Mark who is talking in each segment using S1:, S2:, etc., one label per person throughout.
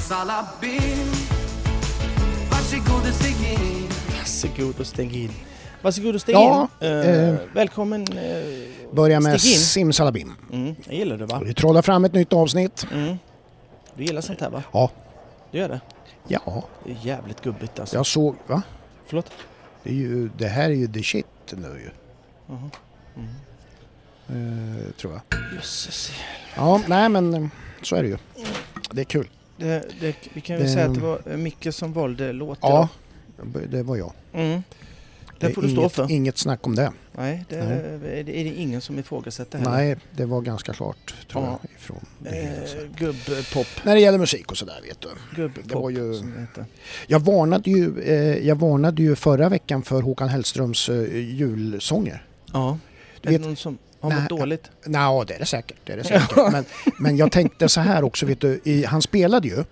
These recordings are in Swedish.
S1: Salabim Varsågod och stig in
S2: Varsågod och stäng in. Varsågod och stäng
S3: Ja,
S2: in. Eh,
S3: eh,
S2: välkommen. eh,
S3: Börja med
S2: Stig in.
S3: simsalabim.
S2: mm, jag gillar det va?
S3: Vi trollar fram ett nytt avsnitt.
S2: Mm. Du gillar sånt här va?
S3: Ja.
S2: Du gör det?
S3: Ja,
S2: Det är jävligt gubbigt alltså.
S3: jag såg... Va?
S2: Förlåt?
S3: Det, är ju, det här är ju the shit nu ju.
S2: Jaha. Mhm.
S3: Eh, tror jag.
S2: Jösses.
S3: Ja, nej men eh, så är det ju. Det är kul.
S2: Det, det, vi kan ju
S3: Det-
S2: säga att det var eh, Micke som valde låten.
S3: Ehm. Ja, det var jag.
S2: Mm.
S3: Det
S2: Det
S3: är
S2: får du stå
S3: inget,
S2: för.
S3: Inget snack om det.
S2: Nej, det, det är det ingen som ifrågasätter heller.
S3: Nej, det var ganska klart tror
S2: Ja.
S3: jag. Ifrån det hela, så.
S2: Eh, gubbpop.
S3: När det gäller musik och sådär vet du.
S2: Gubbpop
S3: Det var ju-
S2: som det heter.
S3: Jag varnade ju, eh, jag varnade ju förra veckan för Håkan Hellströms eh, julsånger.
S2: Ja.
S3: Du
S2: är
S3: vet-
S2: det någon som har
S3: Nej.
S2: mått dåligt?
S3: Nja, det är det säkert. Det är det säkert. Men, men jag tänkte så här också, vet du, i, han spelade ju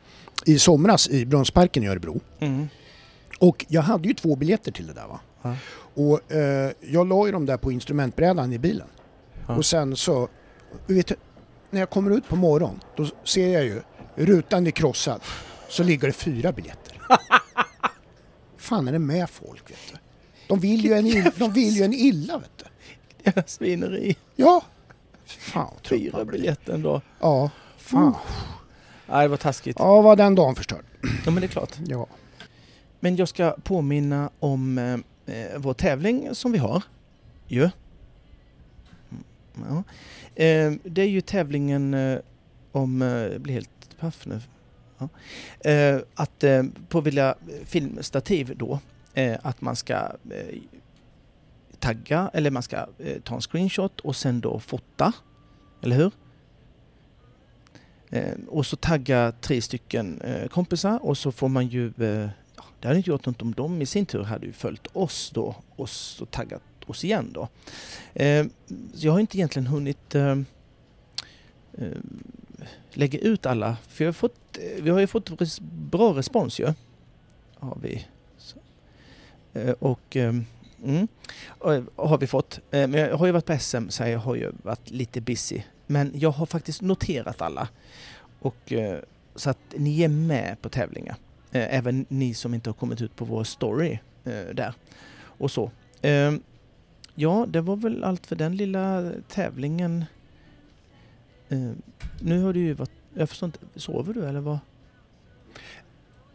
S3: i somras i Brunnsparken i Örebro.
S2: Mm.
S3: Och jag hade ju två biljetter till det där va.
S2: Ja.
S3: Och eh, jag la ju dem där på instrumentbrädan i bilen.
S2: Ja.
S3: Och sen så, vet du, när jag kommer ut på morgonen då ser jag ju, rutan är krossad, så ligger det fyra biljetter. Fan är det med folk vet du. De vill ju en, ill, de vill ju en illa vet du.
S2: Svineri.
S3: Ja. Fan vad trött
S2: Fyra
S3: man blir.
S2: biljetter ändå.
S3: Ja. Fan.
S2: Nej, det var taskigt. Ja.
S3: Ja, var den dagen förstörd.
S2: men det är klart.
S3: Ja.
S2: Men jag ska påminna om eh, eh, vår tävling som vi har. Ju. Mm, Ja. Eh, det är ju tävlingen eh, om... eh, Jag blir helt paff nu. Ja. Eh, att eh, på vilja filmstativ då, eh, att man ska eh, tagga eller man ska eh, ta en screenshot och sen då fota. Eller hur? Eh, och så tagga tre stycken eh, kompisar och så får man ju... Eh, ja, det hade inte gjort något om de i sin tur hade ju följt oss då och så taggat oss igen då. Eh, så jag har inte egentligen hunnit eh, eh, lägga ut alla för jag har fått, eh, vi har ju fått res- bra respons ju. Har vi. Så. Eh, och... Eh, Mm. Och- och Har vi fått. Eh, Men jag har ju varit på SM så jag har ju varit lite busy. Men jag har faktiskt noterat alla. Och, eh, så att ni är med på tävlingar. Eh, Även ni som inte har kommit ut på vår story eh, där. Och så. Eh, Ja, det var väl allt för den lilla tävlingen. Eh, Nu har du ju varit... Jag förstår inte. Sover du eller vad?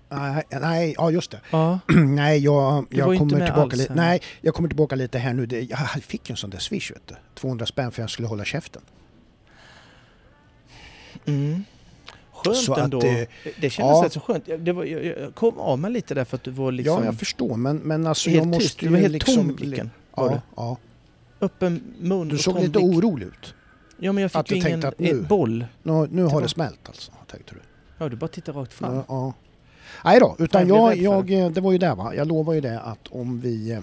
S3: Nej, nej, ja just det.
S2: Ja.
S3: nej, jag,
S2: var
S3: jag
S2: ju inte
S3: kommer
S2: med
S3: tillbaka
S2: alls eh.
S3: lite.
S2: här.
S3: Nej, jag kommer tillbaka lite här nu. Det, jag fick ju en sån där swish vet du. 200 spänn för jag skulle hålla käften.
S2: Mm. Skönt
S3: Så att,
S2: ändå.
S3: eh,
S2: det, kändes
S3: ja.
S2: rätt så skönt. Jag- Det var, jag, jag kom av mig lite där för att du var liksom...
S3: ja, jag förstår men, men alltså
S2: helt
S3: jag måste
S2: tyst. Du
S3: ju
S2: var helt
S3: liksom...
S2: tom i blicken. Var
S3: Ja,
S2: du.
S3: ja.
S2: Öppen mun
S3: Du
S2: och
S3: såg
S2: tom
S3: lite
S2: blick.
S3: orolig ut.
S2: Ja, men jag
S3: att
S2: fick
S3: du
S2: ju ingen
S3: tänkte att nu-
S2: eh, boll.
S3: Nu, nu har
S2: Tillbaka.
S3: det smält alltså, tänkte du.
S2: Ja, du bara tittar rakt fram.
S3: Ja, ja. Nej då,
S2: Jag
S3: utan
S2: blev
S3: jag,
S2: rädd för
S3: jag, eh, det var ju det va. Jag lovar ju det att om vi... eh,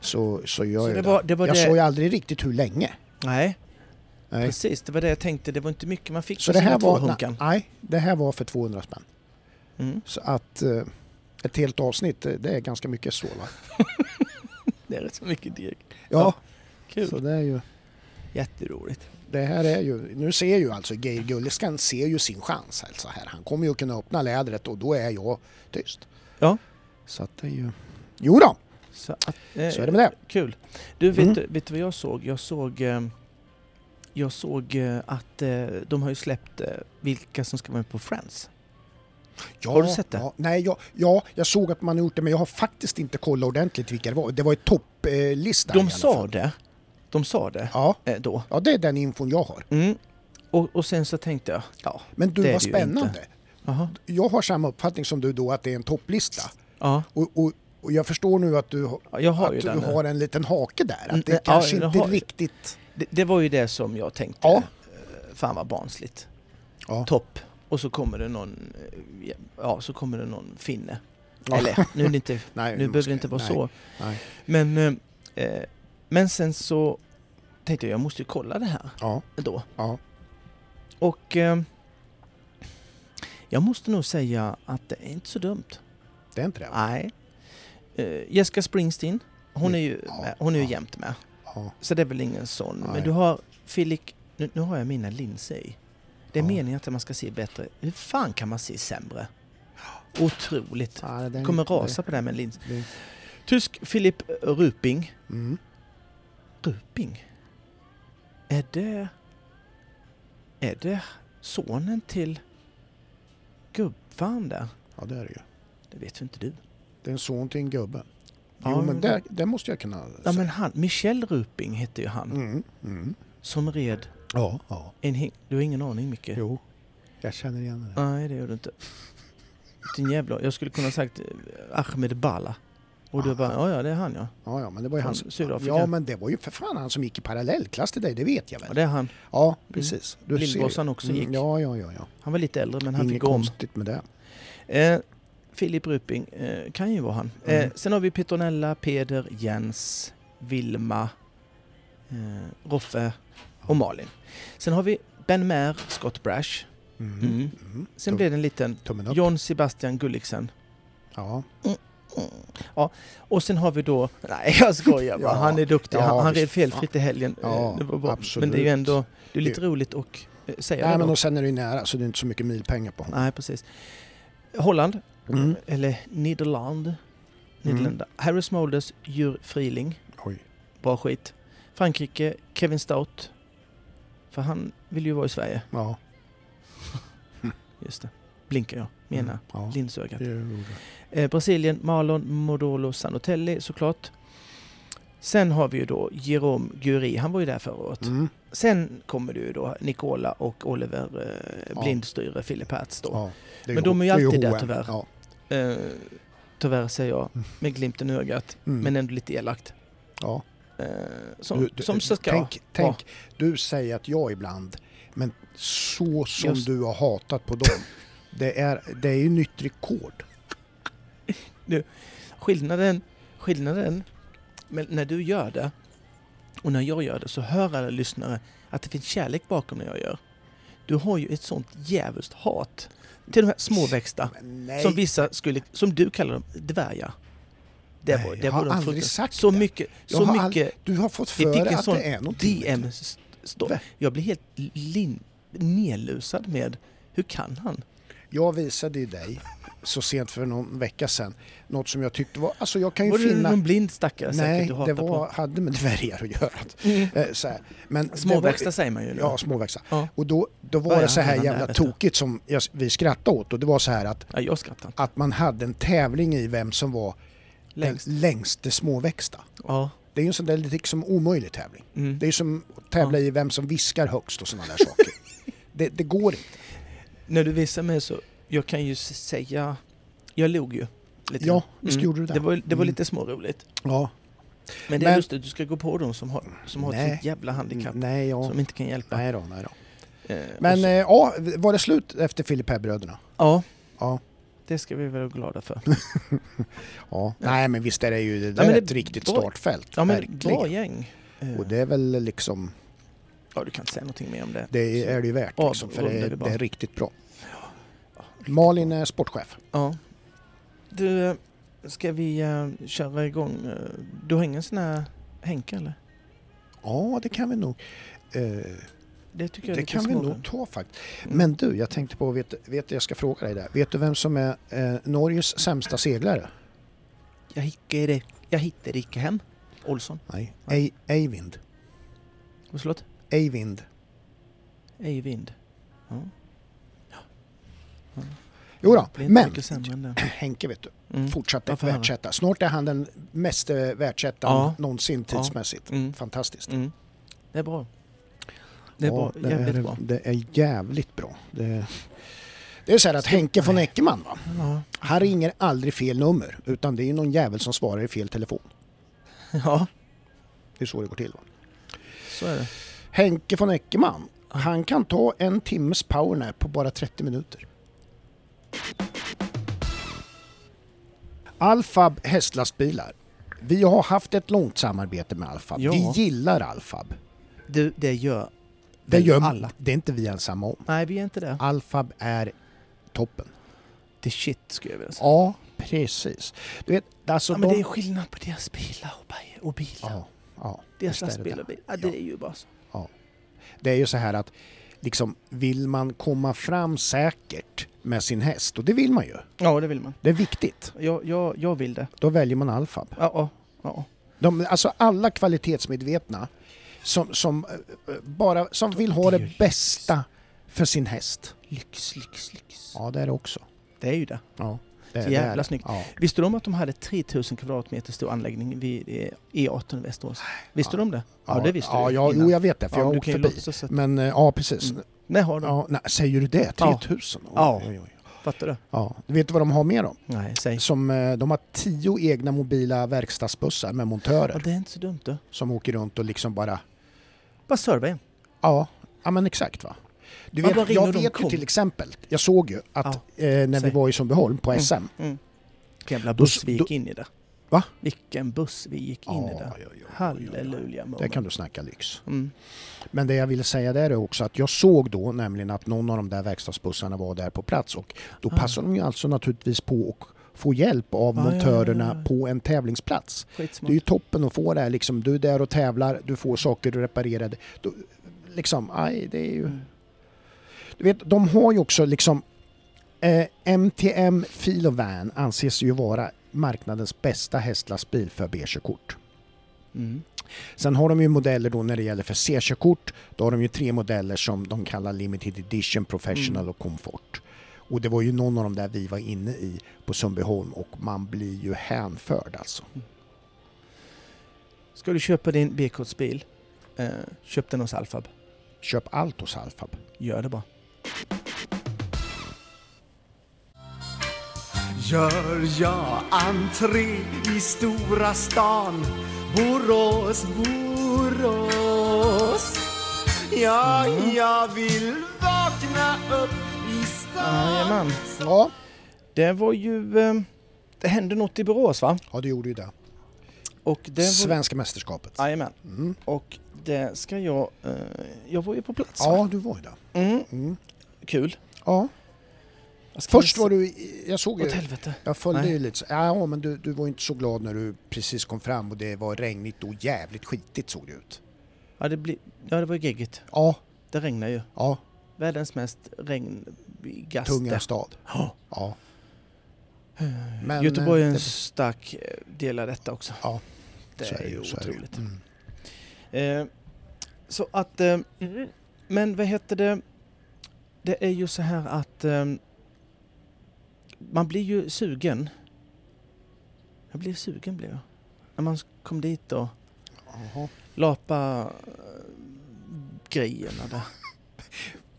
S3: Så, så gör
S2: Så
S3: jag
S2: det
S3: det.
S2: var- det var
S3: jag
S2: det-
S3: sa ju aldrig riktigt hur länge.
S2: Nej,
S3: Nej.
S2: precis. Det var det jag tänkte. Det var inte mycket man fick
S3: Så
S2: för
S3: det
S2: sina
S3: här,
S2: två Mm.
S3: var,
S2: hunkan.
S3: nej, det här var för 200 spänn.
S2: Mm,
S3: Så att eh, ett helt avsnitt, eh, det är ganska mycket så va?
S2: det är rätt så mycket deg.
S3: Ja, så
S2: Kul.
S3: det är ju...
S2: Jätteroligt.
S3: Det här är ju... Nu ser ju alltså Geir Gulliskan ser ju sin chans här, så här. Han kommer ju kunna öppna lädret och då är jag tyst.
S2: Ja.
S3: Så att det är ju... Jo då,
S2: Så, att, eh,
S3: så är det med det.
S2: Kul. Du, vet,
S3: Mm.
S2: du, vet du vad jag såg? Jag såg, eh, jag såg eh, att eh, de har ju släppt eh, vilka som ska vara med på Friends.
S3: Ja,
S2: Har du sett det?
S3: Ja, nej, jag, ja, jag såg att man har gjort det men jag har faktiskt inte kollat ordentligt vilka det var. Det var ju topplista
S2: De sa det. De sa det
S3: Ja,
S2: eh, då.
S3: ja, det är den infon jag har.
S2: Mm. Och, och sen så tänkte jag, ja,
S3: Men du,
S2: Det är
S3: vad
S2: det ju inte.
S3: spännande.
S2: aha,
S3: Jag har samma uppfattning som du då att det är en topplista.
S2: ja,
S3: Och, och, och jag förstår nu att du, har-
S2: ja, jag har ju
S3: att du
S2: den. eh." nu.
S3: har en liten hake där.
S2: Mm,
S3: Att det
S2: ja,
S3: kanske
S2: jag
S3: inte
S2: har-
S3: riktigt...
S2: Det, det var ju det som jag tänkte.
S3: Ja.
S2: Eh, Fan vad barnsligt.
S3: Ja.
S2: Topp. Och så kommer det någon, eh, ja, så kommer det någon finne.
S3: Ja.
S2: Eller, nu, är det inte,
S3: Nej,
S2: nu
S3: man
S2: behöver
S3: ska-
S2: det inte vara
S3: nej,
S2: så.
S3: Nej.
S2: Men, eh, eh, men sen så tänkte jag, jag måste ju kolla det här
S3: Ja,
S2: då.
S3: ja.
S2: Och eh, jag måste nog säga att det är inte så dumt.
S3: Det är inte det? va?
S2: Nej. Eh, Jessica Springsteen, hon är ju,
S3: Mm. Ja,
S2: med, hon är ju
S3: ja.
S2: jämt med.
S3: Ja.
S2: Så det är väl ingen sån.
S3: Nej.
S2: Men du har Filip, nu, nu har jag mina linser i. Det är
S3: Ja.
S2: meningen att man ska se bättre. Hur fan kan man se sämre? Otroligt.
S3: Ja, den-
S2: Jag kommer rasa på det här med lins.
S3: det-
S2: Tysk Philip Ruping.
S3: Mm.
S2: Ruping? Är det... Är det sonen till gubbfan där?
S3: Ja, det är det ju.
S2: Det vet ju inte du.
S3: Det är en son till en gubbe.
S2: Ja,
S3: Jo, men det, det måste jag kunna
S2: Ja,
S3: säga.
S2: men han, Michel Ruping hette ju han
S3: Mm, mm.
S2: som red
S3: Ja, ja.
S2: en hink. Du har ingen aning Micke?
S3: Jo, jag känner igen det.
S2: Nej, det gör du inte. Din jävla... Jag skulle kunna sagt eh, Ahmed Bala. Och
S3: Ah.
S2: du bara, ja ja, det är han ja.
S3: Ja, ja, men det var ju
S2: Från
S3: han.
S2: Sydafrika.
S3: Ja, men det var ju för fan han som gick i parallellklass till dig, det vet jag
S2: ja
S3: väl.
S2: det är han.
S3: Ja, precis. Du ser ju.
S2: Lillbossan också gick.
S3: Mm, ja, ja, ja. ja.
S2: Han var lite äldre men han
S3: Inget
S2: fick gå om.
S3: konstigt med det.
S2: Eh, Filip Ruping eh, kan ju vara han. Eh,
S3: Mm.
S2: sen har vi Petronella, Peder, Jens, Vilma, eh, Roffe och Malin. Sen har vi Ben Mair, Scott Brash.
S3: Mm.
S2: Mm.
S3: Mm.
S2: Sen
S3: Tum-
S2: blev det en liten
S3: Tummen upp.
S2: John Sebastian Gulliksen.
S3: Ja.
S2: Och sen har vi då, nej jag skojar bara,
S3: Ja.
S2: han är duktig. han
S3: Ja,
S2: han red
S3: visst.
S2: felfritt i helgen.
S3: Ja,
S2: Eh, det var bra.
S3: absolut.
S2: Men det är ju ändå, det är lite roligt att eh, säga
S3: Nej,
S2: det.
S3: men
S2: då.
S3: och sen är det ju nära, så det är inte så mycket milpengar på honom.
S2: Nej, precis. Holland,
S3: Mm.
S2: eller Nederland, Nederländerna. Harris Molders, Djur Friling.
S3: Oj.
S2: Bra skit. Frankrike, Kevin Stout. För han vill ju vara i Sverige.
S3: Ja.
S2: Just det. Blinkar jag. Menar.
S3: Mm. Ja.
S2: Linsögat.
S3: Det gjorde det.
S2: Eh, Brasilien, Marlon Modolo Sanotelli såklart. Sen har vi ju då Jerome Guri, han var ju där förra året.
S3: Mm.
S2: Sen kommer det ju då Nicola och Oliver eh,
S3: Ja.
S2: Blindstyre, Philip Hertz då.
S3: Ja. Det
S2: Men de är ju
S3: det
S2: alltid där,
S3: H&M.
S2: tyvärr.
S3: Ja.
S2: Eh, tyvärr säger jag,
S3: Mm.
S2: med glimten i ögat,
S3: Mm.
S2: men ändå lite elakt.
S3: ja.
S2: Eh, som
S3: Du- du-
S2: som så ska
S3: Tänk, tänk du säger att jag ibland, men så som
S2: Just.
S3: du har hatat på dem. Det är, det är ju nytt rekord.
S2: Skillnaden, skillnaden men när du gör det och när jag gör det så hör alla lyssnare att det finns kärlek bakom det jag gör. Du har ju ett sånt djävulskt hat till de här småväxta
S3: Men nej.
S2: som vissa skulle, som du kallar dem, dvärgar. Det
S3: Nej,
S2: var, det
S3: jag har
S2: var de
S3: aldrig
S2: fruktansvärt-
S3: sagt
S2: så
S3: det.
S2: mycket,
S3: Jag
S2: så
S3: har ald-
S2: mycket.
S3: Du har fått
S2: Vi fick
S3: för
S2: en
S3: att
S2: sån
S3: det är någonting.
S2: DM står.
S3: Va?
S2: Jag blir helt lin, nedlusad med hur kan han?
S3: Jag visade ju dig så sent för någon vecka sedan något som jag tyckte var, alltså jag kan ju
S2: Var det
S3: finna
S2: någon blind stackare säkert
S3: Nej,
S2: du hatar
S3: det var, hade med dvärgar att göra. Eh, Så här. Men det
S2: på?
S3: var-
S2: Småväxta säger man ju nu.
S3: Ja, småväxta.
S2: Ja.
S3: Och då, då var
S2: Börjar
S3: det så här
S2: redan där,
S3: jävla
S2: vet du.
S3: tokigt som jag, vi skrattade åt och det var så här att,
S2: Ja, jag skrattar inte.
S3: att man hade en tävling i vem som var
S2: Längst.
S3: den längste småväxta.
S2: Ja.
S3: Det är ju en sån där lite liksom omöjlig tävling.
S2: Mm.
S3: Det är ju som att tävla i vem som viskar högst och sådana där saker. det, det går inte.
S2: När du visar mig så, jag kan ju s- säga, jag log ju. Lite.
S3: Ja, visst gjorde du det.
S2: Det var, det var
S3: Mm.
S2: lite småroligt.
S3: Ja,
S2: Men det är
S3: Men-
S2: lustigt, du ska gå på dem som har, som har ett
S3: Nej. Mm,
S2: sånt jävla handikapp
S3: nej, ja.
S2: som inte kan hjälpa.
S3: nej då, nej då.
S2: Eh, och
S3: Men
S2: så,
S3: eh, ja, var det slut efter Filip bröderna
S2: ja,
S3: Ja.
S2: det ska vi vara glada för.
S3: Ja. Nej men visst är det ju det där
S2: men
S3: är
S2: det-
S3: ett riktigt
S2: bra-
S3: startfält.
S2: Ja men
S3: verkligen.
S2: bra gäng. Eh,
S3: Och det är väl liksom,
S2: Ja du kan inte säga någonting mer om det.
S3: det
S2: Så-
S3: är det ju värt liksom, för det
S2: Avrundar
S3: är,
S2: vi bara.
S3: det är riktigt bra. Malin är sportchef.
S2: Ja. Du, eh, ska vi eh, köra igång? eh, Du har ingen sån här Henke eller?
S3: Ja det kan vi nog. Eh,
S2: Det tycker jag är
S3: det
S2: lite
S3: kan vi
S2: småroligt.
S3: nog ta faktiskt.
S2: Mm.
S3: Men du, jag tänkte på, vet, vet jag ska fråga dig där. Vet du vem som är eh, Norges sämsta seglare?
S2: Jag hittar det. Jag hittar icke hem. Olsson.
S3: Nej.
S2: Nej.
S3: Ei- Eivind.
S2: Och slått?
S3: Eivind.
S2: Ej vind. Ja.
S3: Jo då,
S2: Blir inte
S3: men
S2: mycket sämre än det.
S3: Henke vet du,
S2: Mm.
S3: fortsatte
S2: Varför han?
S3: världsetta. Snart är han den mest eh, världsettan
S2: Ja.
S3: någonsin
S2: Ja.
S3: tidsmässigt.
S2: Mm.
S3: Fantastiskt.
S2: Mm. Det är bra. Det är
S3: Ja,
S2: bra. Jävligt
S3: är,
S2: bra.
S3: Det är jävligt bra. Det, det är så här att Henke von Eckermann, va?
S2: Ja.
S3: han ringer aldrig fel nummer utan det är ju någon jävel som svarar i fel telefon.
S2: ja,
S3: Det är så det går till. Va?
S2: så är det.
S3: Henke von Eckermann, han kan ta en timmes powernap på bara 30 minuter. Alfab hästlastbilar. Vi har haft ett långt samarbete med Alfab.
S2: Ja.
S3: Vi gillar Alfab.
S2: Du, det gör
S3: Det,
S2: väl
S3: gör,
S2: alla.
S3: det är inte vi ensamma om.
S2: Nej, vi är inte det.
S3: Alfab är toppen.
S2: Det är shit skulle jag vilja säga.
S3: Ja, precis. Du vet, alltså
S2: Ja, men
S3: de...
S2: det är skillnad på deras bilar och, bi- och bilar.
S3: ja, ja,
S2: deras
S3: visst är det
S2: lastbilar och bilar. Ja, det
S3: Ja.
S2: är ju bara så.
S3: det är ju så här att liksom, vill man komma fram säkert med sin häst, och det vill man ju,
S2: Ja, det vill man.
S3: det är viktigt,
S2: Jag, jag, jag vill det.
S3: då väljer man Alfab.
S2: Ja, ja, ja.
S3: De, alltså alla kvalitetsmedvetna som, som, eh, bara, som vill ha det bästa för sin häst.
S2: Lyx, lyx, lyx.
S3: Ja, det är det också.
S2: Det är ju det.
S3: Ja, det,
S2: Så
S3: det är
S2: jävla
S3: det.
S2: snyggt.
S3: Ja.
S2: Visste du om att de hade 3000 kvadratmeter stor anläggning vid eh, E18 i Västerås? Visste
S3: Ja.
S2: du om det? Ja, det visste
S3: ja,
S2: du
S3: ja,
S2: innan.
S3: Jo, jag vet det, för
S2: Ja,
S3: jag
S2: men
S3: har
S2: du
S3: åkt
S2: kan ju
S3: förbi.
S2: låtsas att-
S3: Men eh, ja, precis.
S2: Mm. Nej, har de.
S3: Ja, nej, säger du det?
S2: Ja.
S3: 3000?
S2: Ja.
S3: Oj, oj, oj.
S2: Fattar du?
S3: ja. Du vet vad de har med dem?
S2: Nej, säg.
S3: Som, eh, de har tio egna mobila verkstadsbussar med
S2: Ja,
S3: montörer
S2: det är inte så dumt du.
S3: som åker runt och liksom bara...
S2: Bara serva igen.
S3: Ja, ja men exakt va. Du
S2: Man bara
S3: vet,
S2: ringer och
S3: jag
S2: de
S3: vet ju
S2: kom.
S3: till exempel, jag såg ju att eh, när
S2: säg.
S3: vi var i Sundbyholm på SM,
S2: Mm. Vilken jävla
S3: Då s-
S2: buss vi gick
S3: då-
S2: in i där.
S3: Va?
S2: Vilken buss vi gick in i
S3: Ja,
S2: där.
S3: ja, ja, ja, ja.
S2: Halleluja
S3: Där
S2: moment.
S3: kan du snacka lyx.
S2: Mm.
S3: Men det jag ville säga där är också att jag såg då nämligen att någon av de där verkstadsbussarna var där på plats och då
S2: Ah.
S3: passar de ju alltså naturligtvis på att få hjälp av
S2: Ah, ja, ja,
S3: montörerna
S2: ja, ja.
S3: på en tävlingsplats. Det är
S2: Skitsmart.
S3: ju toppen att få det här liksom, du är där och tävlar, du får saker reparerade. Då, liksom, aj, det är ju...
S2: Mm.
S3: Du vet, de har ju också liksom eh, MTM Filovan anses ju vara marknadens bästa hästlastbil för B-körkort.
S2: Mm.
S3: Sen har de ju modeller då när det gäller för C-körkort. Då har de ju tre modeller som de kallar Limited Edition, Professional och Comfort. Och det var ju någon av de där vi var inne i på Sundbyholm och man blir ju hänförd alltså.
S2: Ska du köpa din B-kortsbil, eh, köp den hos Alfab.
S3: Köp allt hos Alfab.
S2: Gör det bara.
S1: Gör jag entré i stora stan Borås, Borås Ja, jag vill vakna upp i stan
S2: Jajamän.
S3: Ja,
S2: Det var ju... Eh, det hände något i Borås va?
S3: ja det gjorde ju det.
S2: Och det var...
S3: Svenska mästerskapet.
S2: Jajamän.
S3: Mm.
S2: Och det ska jag... Eh, jag var ju på plats va?
S3: Ja, du var ju det.
S2: Mm.
S3: Mm.
S2: Kul.
S3: Ja.
S2: Jag ska
S3: Först
S2: väl
S3: var du, i- jag såg
S2: se-
S3: ju,
S2: Åt helvete.
S3: jag följde
S2: Nej.
S3: ju lite, så- ja men du, du var ju inte så glad när du precis kom fram och det var regnigt och jävligt skitigt såg det ut.
S2: Ja det, blir... ja, det var ju geggigt.
S3: Ja,
S2: Det regnar ju.
S3: ja,
S2: Världens mest regngaste.
S3: tunga stad.
S2: Ja.
S3: Ja. Men,
S2: Göteborg är
S3: eh,
S2: en
S3: det-
S2: stark eh, del av detta också.
S3: Ja,
S2: Det
S3: så
S2: är ju
S3: så
S2: otroligt.
S3: Mm.
S2: Eh, så att, eh, men vad heter det? Det är ju så här att eh, man blir ju sugen. Jag blev sugen blev jag. När man kom dit och
S3: Jaha.
S2: lapa eh, grejerna där.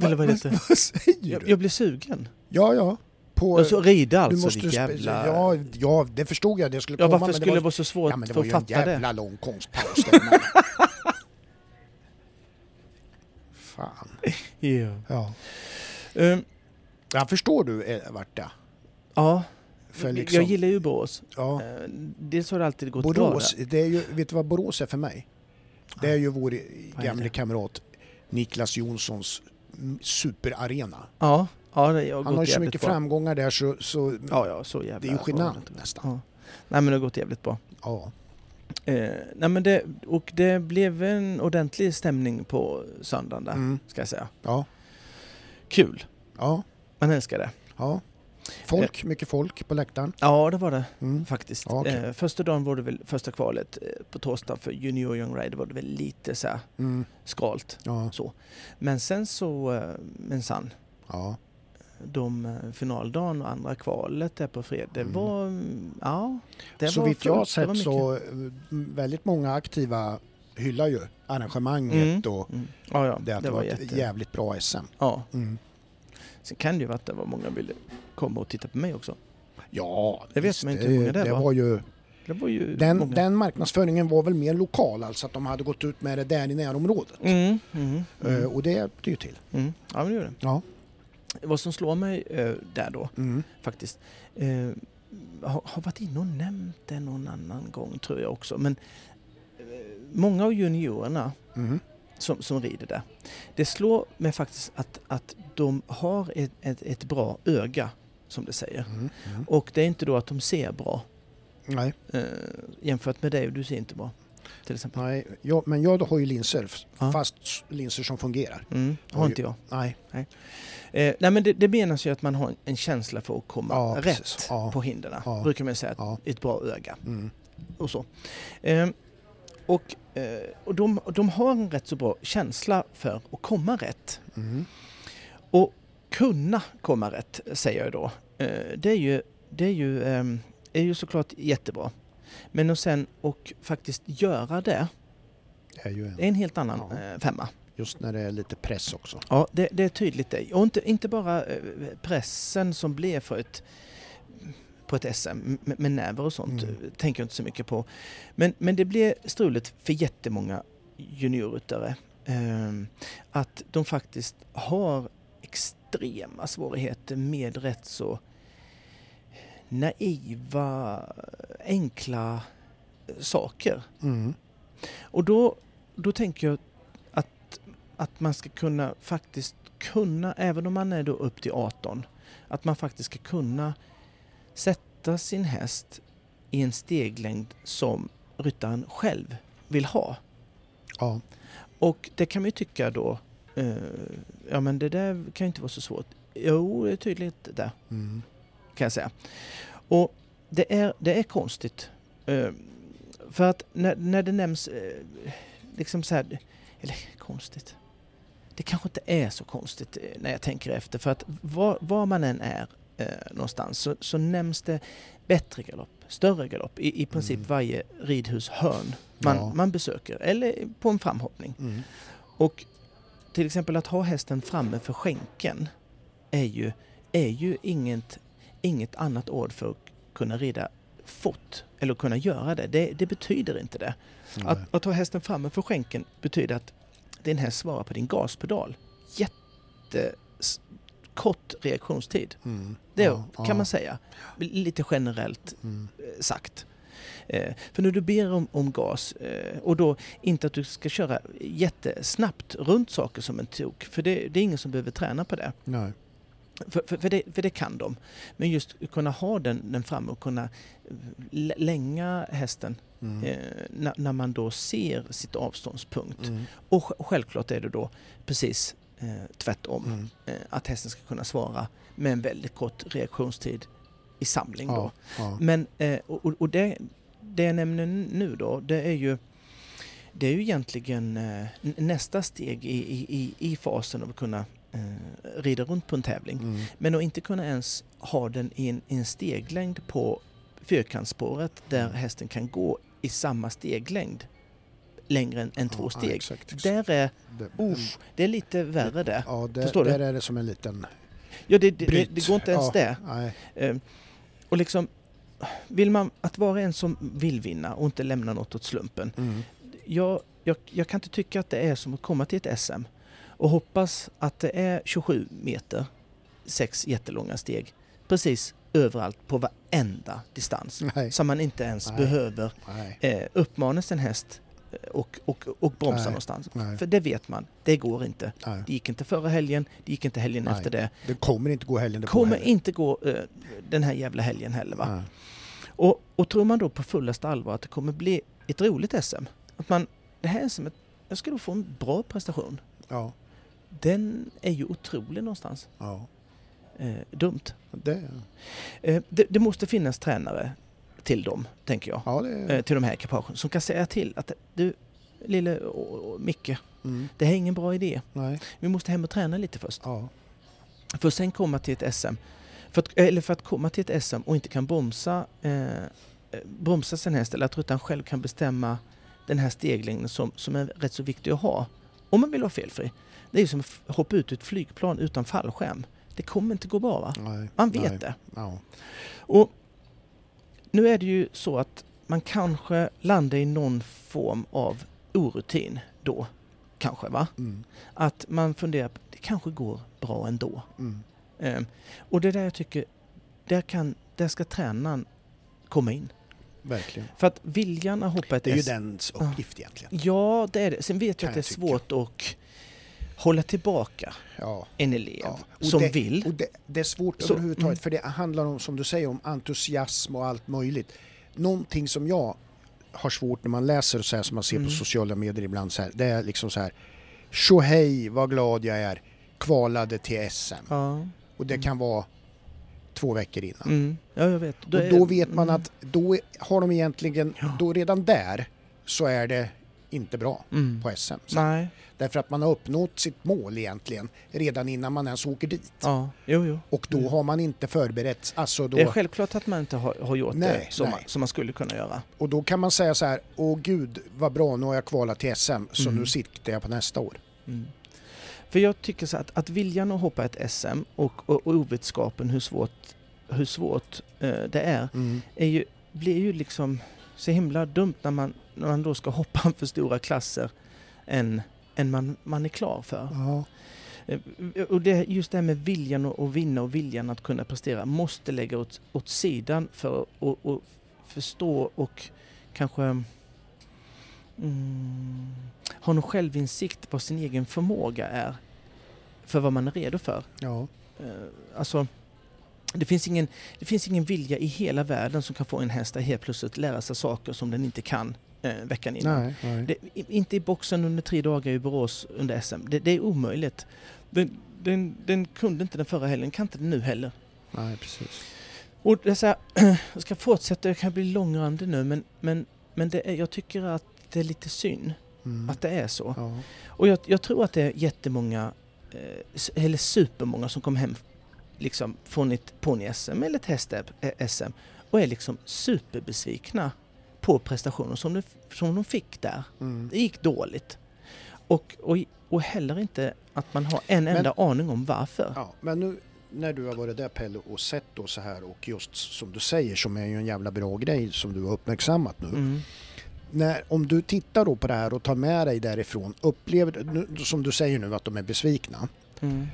S2: Eller vad
S3: vad,
S2: är det?
S3: vad säger
S2: Jag,
S3: du?
S2: jag blev sugen.
S3: Ja, ja. På,
S2: Och så rida
S3: du
S2: alltså,
S3: måste
S2: vilket
S3: spe-
S2: jävla...
S3: ja, ja, det förstod jag. Det skulle
S2: Ja,
S3: komma.
S2: varför skulle det vara så svårt
S3: ja, men det var
S2: att
S3: ju en
S2: fatta
S3: jävla
S2: det?
S3: lång konstpaus där emellan. Fan.
S2: Ja.
S3: Ja.
S2: Ehm,
S3: Jag förstår du eh, vart det.
S2: ja,
S3: För
S2: jag-
S3: liksom,
S2: jag gillar ju Borås.
S3: ja,
S2: Eh, Dels har det alltid gått bra
S3: Borås,
S2: där.
S3: det är ju, vet du vad Borås är för mig? Det är ju vår
S2: det?
S3: gamle kamrat Niklas Jonssons mm, superarena.
S2: Ja, ja det har
S3: Han har
S2: gått
S3: ju så
S2: jävligt
S3: mycket
S2: bra.
S3: framgångar där så, så
S2: Ja, ja, så jävla
S3: det är ju
S2: bra.
S3: genant nästan.
S2: Ja. Nej men det har gått jävligt bra.
S3: Ja.
S2: Eh, nej, men det, och det blev en ordentlig stämning på söndagen där,
S3: Mm.
S2: ska jag säga.
S3: Ja.
S2: Kul,
S3: Ja.
S2: man älskar det.
S3: ja.
S2: Eh.
S3: Folk, mycket folk på läktaren.
S2: Ja det var det
S3: Mm.
S2: faktiskt.
S3: Ja, okej.
S2: eh, första dagen var det väl, första kvalet eh, på torsdag för Junior Young Rider var det väl lite så här
S3: Mm.
S2: skralt.
S3: Ja.
S2: Men sen så, eh, minsann,
S3: ja.
S2: de eh, finaldagen och andra kvalet där på fredag. Det
S3: Mm.
S2: var, mm, ja. Det
S3: så
S2: var
S3: vitt jag har
S2: fullt. Det var
S3: sett
S2: mycket.
S3: så eh, väldigt många aktiva hyllar ju arrangemanget och
S2: Mm. Ja, ja,
S3: det,
S2: det,
S3: att det
S2: var
S3: var ett
S2: jätte...
S3: jävligt bra SM.
S2: Ja.
S3: Mm.
S2: Sen kan det ju vara att det var många ville komma och titta på mig också.
S3: Ja,
S2: Det vet
S3: visst,
S2: man inte hur många det var.
S3: var ju,
S2: Det var ju
S3: den,
S2: många.
S3: den marknadsföringen var väl mer lokal, alltså att de hade gått ut med det där i närområdet.
S2: Mm, mm,
S3: Eh,
S2: mm,
S3: Och det hjälpte ju till.
S2: mm. Ja, men det gjorde
S3: Ja.
S2: det. Vad som slår mig eh, där då,
S3: Mm.
S2: faktiskt. Eh, har, har varit inne och nämnt det någon annan gång tror jag också. Men eh, många av juniorerna
S3: Mm.
S2: som, som rider där. Det slår mig faktiskt att, att de har ett, ett, ett bra öga, som det säger.
S3: Mm. Mm.
S2: Och det är inte då att de ser bra
S3: Nej.
S2: eh, jämfört med dig, du ser inte bra. till exempel.
S3: Nej, jag, men jag har ju linser, f-
S2: Ja.
S3: fast s- linser som fungerar.
S2: Mm, har
S3: Oj.
S2: inte jag.
S3: Nej,
S2: Eh, nej men det, det menas ju att man har en känsla för att komma
S3: Ja,
S2: rätt
S3: precis. Ja.
S2: på hindren.
S3: Ja.
S2: Brukar man säga,
S3: Ja.
S2: ett bra öga
S3: mm.
S2: och så. Eh, och eh, och de, de har en rätt så bra känsla för att komma rätt.
S3: Mm.
S2: Och kunna komma rätt, säger jag då. Eh, Det är ju, det är ju, ehm, är ju såklart jättebra. Men och sen och faktiskt göra det,
S3: det är ju
S2: det är
S3: en,
S2: en helt annan
S3: Ja.
S2: eh, femma.
S3: just när det är lite press också.
S2: Ja, det, det är tydligt det. Och inte, inte bara eh, pressen som blev för ett på ett SM med, med nerver och sånt
S3: Mm.
S2: eh, tänker jag inte så mycket på. Men, men det blev struligt för jättemånga juniorryttare ehm, att de faktiskt har extrema svårigheter med rätt så naiva, enkla saker.
S3: Mm.
S2: Och då, då tänker jag att, att man ska kunna faktiskt kunna, även om man är då upp till 18, att man faktiskt ska kunna sätta sin häst i en steglängd som ryttaren själv vill ha.
S3: Ja.
S2: Och det kan man ju tycka då, eh, ja men det där kan ju inte vara så svårt. Jo, det är tydligt det
S3: Mm.
S2: kan jag säga. Och det är, det är konstigt. Eh, För att när, när det nämns eh, liksom så här, eller konstigt. Det kanske inte är så konstigt eh, när jag tänker efter för att var, var man än är eh, någonstans så, så nämns det bättre galopp, större galopp i, i princip
S3: Mm.
S2: varje ridhushörn man,
S3: Ja.
S2: man besöker eller på en framhoppning.
S3: Mm.
S2: Och till exempel att ha hästen framme för skänken är ju, är ju inget, inget annat ord för att kunna rida fort eller kunna göra det. Det, det betyder inte det.
S3: Nej.
S2: Att, att ha hästen framme för skänken betyder att din häst svarar på din gaspedal. Jätte s- kort reaktionstid.
S3: Mm.
S2: Det
S3: Ja,
S2: kan
S3: ja.
S2: man säga. Lite generellt
S3: Mm.
S2: eh, sagt. Eh, För när du ber om, om gas, eh, och då inte att du ska köra jättesnabbt runt saker som en tok, för det, det är ingen som behöver träna på det.
S3: Nej.
S2: För, för, för, det, för det kan de. Men just kunna ha den, den framme och kunna eh, l- länga hästen
S3: Mm.
S2: eh, när, när man då ser sitt avståndspunkt.
S3: Mm.
S2: Och sj- självklart är det då precis eh, tvärtom,
S3: Mm.
S2: eh, att hästen ska kunna svara med en väldigt kort reaktionstid i samling. Då.
S3: Ja. Ja.
S2: Men, eh, och, och- och det, det jag nämner nu då, det är ju, det är ju egentligen eh, n- nästa steg i, i, i, i fasen av att kunna eh, rida runt på en tävling.
S3: Mm.
S2: Men att inte kunna ens ha den i en, i en steglängd på fyrkantsspåret där
S3: Mm.
S2: hästen kan gå i samma steglängd längre än, än två
S3: Ja, Ja,
S2: steg.
S3: exakt, exakt.
S2: Där är,
S3: Det-
S2: usch, det är lite värre det.
S3: Ja, där,
S2: Förstår du?
S3: där är det som en liten
S2: Ja, det, det, det,
S3: bryt.
S2: det går inte ens
S3: ja,
S2: det.
S3: Nej.
S2: Eh, Och liksom, vill man att vara en som vill vinna och inte lämna något åt slumpen.
S3: Mm.
S2: Jag, jag, jag kan inte tycka att det är som att komma till ett SM och hoppas att det är 27 meter, sex jättelånga steg, precis överallt på varenda distans.
S3: Nej.
S2: Så man inte ens
S3: Nej.
S2: behöver
S3: Nej.
S2: eh, uppmana sin häst eh, och, och, och bromsa
S3: Nej.
S2: någonstans.
S3: Nej.
S2: För det vet man, det går inte.
S3: Nej.
S2: Det gick inte förra helgen, det gick inte helgen
S3: Nej.
S2: efter det.
S3: Det kommer inte gå helgen
S2: Det
S3: det
S2: kommer inte gå eh, den här jävla helgen heller. Va?
S3: Nej.
S2: Och, och tror man då på fullaste allvar att det kommer bli ett roligt SM, att man, det här SM, et, jag ska då få en bra prestation.
S3: Ja.
S2: Den är ju otrolig någonstans.
S3: ja.
S2: Eh, dumt.
S3: Det,
S2: Eh, det, det måste finnas tränare till dem, tänker jag.
S3: ja, det,
S2: Eh, till de här ekipagen, som kan säga till att du, lille och, och Micke,
S3: mm,
S2: det här är ingen bra idé.
S3: nej,
S2: Vi måste hem och träna lite först.
S3: ja,
S2: För att sen komma till ett SM. För att, eller för att komma till ett SM och inte kan bromsa, eh, eh, bromsa sin häst eller att ryttaren själv kan bestämma den här steglängden som, som är rätt så viktig att ha. Om man vill vara felfri. Det är ju som att f- hoppa ut ur ett flygplan utan fallskärm. Det kommer inte gå bra va?
S3: nej.
S2: Man vet
S3: nej,
S2: det.
S3: Ja,
S2: Och nu är det ju så att man kanske landar i någon form av orutin då. Kanske va?
S3: mm,
S2: Att man funderar på det kanske går bra ändå.
S3: mm,
S2: Eh, Och det är där jag tycker, där, kan, där ska tränaren komma in.
S3: verkligen.
S2: För att viljan att hoppa ett
S3: Det är ju
S2: S-
S3: dens uppgift egentligen.
S2: Ja, det är det. Sen vet jag
S3: Kan
S2: att det är
S3: jag tycka.
S2: svårt att hålla tillbaka
S3: Ja.
S2: en elev
S3: Ja. Och
S2: som
S3: det,
S2: vill.
S3: Och det, det är svårt
S2: Så-
S3: överhuvudtaget
S2: mm.
S3: för det handlar om, som du säger, om entusiasm och allt möjligt. Någonting som jag har svårt när man läser och så här som man ser
S2: Mm.
S3: på sociala medier ibland så här. Det är liksom så här. Tjohej vad glad jag är. Kvalade till SM.
S2: Ja.
S3: Och det kan vara två veckor innan.
S2: Mm. ja, jag vet.
S3: Och då vet
S2: mm.
S3: man att då har de egentligen, då redan där så är det inte bra
S2: Mm.
S3: på SM. Så
S2: Nej,
S3: Därför att man har uppnått sitt mål egentligen redan innan man ens åker dit.
S2: ja, jo, jo.
S3: Och då har man inte förberett, alltså
S2: Mm. Det är
S3: då,
S2: självklart att man inte har, har gjort
S3: Nej,
S2: det som,
S3: nej.
S2: Man, som man skulle kunna göra.
S3: och då kan man säga så här, åh gud vad bra nu har jag kvalat till SM så
S2: Mm.
S3: nu siktar jag på nästa år.
S2: Mm. För jag tycker så att, att viljan att hoppa ett SM och, och, och ovetskapen hur svårt, hur svårt eh, det är, är ju, blir ju liksom så himla dumt när man, när man då ska hoppa för stora klasser än, än man, man är klar för.
S3: Ja.
S2: Eh, Och det, just det här med viljan att, att vinna och viljan att kunna prestera måste lägga åt, åt sidan för att och, och förstå och kanske mm, ha någon självinsikt vad sin egen förmåga är för vad man är redo för.
S3: ja.
S2: Eh, Alltså, det finns, ingen, det finns ingen vilja i hela världen som kan få en häst att helt plötsligt lära sig saker som den inte kan eh, veckan innan.
S3: Nej, nej.
S2: Det, i- inte i boxen under tre dagar i Borås under SM. Det, det är omöjligt. Den, den, den kunde inte den förra helgen, kan inte den nu heller.
S3: nej, precis.
S2: Och det är så här, jag ska fortsätta, jag kan bli långrandig nu men, men, men det är, jag tycker att det är lite synd
S3: Mm.
S2: att det är så.
S3: ja.
S2: Och jag, jag tror att det är jättemånga, eh, s- eller supermånga som kom hem liksom, från ett ponny-SM eller ett häst-SM och är liksom superbesvikna på prestationen som de, som de fick där.
S3: Mm.
S2: Det gick dåligt. Och, och, och heller inte att man har en
S3: Men-
S2: enda aning om varför.
S3: Ja, men nu när du har varit där Pelle och sett då så här och just som du säger som är ju en jävla bra grej som du har uppmärksammat nu.
S2: Mm.
S3: När, om du tittar då på det här och tar med dig därifrån, upplever du- nu, som du säger nu att de är besvikna.
S2: Mm.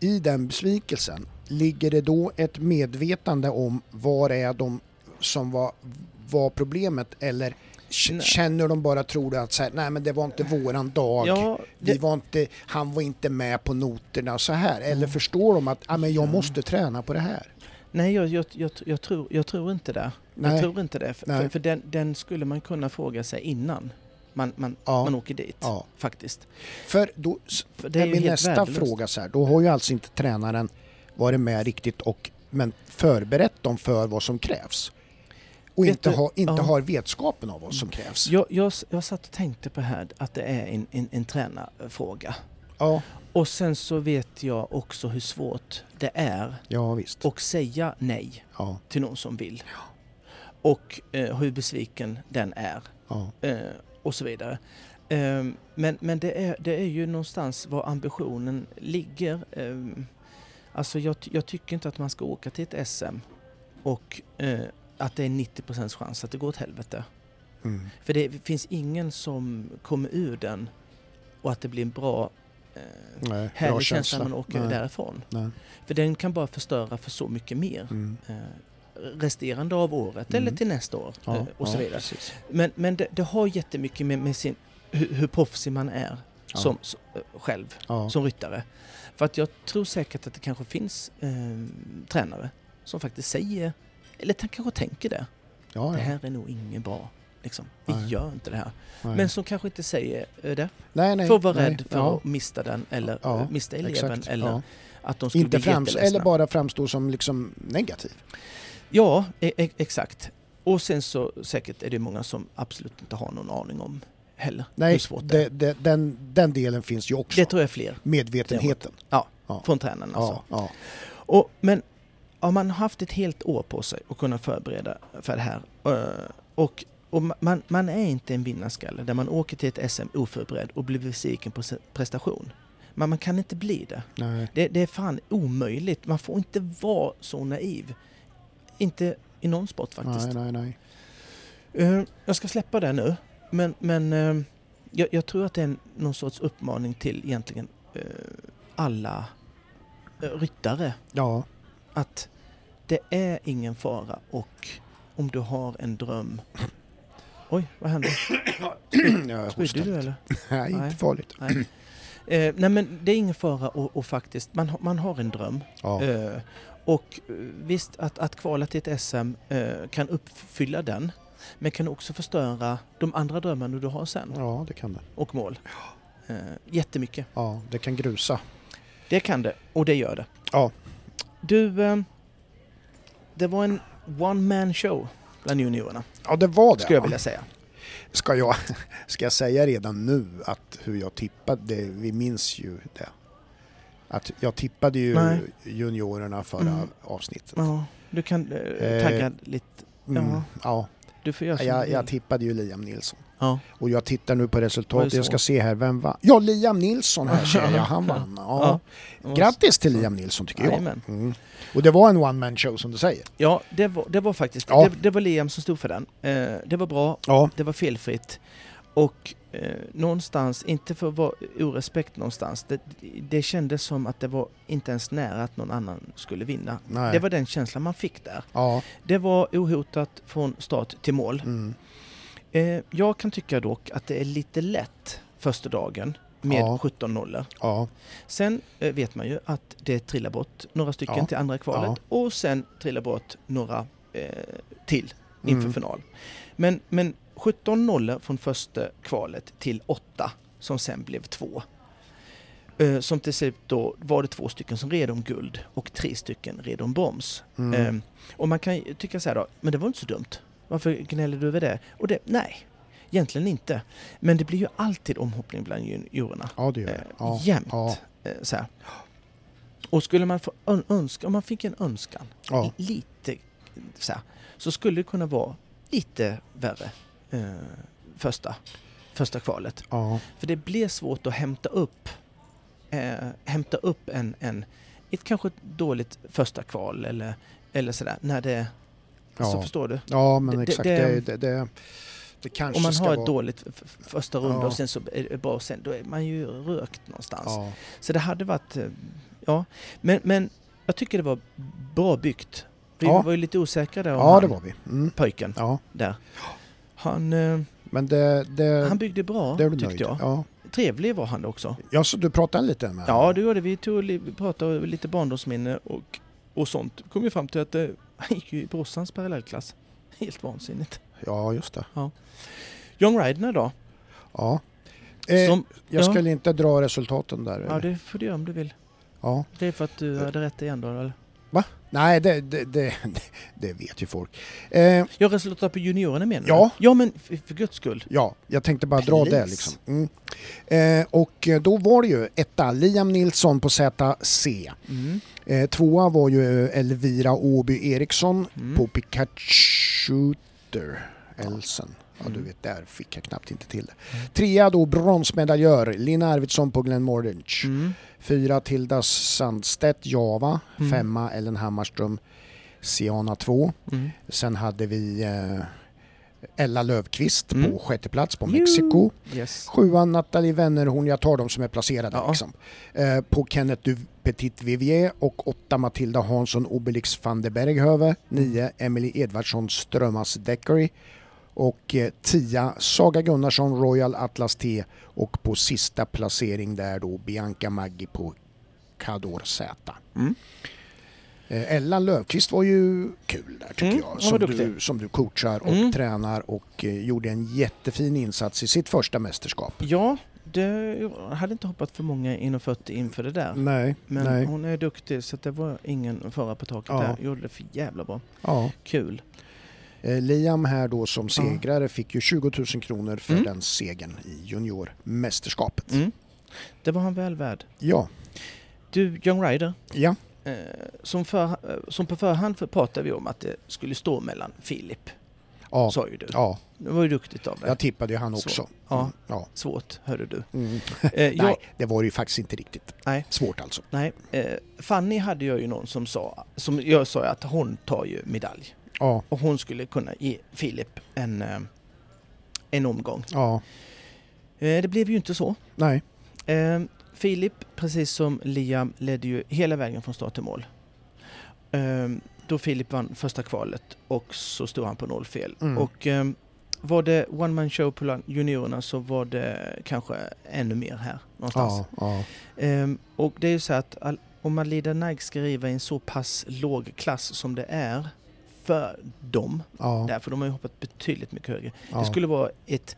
S3: I den besvikelsen, ligger det då ett medvetande om vad det är de som var, var problemet eller k-
S2: Nej.
S3: känner de bara, tror du att så här, nej men det var inte våran dag.
S2: Ja,
S3: Vi
S2: det,
S3: var inte, han var inte med på noterna så här.
S2: Mm.
S3: Eller förstår de att ah, men jag måste träna på det här?
S2: nej, jag, jag, jag, jag, tror, jag tror inte det.
S3: Nej.
S2: Jag tror inte det. För,
S3: Nej.
S2: för, för den, den skulle man kunna fråga sig innan man, man,
S3: Ja.
S2: man åker dit.
S3: Ja.
S2: Faktiskt.
S3: För då
S2: För det är
S3: är
S2: ju
S3: min
S2: helt
S3: nästa
S2: värdelöst.
S3: fråga så här. Då har ju alltså inte tränaren varit med riktigt och men förberett dem för vad som krävs. Och
S2: Vet
S3: inte,
S2: du-
S3: ha, inte
S2: ja.
S3: har vetskapen av vad som krävs.
S2: Jag, jag, s- jag satt och tänkte på här att det är en, en, en tränarfråga.
S3: Ja,
S2: Och sen så vet jag också hur svårt det är
S3: ja visst.
S2: att säga nej
S3: Ja,
S2: till någon som vill. Och eh, hur besviken den är.
S3: ja,
S2: eh, och så vidare. Ehm, men men det, är, det är ju någonstans var ambitionen ligger. Ehm, alltså jag, ty- jag tycker inte att man ska åka till ett SM och eh, att det är 90 chans att det går åt helvete.
S3: mm.
S2: För det finns ingen som kommer ur den och att det blir en bra, eh,
S3: Nej, bra
S2: härlig känsla
S3: känsla.
S2: när man åker
S3: Nej,
S2: därifrån.
S3: Nej.
S2: För den kan bara förstöra för så mycket mer.
S3: Mm.
S2: Eh, resterande av året
S3: Mm.
S2: eller till nästa år eh,
S3: Ja,
S2: och så
S3: ja,
S2: vidare.
S3: precis.
S2: Men, men det, det har jättemycket med, med sin, hur, hur proffsig man är
S3: Ja.
S2: som, s- eh, själv
S3: Ja.
S2: som ryttare. För att jag tror säkert att det kanske finns eh, tränare som faktiskt säger, eller t- kanske tänker det,
S3: ja,
S2: det
S3: ja.
S2: här är nog inget bra. Liksom. Vi
S3: Nej.
S2: gör inte det här.
S3: Nej.
S2: Men som kanske inte säger eh, det.
S3: nej, nej,
S2: För att vara
S3: nej,
S2: rädd för
S3: ja,
S2: att mista den eller
S3: Ja,
S2: eh, mista eleven
S3: exakt,
S2: eller
S3: ja.
S2: att de skulle
S3: Inte
S2: bli
S3: frams
S2: jätteledsna.
S3: eller bara framstå som liksom negativ.
S2: Ja, e- e- exakt. Och sen så säkert är det många som absolut inte har någon aning om heller hur
S3: Nej,
S2: svårt det är.
S3: det, det, den, den delen finns ju också.
S2: Det tror jag är fler
S3: Medvetenheten.
S2: från tränaren alltså.
S3: Ja, ja.
S2: Och, men om man har haft ett helt år på sig att kunna förbereda för det här eh, och, och ma- man, man är inte en vinnarskalle där man åker till ett SM oförberedd och blir besviken på sin prestation. Men man kan inte bli det.
S3: Nej.
S2: Det, det är fan omöjligt. Man får inte vara så naiv. Inte i någon sport faktiskt.
S3: nej, nej, nej.
S2: Eh, Jag ska släppa det nu, men, men eh, jag, jag tror att det är en- någon sorts uppmaning till egentligen eh, alla eh, ryttare
S3: Ja,
S2: att det är ingen fara och om du har en dröm... Oj, vad hände?
S3: jag hostar.
S2: Spydde du eller?
S3: Nej,
S2: Nej.
S3: inte farligt.
S2: Nej. Eh, nej men det är ingen fara och, och faktiskt, man, har- man har en dröm.
S3: Ja,
S2: Eh, och eh, visst, att, att kvala till ett SM eh, kan eh, uppfylla den. men kan också förstöra de andra drömmarna du har sen
S3: Ja, det kan det.
S2: och mål. Eh, jättemycket.
S3: Ja, det kan grusa.
S2: Det kan det och det gör det.
S3: Ja.
S2: Du, eh, det var en one man show bland juniorerna,
S3: Ja, det var det.
S2: skulle jag
S3: va?
S2: vilja säga.
S3: Ska, jag, ska jag säga redan nu att hur jag tippade, det, vi minns ju det. Att jag tippade ju
S2: Nej.
S3: juniorerna förra
S2: Mm.
S3: avsnittet.
S2: Ja, du kan eh,
S3: Eh,
S2: tagga lite.
S3: Mm,
S2: Ja.
S3: ja.
S2: Du får göra som
S3: Jag,
S2: du
S3: jag
S2: vill.
S3: tippade ju Liam Nilsson.
S2: ja.
S3: Och jag tittar nu på
S2: Var det
S3: resultatet.
S2: så?
S3: Jag ska se här, vem vann? Ja, Liam Nilsson här ser jag. Han vann. Ja. Grattis till Liam Nilsson tycker jag.
S2: Jajamän.
S3: Mm. Och det var en one man show som du säger.
S2: Ja, det var, det var faktiskt
S3: Ja.
S2: det, det var Liam som stod för den. Eh, det var bra,
S3: Ja.
S2: det var felfritt. Och eh, någonstans, inte för att vara orespekt någonstans, det, det kändes som att det var inte ens nära att någon annan skulle vinna.
S3: Nej.
S2: Det var den känslan man fick där.
S3: Ja.
S2: Det var ohotat från start till mål.
S3: Mm.
S2: Eh, jag kan tycka dock att det är lite lätt första dagen med
S3: Ja.
S2: 17 nollor.
S3: Ja.
S2: Sen eh, vet man ju att det trillar bort några stycken
S3: Ja.
S2: till andra kvalet och sen trillar bort några eh, till inför
S3: Mm.
S2: final. Men, men 17 nollor från första kvalet till 8 som sen blev 2. Eh, som till slut då var det två stycken som red om guld och tre stycken red om broms.
S3: Mm.
S2: Eh, och man kan ju tycka så här då, men det var inte så dumt. Varför gnäller du över det? Och det, nej, egentligen inte. Men det blir ju alltid omhoppning bland juniorerna
S3: ja, det gör
S2: eh,
S3: det. Ja.
S2: jämt.
S3: Ja.
S2: Eh, så här. Och skulle man få ön- önska, om man fick en önskan,
S3: Ja.
S2: li- lite så, här, så skulle det kunna vara lite värre eh, första, första kvalet.
S3: Ja.
S2: För det blir svårt att hämta upp, eh, hämta upp en, en, ett kanske dåligt första kval eller, eller sådär, när det,
S3: Ja.
S2: så förstår du?
S3: Ja, men
S2: Det-
S3: exakt.
S2: det-
S3: Det, det, det, det kanske
S2: Om man
S3: ska
S2: har
S3: vara...
S2: ett dåligt f- f- första runda
S3: Ja.
S2: och sen så är det bra sen, då är man ju rökt någonstans.
S3: Ja.
S2: Så det hade varit, eh, ja. Men, men jag tycker det var bra byggt. Vi
S3: Ja.
S2: var ju lite osäkra där om
S3: ja,
S2: han,
S3: det var vi. Mm.
S2: pojken
S3: Ja.
S2: där. Han, eh,
S3: Men det... det
S2: han byggde bra
S3: Eh, det är du
S2: tyckte
S3: nöjd.
S2: jag.
S3: Ja.
S2: Trevlig var han också.
S3: ja, så du pratade lite med
S2: Ja, det gjorde vi. Tog, li- vi pratade om lite barndomsminne och, och sånt. Kom ju fram till att eh, han gick ju i brorsans parallellklass. Helt vansinnigt.
S3: Ja, just det.
S2: John Ryder då?
S3: Ja. Eh,
S2: som,
S3: jag
S2: ja.
S3: skulle inte dra resultaten där.
S2: ja, det får du göra om du vill.
S3: ja.
S2: Det är för att
S3: Eh.
S2: du hade rätt igen då, eller?
S3: Nej, det, det, det, det vet ju folk. Eh,
S2: Jag resultat på juniorerna menar du?
S3: Ja.
S2: Ja, men för, för guds skull.
S3: ja, jag tänkte bara dra
S2: Please.
S3: det liksom. Mm. Eh, och eh, då var det ju etta, Liam Nilsson på ZC.
S2: Mm.
S3: Eh, tvåa var ju Elvira Åby Eriksson
S2: Mm.
S3: på Pikachu Elsen. Ja, du
S2: Mm.
S3: vet, där fick jag knappt inte till det. Trea då bronsmedaljör Lina Arvidsson på Glenn Mordinch.
S2: Mm.
S3: Fyra Tilda Sandstedt Java.
S2: Mm.
S3: Femma Ellen Hammarström Siana 2.
S2: Mm.
S3: Sen hade vi eh, Ella Löfqvist
S2: Mm.
S3: på sjätte plats på
S2: Juhu.
S3: Mexiko.
S2: Yes.
S3: Sjuan Nathalie Wennerhorn, jag tar dem som är placerade.
S2: Ja.
S3: Liksom. Eh, på Kenneth du Petit Vivier och åtta Matilda Hansson Obelix van der Berghöve.
S2: Mm.
S3: Nio Emily Edvardsson Strömas Deckery. Och eh, tia Saga Gunnarsson Royal Atlas T. Och på sista placering där då Bianca Maggi på Cador Z.
S2: Mm.
S3: Eh, Ellen Löfqvist var ju kul där tycker
S2: Mm, hon var
S3: jag. Som du,
S2: duktig.
S3: som du coachar och
S2: Mm.
S3: tränar och eh, gjorde en jättefin insats i sitt första mästerskap.
S2: Ja, det, jag hade inte hoppat för många inom 40 inför det där.
S3: Nej,
S2: Men
S3: nej.
S2: hon är duktig så att det var ingen fara på taket
S3: Ja.
S2: där. Gjorde det för jävla bra.
S3: Ja.
S2: Kul.
S3: Eh, Liam här då som
S2: Ja.
S3: segrare fick ju 20 000 kronor för
S2: Mm.
S3: den segern i juniormästerskapet.
S2: Mm. Det var han väl värd.
S3: Ja,
S2: Du, Young Ryder.
S3: ja,
S2: Eh, som, för, eh, som på förhand för- pratade vi om att det skulle stå mellan Filip,
S3: ja,
S2: sa ju du.
S3: ja.
S2: Det var ju duktigt av dig.
S3: jag tippade ju han
S2: Så.
S3: också.
S2: Ja.
S3: Mm, ja.
S2: Svårt, hörde du.
S3: Mm.
S2: Eh, jag,
S3: Nej, det var det ju faktiskt inte riktigt.
S2: Nej.
S3: Svårt alltså.
S2: nej. Eh, Fanny hade jag ju någon som sa, som jag sa ju att hon tar ju medalj.
S3: Ja,
S2: och hon skulle kunna ge Filip en, eh, en omgång.
S3: ja,
S2: Eh, Det blev ju inte så.
S3: nej,
S2: Eh, Filip, precis som Liam, ledde ju hela vägen från start till mål. Eh, Då Filip vann första kvalet och så stod han på noll fel.
S3: Mm.
S2: Och eh, var det one man show på lan- juniorerna så var det kanske ännu mer här någonstans.
S3: ja, ja,
S2: Ehm, och det är ju så att all, om Alida Nag ska riva i en så pass låg klass som det är för dem.
S3: Ja.
S2: Där, för de har ju hoppat betydligt mycket högre.
S3: Ja.
S2: Det skulle vara ett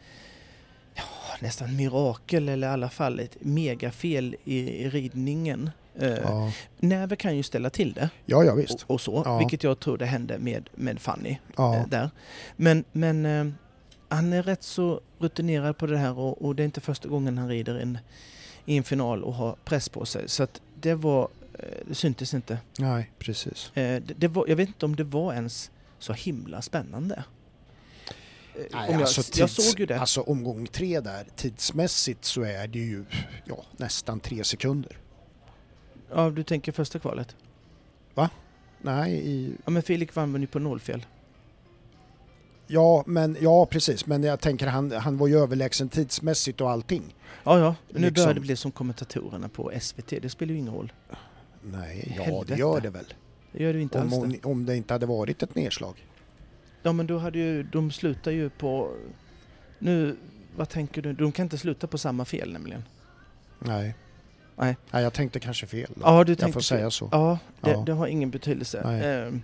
S2: ja, nästan mirakel eller i alla fall ett megafel i, i ridningen. Eh,
S3: Ja.
S2: Näver kan ju ställa till det
S3: ja, ja visst.
S2: och, och så,
S3: Ja.
S2: vilket jag tror det hände med, med Fanny eh,
S3: Ja.
S2: där. Men, men eh, han är rätt så rutinerad på det här och, och det är inte första gången han rider en, i en final och har press på sig. Så att det var, eh, det syntes inte.
S3: Nej, precis.
S2: Eh, det, det var, jag vet inte om det var ens så himla spännande. Eh, om jag, jag såg ju det.
S3: Alltså omgång tre där, tidsmässigt så är det ju ja, nästan tre sekunder.
S2: ja, du tänker första kvalet.
S3: Nej, i,
S2: Ja, men Filip vann väl ju på nollfel.
S3: ja, men, ja precis. Men jag tänker han, han var ju överlägsen tidsmässigt och allting.
S2: Ja, ja. Nu
S3: Liksom.
S2: börjar det bli som kommentatorerna på SVT. Det spelar ju ingen roll.
S3: Nej, ja
S2: Helvete.
S3: det gör det väl.
S2: Det gör det ju inte
S3: Om,
S2: alls.
S3: om,
S2: Det.
S3: om det inte hade varit ett nedslag.
S2: Ja, men då hade ju... De slutar ju på... Nu... Vad tänker du? De kan inte sluta på samma fel nämligen.
S3: Nej.
S2: Nej.
S3: Nej, jag tänkte kanske fel. Då.
S2: Ja, du
S3: jag
S2: tänkte...
S3: får säga så.
S2: Ja, det,
S3: Ja.
S2: det har ingen betydelse.
S3: Nej.
S2: Ehm,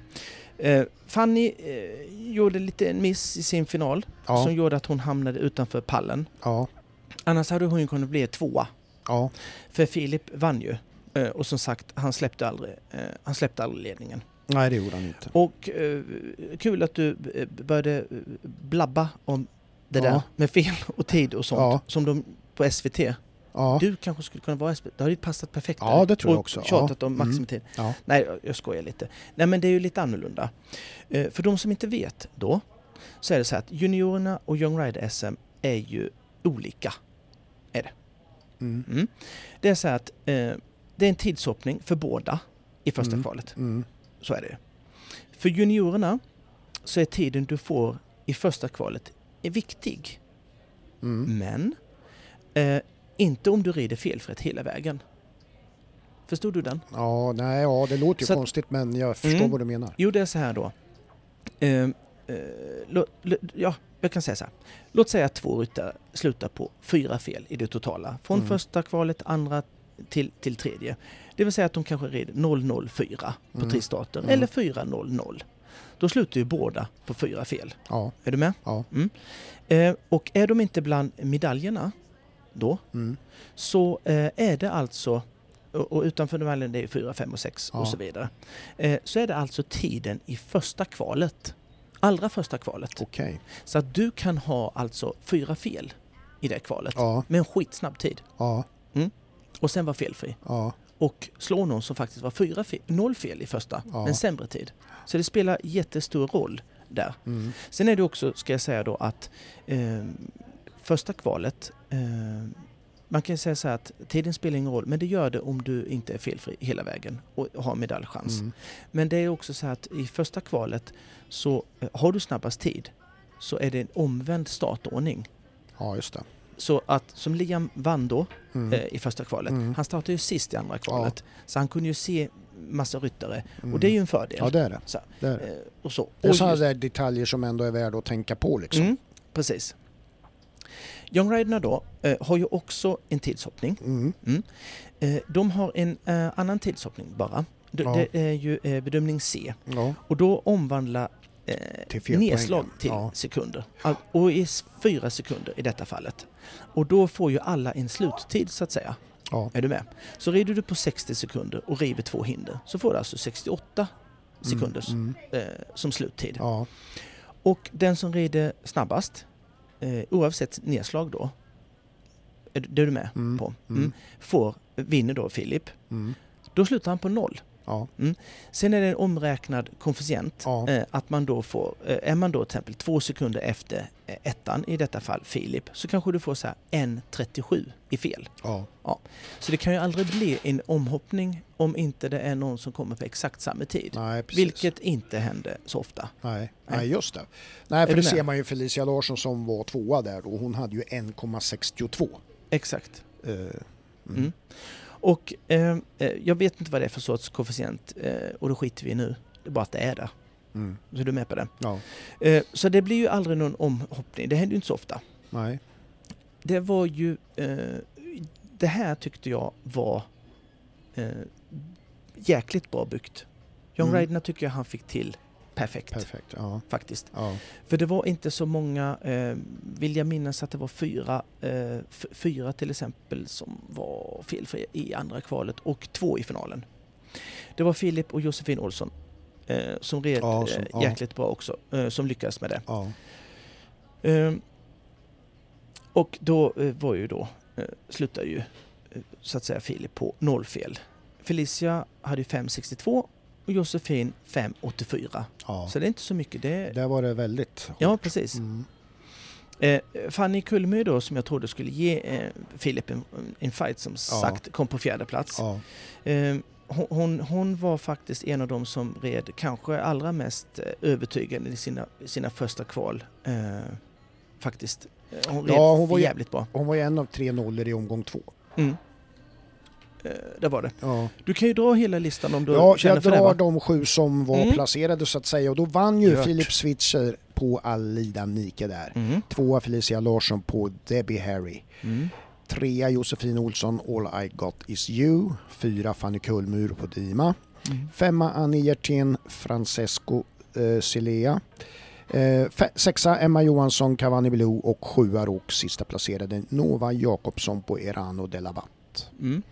S2: eh, Fanny eh, gjorde lite en miss i sin final som
S3: Ja,
S2: gjorde att hon hamnade utanför pallen.
S3: ja,
S2: Annars hade hon ju kunnat bli tvåa.
S3: ja,
S2: För Filip vann ju. Eh, Och som sagt, han släppte aldrig, eh, han släppte aldrig ledningen.
S3: nej det gjorde han inte.
S2: Och eh, kul att du eh, började eh, blabba om det
S3: Ja.
S2: där med fel och tid och sånt.
S3: Ja.
S2: Som de på SVT.
S3: Ja,
S2: Du kanske skulle kunna vara SVT. Det hade ju passat perfekt
S3: Ja,
S2: där.
S3: det tror jag
S2: och
S3: också. Ja. Mm.
S2: tjatat om maximitid.
S3: ja,
S2: Nej, jag- jag skojar lite. Nej, men det är ju lite annorlunda. Eh, För de som inte vet då, så är det så här att juniorerna och Young Rider-SM är ju olika.
S3: mm,
S2: Det är så här att eh, det är en tidshoppning för båda i första
S3: Mm.
S2: kvalet.
S3: mm,
S2: Så är det ju. För juniorerna så är tiden du får i första kvalet är viktig.
S3: mm.
S2: Men eh, inte om du rider felfritt hela vägen. Förstod du den?
S3: Ja, nej, ja, det låter ju
S2: Så att-
S3: konstigt men jag förstår
S2: Mm.
S3: vad du menar.
S2: Jo, det är så här då. Eh, eh, lå- lå- ja, jag kan säga så här. Låt säga att två ryttare slutar på fyra fel i det totala. Från
S3: Mm.
S2: första kvalet, andra till, till tredje. Det vill säga att de kanske red 004 på
S3: Mm.
S2: tristarten
S3: Mm.
S2: eller 400. Då slutar ju båda på fyra fel.
S3: Ja,
S2: Är du med?
S3: Ja.
S2: Mm. Eh, och är de inte bland medaljerna då
S3: mm,
S2: så eh, är det alltså, och, och utanför medaljen det är 4, 5 och 6
S3: Ja.
S2: och så vidare, eh, så är det alltså tiden i första kvalet, allra första kvalet.
S3: okej.
S2: Så att du kan ha alltså fyra fel i det kvalet
S3: Ja,
S2: med en skitsnabb tid
S3: ja,
S2: och sen vara felfri
S3: ja,
S2: och slå någon som faktiskt var fyra fel, noll fel i första,
S3: Ja.
S2: men sämre tid. Så det spelar jättestor roll där.
S3: mm,
S2: Sen är det också, ska jag säga då, att eh, första kvalet, eh, man kan ju säga så här att tiden spelar ingen roll, men det gör det om du inte är felfri hela vägen och har medaljchans.
S3: mm,
S2: Men det är också så här att i första kvalet så eh, har du snabbast tid så är det en omvänd startordning.
S3: ja, just det.
S2: Så att som Liam vann då
S3: Mm,
S2: eh, i första kvalet,
S3: Mm.
S2: han startade ju sist i andra kvalet. Så han kunde ju se massa ryttare
S3: mm.
S2: Eh, och det är ju en fördel.
S3: Ja, det är det.
S2: Så här,
S3: det, är det.
S2: eh, och så.
S3: det är
S2: Och
S3: sådana
S2: just-
S3: där detaljer som ändå är värda att tänka på liksom.
S2: Mm, precis. Young Riderna då eh, har ju också en tidshoppning.
S3: Mm,
S2: Eh, de har en eh, annan tidshoppning bara. De,
S3: Ja.
S2: Det är ju eh, bedömning C
S3: ja, Mm,
S2: och då omvandla eh,
S3: till fel
S2: nedslag
S3: poängen.
S2: till
S3: Ja,
S2: sekunder. Al- Och i s- fyra sekunder i detta fallet. Och då får ju alla en sluttid så att säga.
S3: ja,
S2: Är du med? Så rider du på 60 sekunder och river två hinder så får du alltså 68
S3: mm,
S2: sekunders
S3: mm,
S2: eh, som sluttid.
S3: ja,
S2: Och den som rider snabbast, eh, oavsett nedslag då, är det är du med
S3: Mm,
S2: på,
S3: mm.
S2: mm, får, vinner då Filip.
S3: mm,
S2: Då slutar han på noll.
S3: ja,
S2: Sen är det en omräknad koefficient.
S3: ja,
S2: Eh, att man då får, eh, är man då till exempel två sekunder efter eh, ettan, i detta fall Filip, så kanske du får så här 1.37 i fel.
S3: ja,
S2: Så det kan ju aldrig bli en omhoppning om inte det är någon som kommer på exakt samma tid.
S3: nej precis.
S2: Vilket inte händer så ofta.
S3: Nej,
S2: Nej.
S3: nej just det. Nej,
S2: Är
S3: för
S2: du
S3: det ser
S2: med?
S3: man ju Felicia Larsson som var tvåa där och hon hade ju 1,62.
S2: Exakt.
S3: Eh,
S2: Mm. Och eh, eh, jag vet inte vad det är för sorts koefficient eh, och det skiter vi i nu. Det är bara att det är där.
S3: mm,
S2: Så är du med på det?
S3: ja,
S2: Eh, så det blir ju aldrig någon omhoppning. Det händer ju inte så ofta.
S3: nej,
S2: Det var ju... Eh, det här tyckte jag var eh, jäkligt bra byggt. John
S3: Mm.
S2: Reidner tycker jag han fick till perfekt,
S3: Perfekt. Ja.
S2: faktiskt.
S3: Ja.
S2: För det var inte så många, eh, vill jag minnas att det var fyra, eh, f- fyra till exempel som var felfria i andra kvalet och två i finalen. Det var Filip och Josefin Olsson eh, som red
S3: Ja, som-
S2: eh,
S3: ja.
S2: jäkligt bra också, eh, som lyckades med det.
S3: Ja.
S2: Ehm, och då eh, var ju då, eh, slutade ju eh, så att säga Filip på nollfel. Felicia hade ju 5,62 och Josefin 5,84.
S3: ja.
S2: Så det är inte så mycket. Det,
S3: Där var det väldigt hårt.
S2: ja, precis.
S3: Mm.
S2: Eh, Fanny Kullmy då, som jag trodde skulle ge eh, Filip en, en fight, som sagt, kom på fjärde plats.
S3: Ja.
S2: Eh, hon, hon, hon var faktiskt en av de som red kanske allra mest eh, övertygande i sina, sina första kval. Eh, faktiskt. Eh, Hon red
S3: Ja, hon var ju-
S2: jävligt bra.
S3: Hon var ju en av tre nollor i omgång två.
S2: Mm. Eh, det var det.
S3: Ja,
S2: Du kan ju dra hela listan om du
S3: ja
S2: känner
S3: jag
S2: för det.
S3: drar
S2: Va?
S3: de sju som var
S2: Mm.
S3: placerade så att säga och då vann ju
S2: Gört.
S3: Filip Switzer på Alida Nike där.
S2: Mm.
S3: Tvåa Felicia Larsson på Debbie Harry.
S2: Mm.
S3: Trea Josefin Olsson All I Got Is You. Fyra Fanny Kullmur på Dima.
S2: Mm.
S3: Femma Annie Hjertén Francesco eh, Silea. Eh, fe- sexa Emma Johansson Cavani Blue och sjua och sista placerade Nova Jakobsson på Erano de la Vatt.
S2: Mm.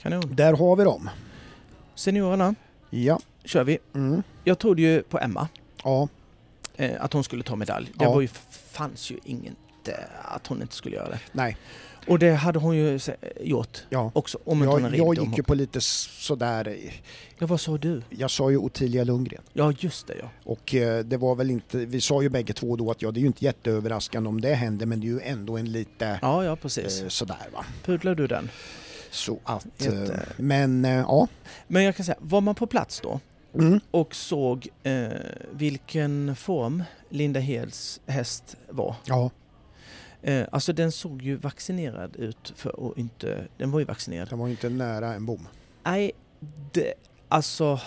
S2: Kanon.
S3: Där har vi dem.
S2: Seniorerna
S3: Ja.
S2: kör vi.
S3: Mm.
S2: Jag trodde ju på Emma.
S3: Ja.
S2: eh, att hon skulle ta medalj. Det
S3: Ja.
S2: var ju, fanns ju inget eh, att hon inte skulle göra det.
S3: Nej.
S2: Och det hade hon ju se- eh, gjort
S3: Ja.
S2: också. Om inte hon
S3: Jag,
S2: hade
S3: jag
S2: ridit om
S3: gick ju
S2: hon-
S3: på lite s- sådär,
S2: Ja, vad sa du?
S3: jag sa ju Ottilia Lundgren
S2: Ja, just det ja.
S3: och eh, det var väl inte, vi sa ju bägge två då att ja det är ju inte jätteöverraskande om det händer men det är ju ändå en lite
S2: Ja, ja precis.
S3: eh, sådär va.
S2: Pudlar du den?
S3: Så att,
S2: Jätte-
S3: eh, men eh, ja.
S2: Men jag kan säga, var man på plats då
S3: Mm.
S2: och såg eh, vilken form Linda Heds häst var.
S3: Ja,
S2: Eh, alltså den såg ju vaccinerad ut för och inte... Den var ju vaccinerad.
S3: den var ju inte nära en bom.
S2: Nej, det, alltså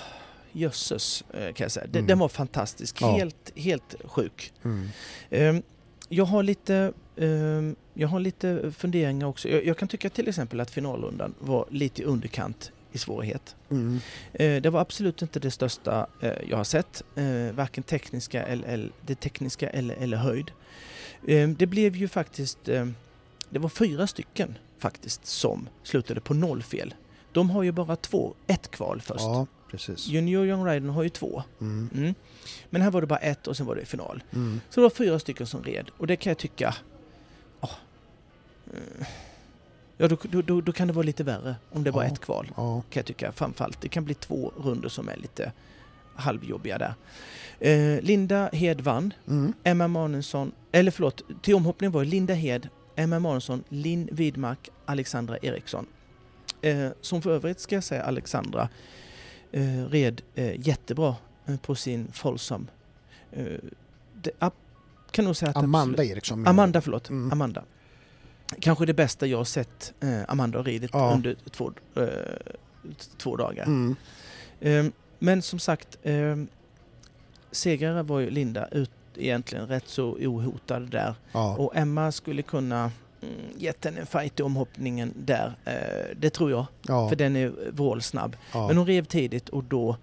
S2: jösses eh, kan jag säga. Den,
S3: Mm.
S2: den var fantastisk.
S3: Ja.
S2: Helt, helt sjuk.
S3: Mm.
S2: Ehm, Jag har lite, ehm, jag har lite funderingar också. Jag, jag kan tycka till exempel att finalrundan var lite i underkant i svårighet.
S3: Mm.
S2: Eh, Det var absolut inte det största eh, jag har sett, eh, varken tekniska eller, eller, det tekniska eller, eller höjd. Ehm, Det blev ju faktiskt, ehm, det var fyra stycken faktiskt som slutade på noll fel. De har ju bara två, ett kval först.
S3: Ja, precis.
S2: Junior Young Ryden har ju två.
S3: Mm.
S2: Mm. Men här var det bara ett och sen var det final.
S3: Mm.
S2: Så det var fyra stycken som red och det kan jag tycka... ah, eh, ja, då, då, då, då kan det vara lite värre om det var
S3: Ja.
S2: ett kval.
S3: Ja.
S2: Kan jag tycka framförallt. Det kan bli två runder som är lite halvjobbiga där. Eh, Linda Hed vann.
S3: Mm.
S2: Emma Manusson, eller förlåt, till omhoppning var Linda Hed, Emma Manusson, Linn Widmark, Alexandra Eriksson. Eh, som för övrigt ska jag säga Alexandra eh, red eh, jättebra eh, på sin Folsam. Eh, det, ab- kan nog säga att absolut-
S3: Amanda Eriksson. menar
S2: Amanda, förlåt.
S3: Mm.
S2: Amanda. Kanske det bästa jag har sett eh, Amanda har ridit
S3: Ja.
S2: under två, eh, t- två dagar.
S3: du? Mm.
S2: Ehm, Men som sagt, ehm, segrare var ju Linda ut, egentligen rätt så ohotad där.
S3: Ja.
S2: Och Emma skulle kunna mm, gett henne en fight i omhoppningen där. Eh, Det tror jag,
S3: Ja.
S2: för den är vrålsnabb.
S3: Ja.
S2: Men hon rev tidigt och då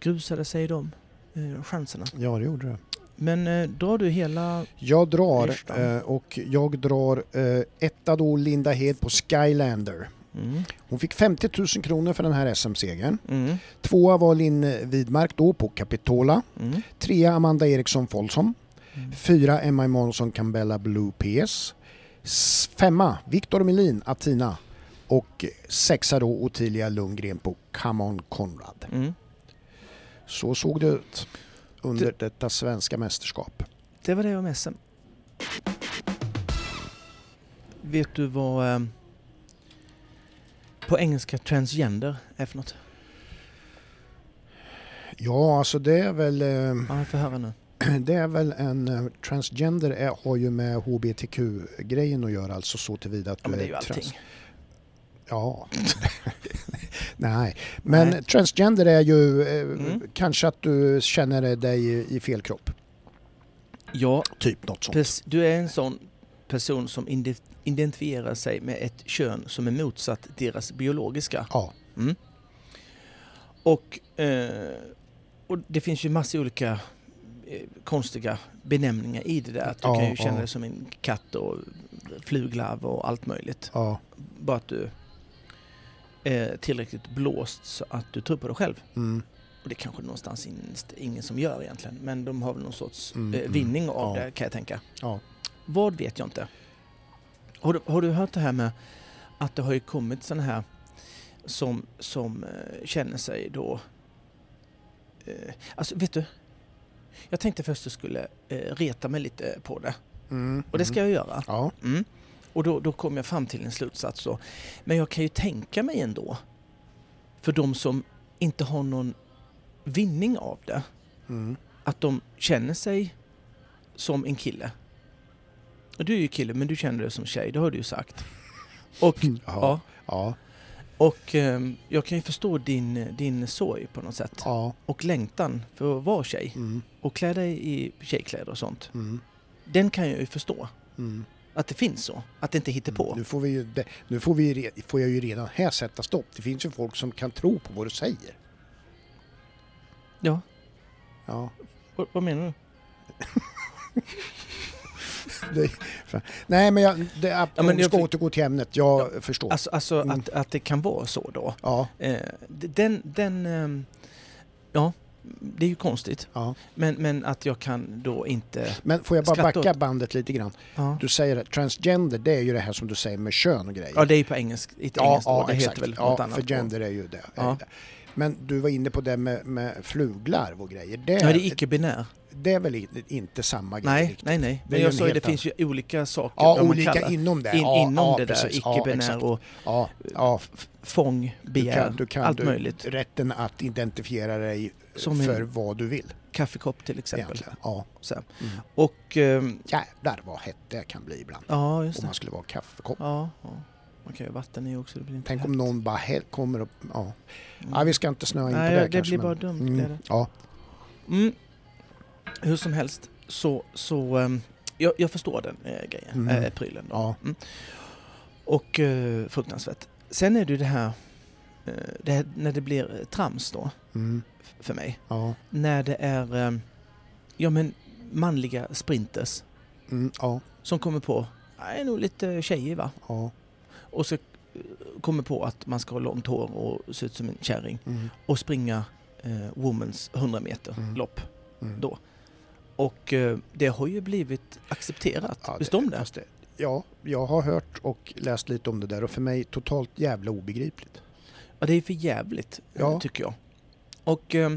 S2: grusade sig de eh, chanserna.
S3: ja, det gjorde det.
S2: Men eh, drar du hela...
S3: Jag drar
S2: Listan.
S3: eh, och jag drar eh, etta då Linda Hed på Skylander.
S2: Mm,
S3: Hon fick 50 000 kronor för den här SM-segern.
S2: mm,
S3: Tvåa var Linn Widmark då på Capitola.
S2: mm,
S3: Trea Amanda Eriksson Folsom.
S2: Mm.
S3: Fyra Emma Imonsson Cambella Blue PS. S- Femma Viktor Melin Atina. Och sexa då Ottilia Lundgren på Come On Conrad.
S2: mm.
S3: Så såg det ut under detta svenska mästerskap.
S2: Det var det om SM. Vet du vad eh, på engelska transgender är för något?
S3: Ja, alltså det är väl... Eh,
S2: Ja, jag får höra nu.
S3: Det är väl en eh, transgender är, har ju med hbtq-grejen att göra alltså så tillvida att
S2: Ja, men det är ju
S3: trans.
S2: allting.
S3: Ja. Nej, men
S2: Nej.
S3: transgender är ju eh,
S2: Mm.
S3: kanske att du känner dig i, i fel kropp.
S2: Ja,
S3: Typ något sånt.
S2: pers- du är en sån person som inde- identifierar sig med ett kön som är motsatt deras biologiska.
S3: Ja,
S2: Och eh, och det finns ju massor olika eh, konstiga benämningar i det där. Att du
S3: Ja,
S2: kan ju känna
S3: ja.
S2: dig som en katt och fluglarv och allt möjligt.
S3: Ja.
S2: Bara att du är tillräckligt blåst så att du tror på dig själv.
S3: Mm.
S2: Och det kanske någonstans innerst ingen som gör egentligen. Men de har väl någon sorts
S3: Mm,
S2: eh,
S3: mm.
S2: vinning av
S3: Ja.
S2: det kan jag tänka.
S3: Ja.
S2: Vad vet jag inte. Har du, har du hört det här med att det har ju kommit sådana här som, som eh, känner sig då... Eh, alltså vet du? Jag tänkte först att du skulle eh, reta mig lite på det.
S3: Mm.
S2: Och det ska
S3: mm.
S2: jag göra.
S3: Ja.
S2: Mm. Och då, då kom jag fram till en slutsats. Så. Men jag kan ju tänka mig ändå, för de som inte har någon vinning av det,
S3: Mm.
S2: att de känner sig som en kille. Och du är ju kille, men du känner dig som tjej, det har du ju sagt. Och,
S3: Ja.
S2: ja,
S3: Ja.
S2: och ehm, jag kan ju förstå din, din sorg på något sätt.
S3: Ja.
S2: Och längtan för att vara tjej
S3: Mm.
S2: och klä dig i tjejkläder och sånt.
S3: Mm.
S2: Den kan jag ju förstå,
S3: Mm.
S2: att det finns så. Att det inte hittar på.
S3: Nu, får vi ju, det- nu får, vi, re- får jag ju redan här sätta stopp. Det finns ju folk som kan tro på vad du säger.
S2: Ja,
S3: Ja.
S2: vad, vad menar du?
S3: Det, för, nej, men jag, det, ja,
S2: men
S3: men
S2: jag
S3: jag ska
S2: fick-
S3: återgå till ämnet. Jag förstår.
S2: Alltså, alltså
S3: Mm.
S2: att, att det kan vara så då.
S3: ja.
S2: Eh, d- den, den, ehm, ja, det är ju konstigt.
S3: Ja.
S2: Men, men att jag kan då inte...
S3: Men får jag bara
S2: Skratta
S3: backa
S2: åt-
S3: bandet lite grann?
S2: Ja,
S3: Du säger att transgender, det är ju det här som du säger med kön och grejer.
S2: ja det är ju på engelsk, i ett engelskt ord. Det heter väl
S3: ja,
S2: något annat.
S3: för
S2: ord.
S3: gender är ju det. är
S2: Ja.
S3: det. Men du var inne på det med, med fluglarv och grejer. Det,
S2: Ja, det är icke-binär.
S3: det är väl i- inte samma grej?
S2: Nej,
S3: riktigt?
S2: nej, nej.
S3: är
S2: Men
S3: ju
S2: jag
S3: en
S2: sa ju
S3: helt
S2: det finns ju olika saker.
S3: Ja,
S2: vad man
S3: olika
S2: kallar.
S3: inom det.
S2: In,
S3: ja,
S2: inom
S3: ja,
S2: det där,
S3: precis. Ja,
S2: icke-binär
S3: exakt.
S2: och
S3: Ja, ja.
S2: f- fång,
S3: Du
S2: begär,
S3: kan, du kan,
S2: allt
S3: du,
S2: möjligt.
S3: Rätten att identifiera dig
S2: Som en-
S3: för vad du vill.
S2: Kaffekopp till exempel.
S3: Egentligen. Ja.
S2: Så. här.
S3: Mm.
S2: Och, ehm,
S3: Jävlar vad hett det kan bli ibland.
S2: ja just
S3: Om
S2: det.
S3: man skulle vara kaffekopp.
S2: Ja, ja. Man kan ju ha vatten i också. Det blir inte
S3: Tänk om
S2: hett.
S3: någon bara he- kommer och... Ja.
S2: Mm.
S3: ja, vi ska inte snöa in
S2: Nej,
S3: på det
S2: det
S3: kanske,
S2: blir
S3: men-
S2: bara dumt, det är det.
S3: Ja,
S2: Mm. Hur som helst så, så ehm, jag, jag förstår den eh, grejen,
S3: Mm.
S2: eh, prylen. Då.
S3: ja.
S2: Och eh, fruktansvärt. Sen är det ju det här, eh, det här när det blir eh, trams då
S3: Mm,
S2: f- för mig.
S3: ja.
S2: När det är ehm, ja, men manliga sprinters
S3: Mm, ja,
S2: som kommer på, jag är nog lite tjejig va?
S3: ja.
S2: Och så eh, kommer på att man ska ha långt hår och se ut som en kärring
S3: Mm,
S2: och springa eh, Womans 100 meter
S3: Mm.
S2: lopp.
S3: mm.
S2: Då. Och eh, det har ju blivit accepterat.
S3: Ja, det-
S2: Visst om det?
S3: fast det- Ja, jag har hört och läst lite om det där och för mig totalt jävla obegripligt.
S2: Ja, det är för jävligt, eh,
S3: Ja.
S2: tycker jag. Och eh,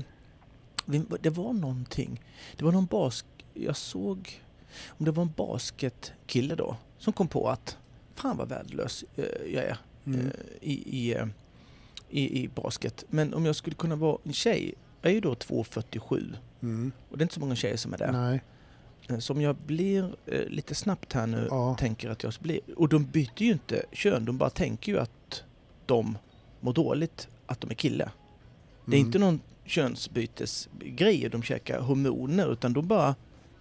S2: vi- det var någonting. Det var någon bask... Jag såg... Om det var en basketkille då som kom på att fan vad värdelös eh, jag är
S3: Mm.
S2: eh, i, i, eh, i, i basket. Men om jag skulle kunna vara en tjej, jag är ju då 2,47
S3: Mm.
S2: och det är inte så många tjejer som är där.
S3: Nej,
S2: Eh, Så om jag blir eh, lite snabbt här nu
S3: Ja.
S2: tänker att jag blir... Och de byter ju inte kön, de bara tänker ju att de mår dåligt att de är kille. Det är
S3: Mm.
S2: inte någon könsbytesgrej, de käkar hormoner, utan de bara...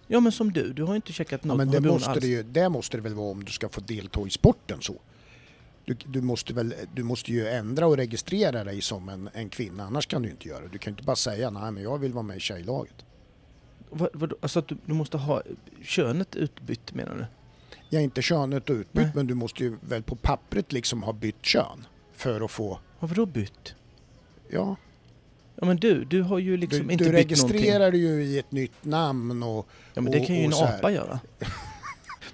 S2: Ja men som du, du har ju inte käkat
S3: ja,
S2: något
S3: men det
S2: hormon
S3: måste,
S2: alls.
S3: det, ju, det måste det väl vara om du ska få delta i sporten så. Du, du, måste väl, du måste ju ändra och registrera dig som en, en kvinna, annars kan du inte göra det. Du kan ju inte bara säga nej men jag vill vara med i tjejlaget.
S2: Vad, vadå? alltså att du, du måste ha könet utbytt menar du?
S3: Jag är inte könet utbytt
S2: Nej.
S3: men du måste ju väl på pappret liksom ha bytt kön för att få,
S2: Har vadå bytt?
S3: ja,
S2: Ja men du, du har ju liksom
S3: du,
S2: inte
S3: du
S2: bytt någonting.
S3: registrerar dig ju i ett nytt namn och
S2: Ja men det
S3: och-
S2: kan ju
S3: och
S2: en
S3: så här.
S2: apa göra.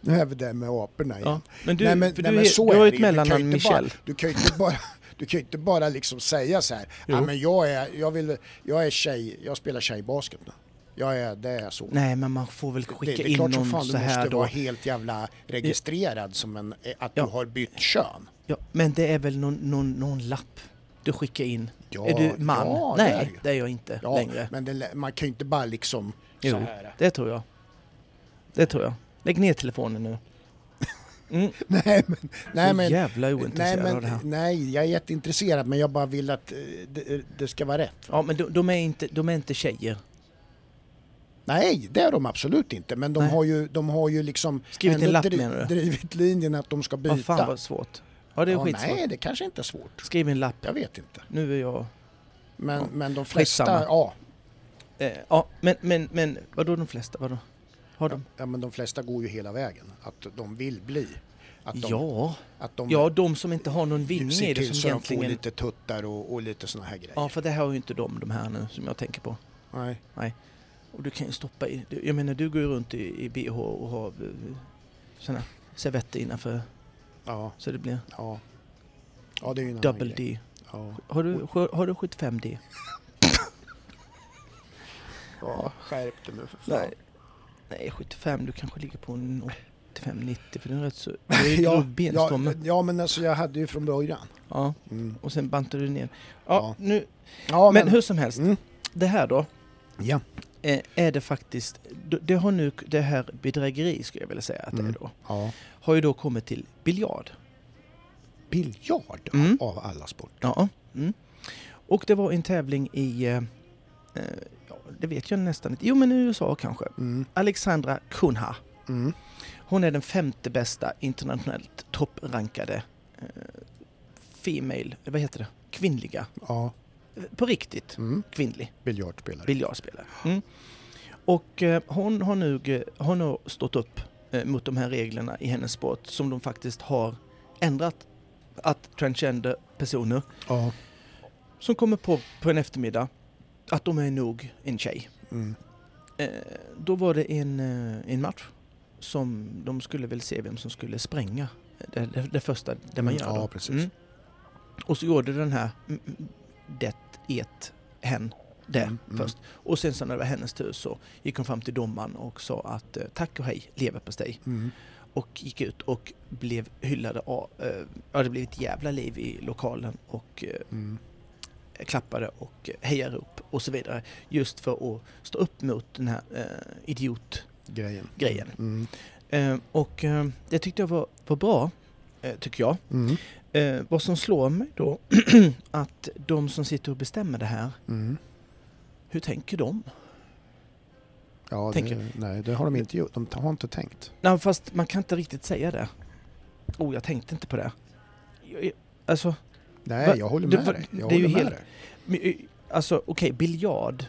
S3: Nu är vi där med aporna igen.
S2: Ja. Men du,
S3: nej, men,
S2: för
S3: nej,
S2: du,
S3: men
S2: är-
S3: så
S2: du
S3: är
S2: har
S3: det
S2: ju ett
S3: ju. Du kan ju
S2: mellannamn
S3: inte bara-
S2: Michel.
S3: Du kan ju inte bara, du kan ju inte bara liksom säga så här,
S2: Jo.
S3: ja, men jag, är, jag, vill, jag är tjej, jag spelar tjejbasket nu. Jag är, det är så.
S2: Nej men man får väl skicka
S3: det, det är
S2: in
S3: klart som
S2: någon
S3: fan
S2: så
S3: du
S2: här
S3: måste
S2: då.
S3: vara helt jävla registrerad som en, eh, att
S2: Ja.
S3: du har bytt kön.
S2: Ja, men det är väl någon, någon, någon lapp du skickar in?
S3: Ja,
S2: är du man?
S3: ja, det är
S2: Nej,
S3: ju.
S2: det är jag inte
S3: Ja,
S2: längre.
S3: men det, man kan ju inte bara liksom så
S2: Jo,
S3: här.
S2: det tror jag. Det tror jag. Lägg ner telefonen nu. Mm,
S3: Nej men, nej,
S2: så
S3: men
S2: jävla
S3: Nej,
S2: ointresserad av det här.
S3: men, nej, jag är jätteintresserad men jag bara vill att eh, det, det ska vara rätt.
S2: Ja, men de, de, är inte, de är inte tjejer.
S3: Nej, det är de absolut inte. Men de,
S2: Nej.
S3: har ju, de har ju liksom
S2: Skrivit en
S3: ändå
S2: lapp
S3: dri-
S2: menar du?
S3: drivit linjen att de ska byta.
S2: Vad fan vad svårt. Ja, det är
S3: Ja,
S2: skitsvårt.
S3: nej, det kanske inte är svårt.
S2: Skriv en lapp.
S3: Jag vet inte.
S2: Nu är jag...
S3: Men,
S2: Ja.
S3: men de
S2: Skitsamma.
S3: flesta, ja.
S2: Eh, ja, men, men, men vadå de flesta? Vadå? Har de?
S3: Ja, men de flesta går ju hela vägen. Att de vill bli. Att de,
S2: Ja.
S3: att de
S2: ja, de som inte har någon vinge
S3: ser
S2: i det
S3: till
S2: som
S3: så de får
S2: egentligen...
S3: lite tuttar och, och lite såna här grejer.
S2: Ja, för det här har ju inte de, de här nu, som jag tänker på.
S3: Nej.
S2: Och du kan ju stoppa i... du- Jag menar, du går ju runt i, i bh och har eh, såna servetter innanför
S3: Ja,
S2: så det blir
S3: ja. Ja, det är ju en annan
S2: double
S3: grej.
S2: D.
S3: Ja.
S2: Har du, har du 75D?
S3: ja, skärp dig nu för fan.
S2: Nej. Nej, 75. Du kanske ligger på en 85-90 för den är rätt så... Du är ju
S3: Ja,
S2: grov benstomme.
S3: ja, ja, men alltså jag hade ju från början.
S2: Ja,
S3: Mm.
S2: och sen bantar du ner. Ja,
S3: Ja.
S2: nu...
S3: Ja,
S2: men,
S3: men,
S2: hur som helst.
S3: Mm.
S2: Det här då,
S3: Ja.
S2: eh, är det faktiskt... d- Det har nu... Det här bedrägeri skulle jag vilja säga att det
S3: Mm.
S2: är då.
S3: ja.
S2: Har ju då kommit till biljard.
S3: Biljard
S2: Mm.
S3: av alla sporter.
S2: Ja. Mm. Och det var en tävling i... Eh, eh, ja, det vet jag nästan inte. Jo, men i USA kanske.
S3: Mm.
S2: Alexandra Kunha.
S3: Mm.
S2: Hon är den femte bästa internationellt topprankade eh, Female, vad heter det? Kvinnliga.
S3: Ja.
S2: Eh, På riktigt
S3: Mm.
S2: kvinnlig
S3: Biljardspelare.
S2: biljardspelare. Mm. Och eh, hon har nog, eh, har nog stått upp eh, mot de här reglerna i hennes sport som de faktiskt har ändrat. Att transgender personer
S3: ja.
S2: som kommer på på en eftermiddag att de är nog en tjej.
S3: Mm.
S2: Eh, då var det en, eh, en match som de skulle väl se vem som skulle spränga eh, det, det, det första det man gör.
S3: Mm, ja,
S2: då.
S3: precis.
S2: Och så gjorde den här mm, mm, det, et, hen, det
S3: Mm, mm.
S2: först. Och sen så när det var hennes tur så gick hon fram till domaren och sa att eh, tack och hej leverpastej.
S3: Mm.
S2: Och gick ut och blev hyllade av, eh, ja det blev ett jävla liv i lokalen och eh,
S3: Mm.
S2: klappade och hejade upp och så vidare. Just för att stå upp mot den här eh, idiotgrejen.
S3: Grejen.
S2: Grejen.
S3: Mm.
S2: Eh, och eh, det tyckte jag var, var bra, eh, tycker jag.
S3: Mm.
S2: Eh, vad som slår mig då, att de som sitter och bestämmer det här,
S3: Mm.
S2: hur tänker de?
S3: Ja, det,
S2: Tänker-
S3: nej, det har de inte gjort. De har inte tänkt.
S2: Nej, fast man kan inte riktigt säga det. Oh, jag tänkte inte på det. Jag- jag- Alltså,
S3: Nej,
S2: Va?
S3: jag håller
S2: Det
S3: med
S2: var-
S3: dig.
S2: det är
S3: Jag
S2: ju
S3: håller med
S2: helt-
S3: dig.
S2: men, eh, alltså okej, biljard,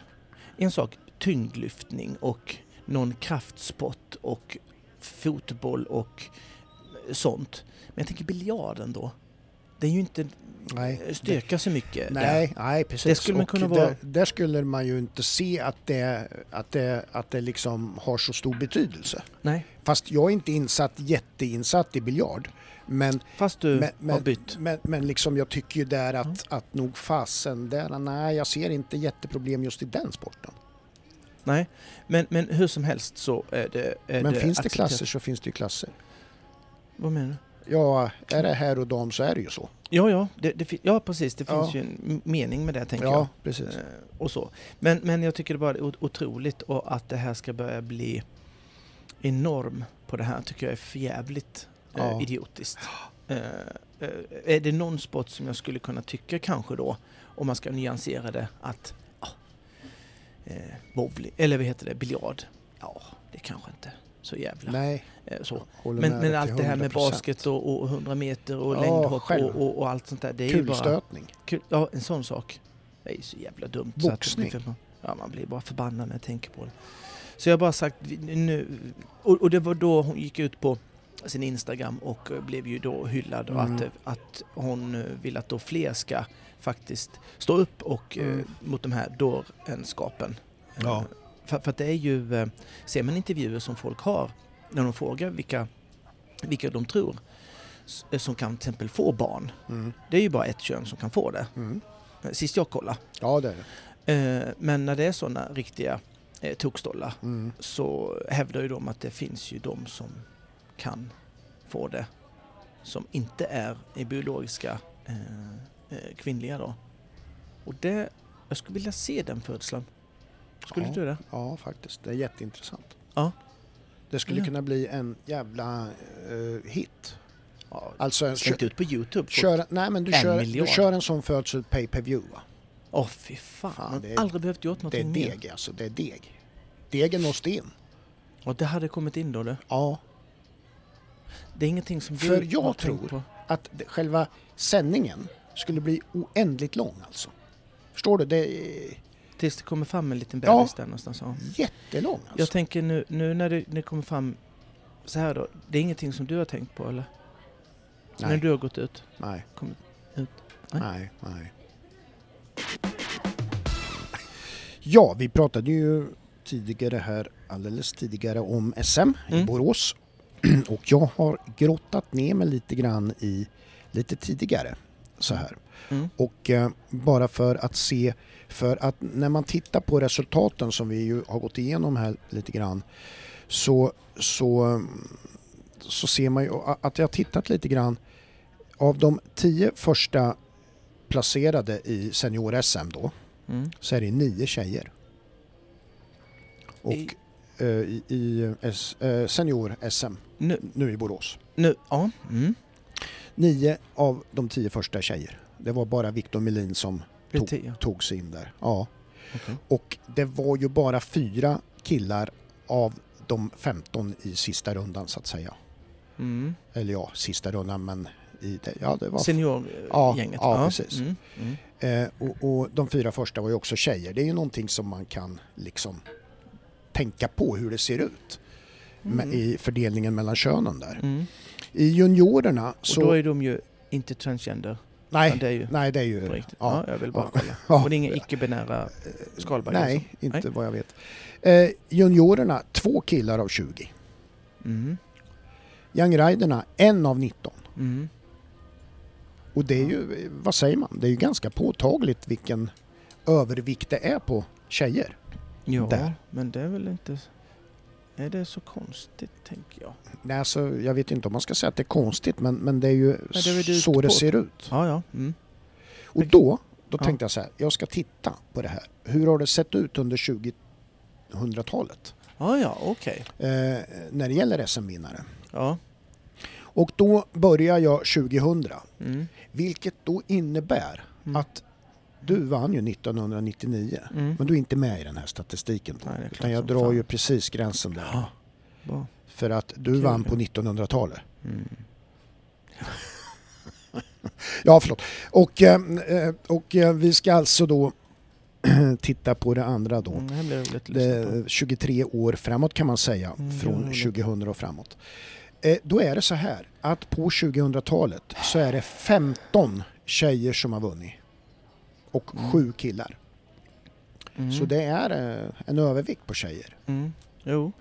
S2: en sak, tyngdlyftning och någon kraftsport och fotboll och eh, sånt. Men jag tänker biljarden då, det är ju inte eh,
S3: Nej.
S2: styrka så mycket där.
S3: Nej, nej, precis.
S2: Det skulle man kunna vara-
S3: där, där skulle man ju inte se att det, att det, att det liksom har så stor betydelse.
S2: Nej.
S3: Fast jag är inte insatt, jätteinsatt i biljard. Men,
S2: Fast du
S3: men,
S2: har
S3: men,
S2: bytt.
S3: men, men liksom jag tycker ju där att,
S2: Mm.
S3: att nog fasen där, nej jag ser inte jätteproblem just i den sporten.
S2: Nej, men, men hur som helst så är det... Är
S3: Men
S2: det
S3: finns det
S2: accepterat.
S3: klasser så finns det ju klasser.
S2: Vad menar du?
S3: Ja, är det här och dam så är det ju så.
S2: Ja, ja, det, det, fin- ja precis. Det
S3: Ja.
S2: finns ju en m- mening med det, tänker
S3: Ja,
S2: jag.
S3: precis.
S2: Eh, Och så. Men, men jag tycker det bara är o- otroligt och att det här ska börja bli enorm på det här tycker jag är för jävligt eh,
S3: Ja.
S2: idiotiskt. Eh, eh, är det någon sport som jag skulle kunna tycka kanske då, om man ska nyansera det, att ja, eh, bowling, eller vad heter det, biljard, ja, det kanske inte så jävla
S3: Nej,
S2: eh, så.
S3: håller
S2: Men,
S3: med
S2: men
S3: dig
S2: allt
S3: till
S2: det här med
S3: 100%.
S2: basket och, och 100 meter och
S3: Ja,
S2: längdhopp och,
S3: själv.
S2: och, och allt sånt där. Det är ju bara
S3: Kulstötning.
S2: kul. Ja, en sån sak. Det är ju så jävla dumt. så att det blir- ja, man blir bara förbannad när jag tänker på det. Så jag har bara sagt vi- nu... Och, och det var då hon gick ut på sin Instagram och eh, blev ju då hyllad och
S3: Mm.
S2: att, eh, att hon eh, vill att då fler ska faktiskt stå upp och, eh,
S3: Mm.
S2: mot de här dårenskapen.
S3: Ja.
S2: Eh, För, för att det är ju, eh, ser man intervjuer som folk har när de frågar vilka, vilka de tror s- eh, som kan till exempel få barn.
S3: Mm.
S2: Det är ju bara ett kön som kan få det,
S3: Mm.
S2: eh, sist jag kollade.
S3: Ja, det är det.
S2: Eh, Men när det är sådana riktiga eh, tokstollar
S3: Mm.
S2: så hävdar ju de att det finns ju de som kan få det som inte är i biologiska eh, eh, kvinnliga då. Och det, jag skulle vilja se den födslan. Skulle
S3: Ja.
S2: du det?
S3: Ja, faktiskt. Det är jätteintressant.
S2: Ja.
S3: Det skulle
S2: Ja.
S3: kunna bli en jävla eh, hit.
S2: Ja,
S3: Alltså, en,
S2: slängt ut på Youtube. Åh
S3: kör, nej, men du,
S2: en
S3: kör, du
S2: miljard.
S3: kör en sån födsel pay per view va?
S2: fy fan,
S3: Fan,
S2: man
S3: det
S2: har
S3: är-
S2: aldrig behövt gjort
S3: Det är
S2: någonting mer.
S3: deg alltså, det är deg. Degen måste in.
S2: Och det hade kommit in då du.
S3: Ja,
S2: Det är ingenting som du
S3: För jag
S2: har tänkt
S3: tror-
S2: på.
S3: att det- själva sändningen skulle bli oändligt lång alltså. Förstår du? Det, är-
S2: Tills det kommer fram en liten bebis
S3: Ja.
S2: där någonstans. Ja.
S3: Jättelång alltså.
S2: Jag tänker nu, nu när det, det kommer fram så här då. Det är ingenting som du har tänkt på eller?
S3: Nej.
S2: När du har gått ut?
S3: Nej.
S2: Kom ut. Nej.
S3: Nej, nej. Ja, vi pratade ju tidigare här, alldeles tidigare om SM i
S2: Mm.
S3: Borås. Och jag har grottat ner mig lite grann i, lite tidigare, så här.
S2: Mm.
S3: Och eh, bara för att se, för att när man tittar på resultaten som vi ju har gått igenom här lite grann så, så, eh, så ser man ju a- att jag har tittat lite grann av de tio första placerade i senior-SM då
S2: Mm.
S3: så är det nio tjejer. Och
S2: I-
S3: i, i, i S- eh, senior-SM
S2: Nu,
S3: nu i Borås.
S2: nu, ja. Mm.
S3: Nio av de tio första tjejer. Det var bara Victor Melin som
S2: Det är
S3: Tog.
S2: tio.
S3: tog sig in där. Ja.
S2: Okej.
S3: Och det var ju bara fyra killar av de 15 i sista rundan så att säga.
S2: Mm.
S3: Eller ja, sista rundan men i det, ja, det var
S2: Seniorgänget.
S3: Ja, ja, precis.
S2: Mm. Mm.
S3: eh, och, och de fyra första var ju också tjejer. Det är ju någonting som man kan liksom tänka på hur det ser ut med, i fördelningen mellan könen där.
S2: Mm.
S3: I juniorerna
S2: Och då
S3: så...
S2: är de ju inte transgender. utan
S3: nej,
S2: Det är ju
S3: nej, det är
S2: på
S3: ju...
S2: riktigt. Ja.
S3: Ja,
S2: jag vill bara
S3: ja.
S2: kolla.
S3: ja.
S2: Och alltså. det är inga icke-binära skalbaggar?
S3: Nej, inte vad jag vet. Eh, juniorerna, två killar av 20.
S2: alltså? Mm.
S3: Young Riderna, en av 19.
S2: Mm.
S3: Och det är ju, vad säger man, det är ju ganska påtagligt vilken övervikt det är på tjejer.
S2: Ja,
S3: Där.
S2: men det är väl inte... Är det så konstigt, tänker jag?
S3: Nej, alltså, jag vet inte om man ska säga att det är konstigt men, men det är ju
S2: det är väl du
S3: så det
S2: på-
S3: ser ut.
S2: Ja, ja. Mm.
S3: Och då, då
S2: Ja.
S3: tänkte jag så här, jag ska titta på det här. Hur har det sett ut under 2000-talet
S2: Ja, ja, okej.
S3: eh, när det gäller SM-vinnare?
S2: Ja.
S3: Och då börjar jag 2000,
S2: Mm.
S3: vilket då innebär
S2: Mm.
S3: att du vann ju 1999.
S2: Mm.
S3: Men du är inte med i den här statistiken. Då,
S2: Nej, det är klart
S3: utan jag
S2: som
S3: drar
S2: fan.
S3: ju precis gränsen där.
S2: Ja. Bra.
S3: För att du
S2: Kul,
S3: vann
S2: ja.
S3: på 1900-talet.
S2: Mm.
S3: Ja, förlåt. Och, eh, eh, och eh, vi ska alltså då titta på det andra då.
S2: Mm, det här blir roligt att lyssna på.
S3: Det, 23 år framåt kan man säga,
S2: Mm, det
S3: från
S2: var roligt.
S3: 2000 och framåt. Eh, Då är det så här att på 2000-talet så är det 15 tjejer som har vunnit och
S2: Mm.
S3: sju killar.
S2: Mm.
S3: Så det är eh, en övervikt på tjejer.
S2: Mm. Jo.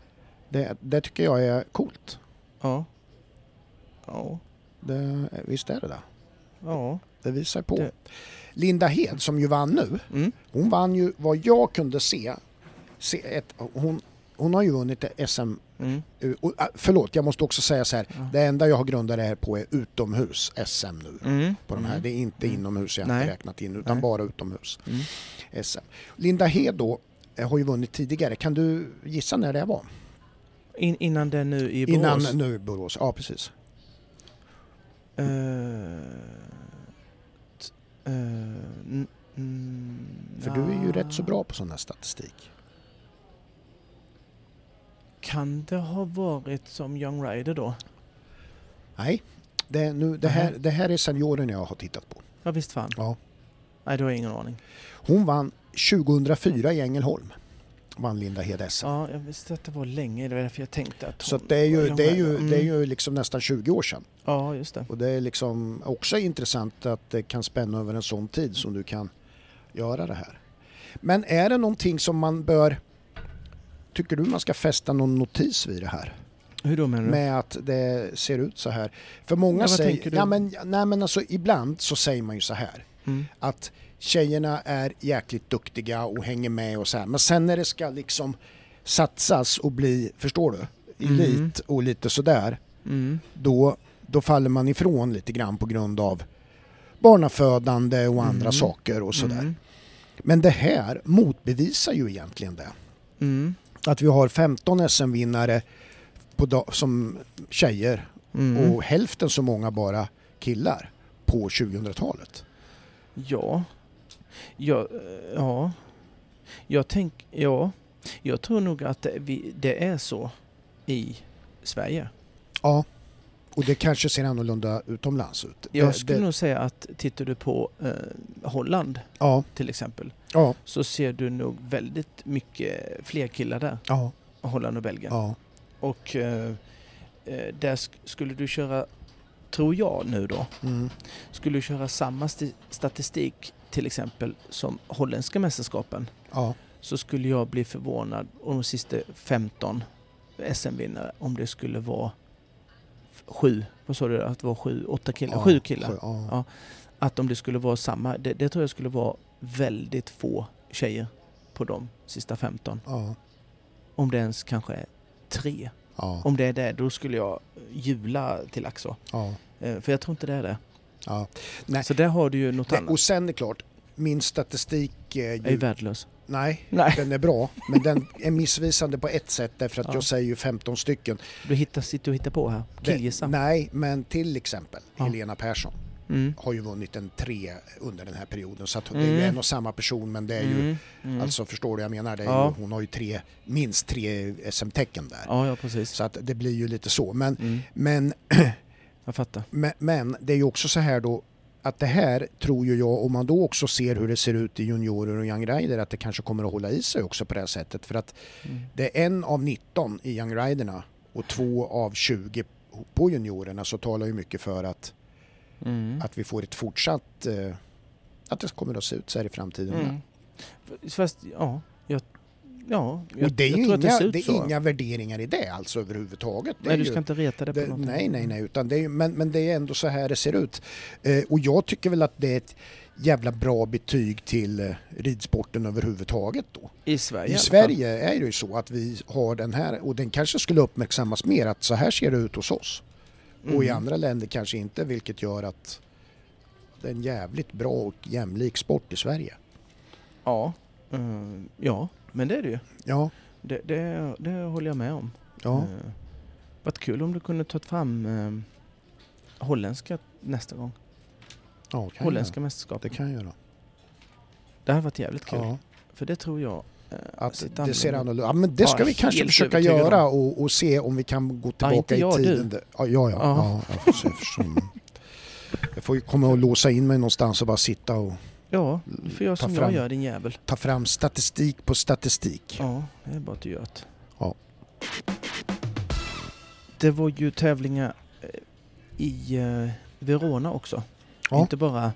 S3: Det, det tycker jag är coolt.
S2: Ja. Ja.
S3: Det, visst är det det?
S2: Ja.
S3: Det visar på.
S2: Det-
S3: Linda Hed som ju vann nu,
S2: Mm.
S3: hon vann ju vad jag kunde se, se ett, hon, hon har ju vunnit SM
S2: Mm.
S3: Uh, och, ah, förlåt, jag måste också säga så här.
S2: Ja.
S3: Det enda jag har grundat det här på är utomhus SM nu.
S2: Mm.
S3: På de här.
S2: Mm.
S3: Det är inte
S2: Mm.
S3: inomhus jag har inte
S2: Nej.
S3: räknat in utan
S2: Nej.
S3: bara utomhus
S2: Mm.
S3: SM. Linda Hed då eh, har ju vunnit tidigare. Kan du gissa när det var?
S2: In, innan det nu i Borås?
S3: Innan nu Borås. Ja, precis.
S2: Eh, t- eh, n- mm,
S3: För du är ju
S2: nja.
S3: rätt så bra på sån här statistik.
S2: Kan det ha varit som Young Rider då?
S3: Nej, det, nu, det, här,
S2: Nähä.
S3: det här är senioren jag har tittat på.
S2: Ja visst fan.
S3: Ja.
S2: Nej, då har jag ingen aning.
S3: Hon vann 2004 i Ängelholm. Vann Linda Hed SM.
S2: Ja, jag visste att det var länge. Det var därför jag tänkte att
S3: Så
S2: hon
S3: att det är
S2: var
S3: ju,
S2: Young
S3: det är
S2: Rider.
S3: ju,
S2: Mm.
S3: det är ju liksom nästan 20 år sedan.
S2: Ja, just det.
S3: Och det är liksom också intressant att det kan spänna över en sån tid som du kan göra det här. Men är det någonting som man bör... Tycker du man ska fästa någon notis vid det här?
S2: Hur då menar du?
S3: Med att det ser ut så här. För
S2: Ja,
S3: många
S2: Mm. vad tänker
S3: säger...
S2: du?
S3: Ja, men, nej men alltså ibland så säger man ju så här.
S2: Mm.
S3: Att tjejerna är jäkligt duktiga och hänger med och så här. Men sen när det ska liksom satsas och bli, förstår du? Elit
S2: Mm.
S3: och lite sådär
S2: Mm.
S3: då, då faller man ifrån lite grann på grund av barnafödande och andra
S2: Mm.
S3: saker och sådär.
S2: Mm.
S3: Men det här motbevisar ju egentligen det.
S2: Mm.
S3: Att vi har 15 SM-vinnare på da- som tjejer
S2: Mm.
S3: och hälften så många bara killar på 2000-talet.
S2: Ja. Ja. eh, ja. Jag, tänk, ja. jag tror nog att det, vi, det är så i Sverige.
S3: Ja, Och det kanske ser annorlunda utomlands ut. Det-
S2: Jag skulle
S3: det,
S2: nog säga att tittar du på eh, Holland
S3: ja,
S2: till exempel
S3: ja,
S2: så ser du nog väldigt mycket fler killar där,
S3: ja,
S2: Holland och Belgien.
S3: ja.
S2: Och eh, eh, där sk- skulle du köra, tror jag nu då,
S3: Mm.
S2: skulle du köra samma sti- statistik till exempel som holländska mästerskapen
S3: Ja,
S2: så skulle jag bli förvånad om de sista 15 SM-vinnare om det skulle vara f- sju, vad sa du, att det var sju, åtta killar,
S3: ja,
S2: sju killar.
S3: sju, Ja.
S2: Ja. Att om det skulle vara samma, det, det tror jag skulle vara väldigt få tjejer på de sista 15.
S3: Ja.
S2: Om det ens kanske är tre.
S3: Ja.
S2: Om det är det, då skulle jag jula till Axå.
S3: Ja.
S2: Eh, För jag tror inte det är det.
S3: Ja. Nej.
S2: Så där har du ju något
S3: Nej,
S2: annat.
S3: Och sen är det klart, min statistik är
S2: Jag är ju
S3: ju...
S2: värdelös.
S3: Nej,
S2: Nej,
S3: den är bra. Men den är missvisande på ett sätt därför att
S2: Ja.
S3: jag säger ju 15 stycken.
S2: du hittar, sitter och hittar på här.
S3: Det,
S2: Killgissa.
S3: nej, men till exempel
S2: Ja.
S3: Helena Persson
S2: Mm.
S3: har ju vunnit en tre under den här perioden. Så att det är ju
S2: Mm.
S3: en och samma person men det är ju...
S2: Mm. Mm.
S3: Alltså förstår du vad jag menar? Det är
S2: Ja.
S3: ju, hon har ju tre, minst tre SM-tecken där.
S2: Ja, ja precis.
S3: Så att det blir ju lite så. Men,
S2: Mm.
S3: men
S2: Jag fattar.
S3: Men, men det är ju också så här då att det här tror ju jag, om man då också ser hur det ser ut i juniorer och young rider, att det kanske kommer att hålla i sig också på det här sättet. För att
S2: Mm.
S3: det är en av 19 i young riderna och två av 20 på juniorerna så talar ju mycket för att,
S2: Mm.
S3: att vi får ett fortsatt, eh, att det kommer att se ut så här i framtiden.
S2: Mm. Fast, ja. Jag, ja, jag,
S3: Och det är
S2: jag
S3: ju
S2: tror
S3: inga,
S2: att det ser ut
S3: det
S2: så.
S3: är inga värderingar i det alltså överhuvudtaget. Det är
S2: Nej, du
S3: ju-
S2: ska inte reta det,
S3: Det,
S2: på något
S3: nej,
S2: sätt.
S3: nej, nej. Utan det är, ju- men, men det är ändå så här det ser ut. Eh, och jag tycker väl att det är ett jävla bra betyg till eh, ridsporten överhuvudtaget. Då.
S2: I Sverige alltså.
S3: I
S2: alla fall.
S3: Sverige är det ju så att vi har den här och den kanske skulle uppmärksammas mer att så här ser det ut hos oss. Och i
S2: Mm.
S3: andra länder kanske inte vilket gör att det är en jävligt bra och jämlik sport i Sverige.
S2: Ja. Mm, ja, men det är det ju.
S3: Ja,
S2: Det, det, det håller jag med om.
S3: ja.
S2: Eh, Vad kul om du kunde ta fram eh, holländska nästa gång.
S3: ja kan jag göra.
S2: Holländska mästerskap.
S3: Det
S2: Det,
S3: kan jag göra.
S2: hade varit jävligt kul.
S3: Ja.
S2: För det tror jag eh,
S3: Att
S2: ser
S3: det ser
S2: annorlunda ut.
S3: annorlunda ut. Ja, men det ska
S2: Ja,
S3: vi kanske
S2: helt
S3: försöka
S2: övertygad om.
S3: göra och, och se om vi kan gå tillbaka
S2: inte jag,
S3: i
S2: du.
S3: tiden. där- Ja, ja, ja. ja.
S2: Ja.
S3: jag, får se, jag förstår. Mm. jag får ju komma och låsa in mig någonstans och bara sitta och
S2: Ja, du får göra
S3: Ta
S2: som
S3: fram.
S2: jag gör din jävel.
S3: ta fram statistik på statistik.
S2: Ja, det är bara att du gör det.
S3: Ja.
S2: Det var ju tävlingar eh, i eh, Verona också.
S3: Ja.
S2: Inte bara...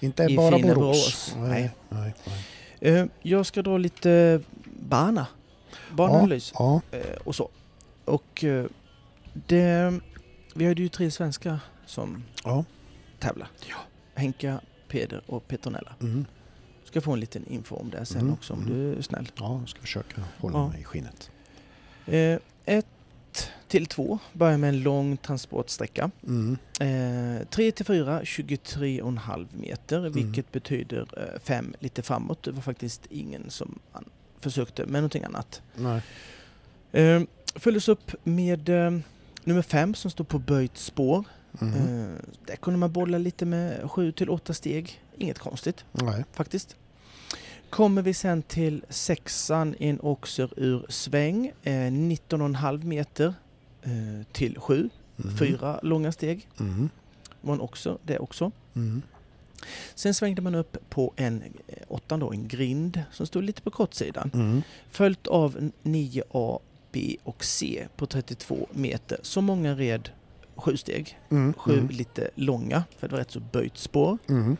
S3: Inte
S2: I
S3: bara
S2: fina
S3: Borås.
S2: Borås.
S3: Nej, nej, nej.
S2: Eh, jag ska dra lite bana. Bananalys.
S3: Ja,
S2: eh, och så. Och eh, det, vi hade ju tre svenskar som
S3: Ja.
S2: tävlar. Henka, Peder och Petronella.
S3: mm.
S2: Ska få en liten info om det sen
S3: Mm,
S2: också om
S3: mm.
S2: du är snäll.
S3: ja, jag ska försöka hålla
S2: Ja.
S3: mig i skinnet.
S2: Eh, ett till två börjar med en lång transportsträcka.
S3: Mm.
S2: Eh, 3 till 4, 23,5 meter,
S3: Mm.
S2: vilket betyder eh, 5 lite framåt. Det var faktiskt ingen som an- försökte med någonting annat.
S3: Nej.
S2: Eh, följdes upp med eh, nummer 5 som står på böjt spår.
S3: Mm.
S2: Eh, Där kunde man bolla lite med 7 till 8 steg. Inget konstigt
S3: nej.
S2: faktiskt. Kommer vi sen till sexan i en oxer ur sväng. eh, 19,5 meter eh, till 7.
S3: Mm.
S2: Fyra långa steg
S3: Mm.
S2: var en oxer det också.
S3: Mm.
S2: Sen svängde man upp på en eh, åttan då, en grind som stod lite på kortsidan.
S3: Mm.
S2: Följt av en 9A, B och C på 32 meter. Så många red sju steg.
S3: Mm.
S2: Sju
S3: Mm.
S2: lite långa, för det var rätt så böjt spår.
S3: Mm.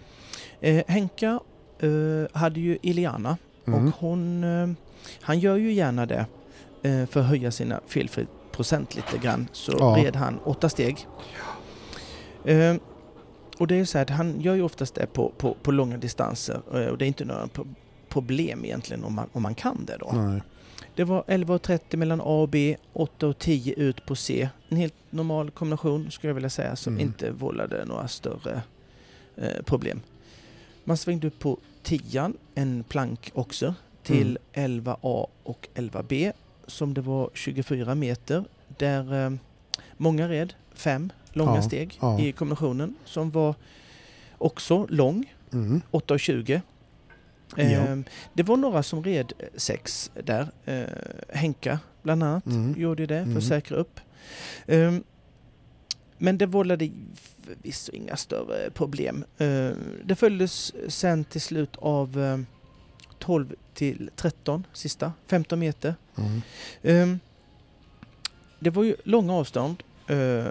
S2: Eh, Henka eh, hade ju Iliana
S3: Mm.
S2: och hon, eh, han gör ju gärna det eh, för att höja sina felfri procent lite grann. Så
S3: Ja.
S2: red han åtta steg. Eh, och det är ju så här att han gör ju oftast det på, på, på långa distanser eh, och det är inte några pro- problem egentligen om man, om man kan det då.
S3: Nej.
S2: Det var 11.30 mellan A och B, 8 och 10 ut på C. En helt normal kombination skulle jag vilja säga som
S3: Mm.
S2: inte vållade några större eh, problem. Man svängde upp på 10 en plank också, till
S3: Mm.
S2: 11A och 11B som det var 24 meter där eh, många red fem långa
S3: Ja,
S2: steg
S3: ja.
S2: i kombinationen som var också lång.
S3: Mm.
S2: 8.20.
S3: Ja.
S2: Eh, det var några som red eh, sex där. Eh, Henka bland annat
S3: Mm.
S2: gjorde ju det för
S3: Mm.
S2: att säkra upp. Eh, Ehm, Men det vållade förvisso inga större problem. Eh, Det följdes sen till slut av eh, 12 till 13, sista, 15 meter.
S3: Mm.
S2: Ehm, Det var ju långa avstånd eh,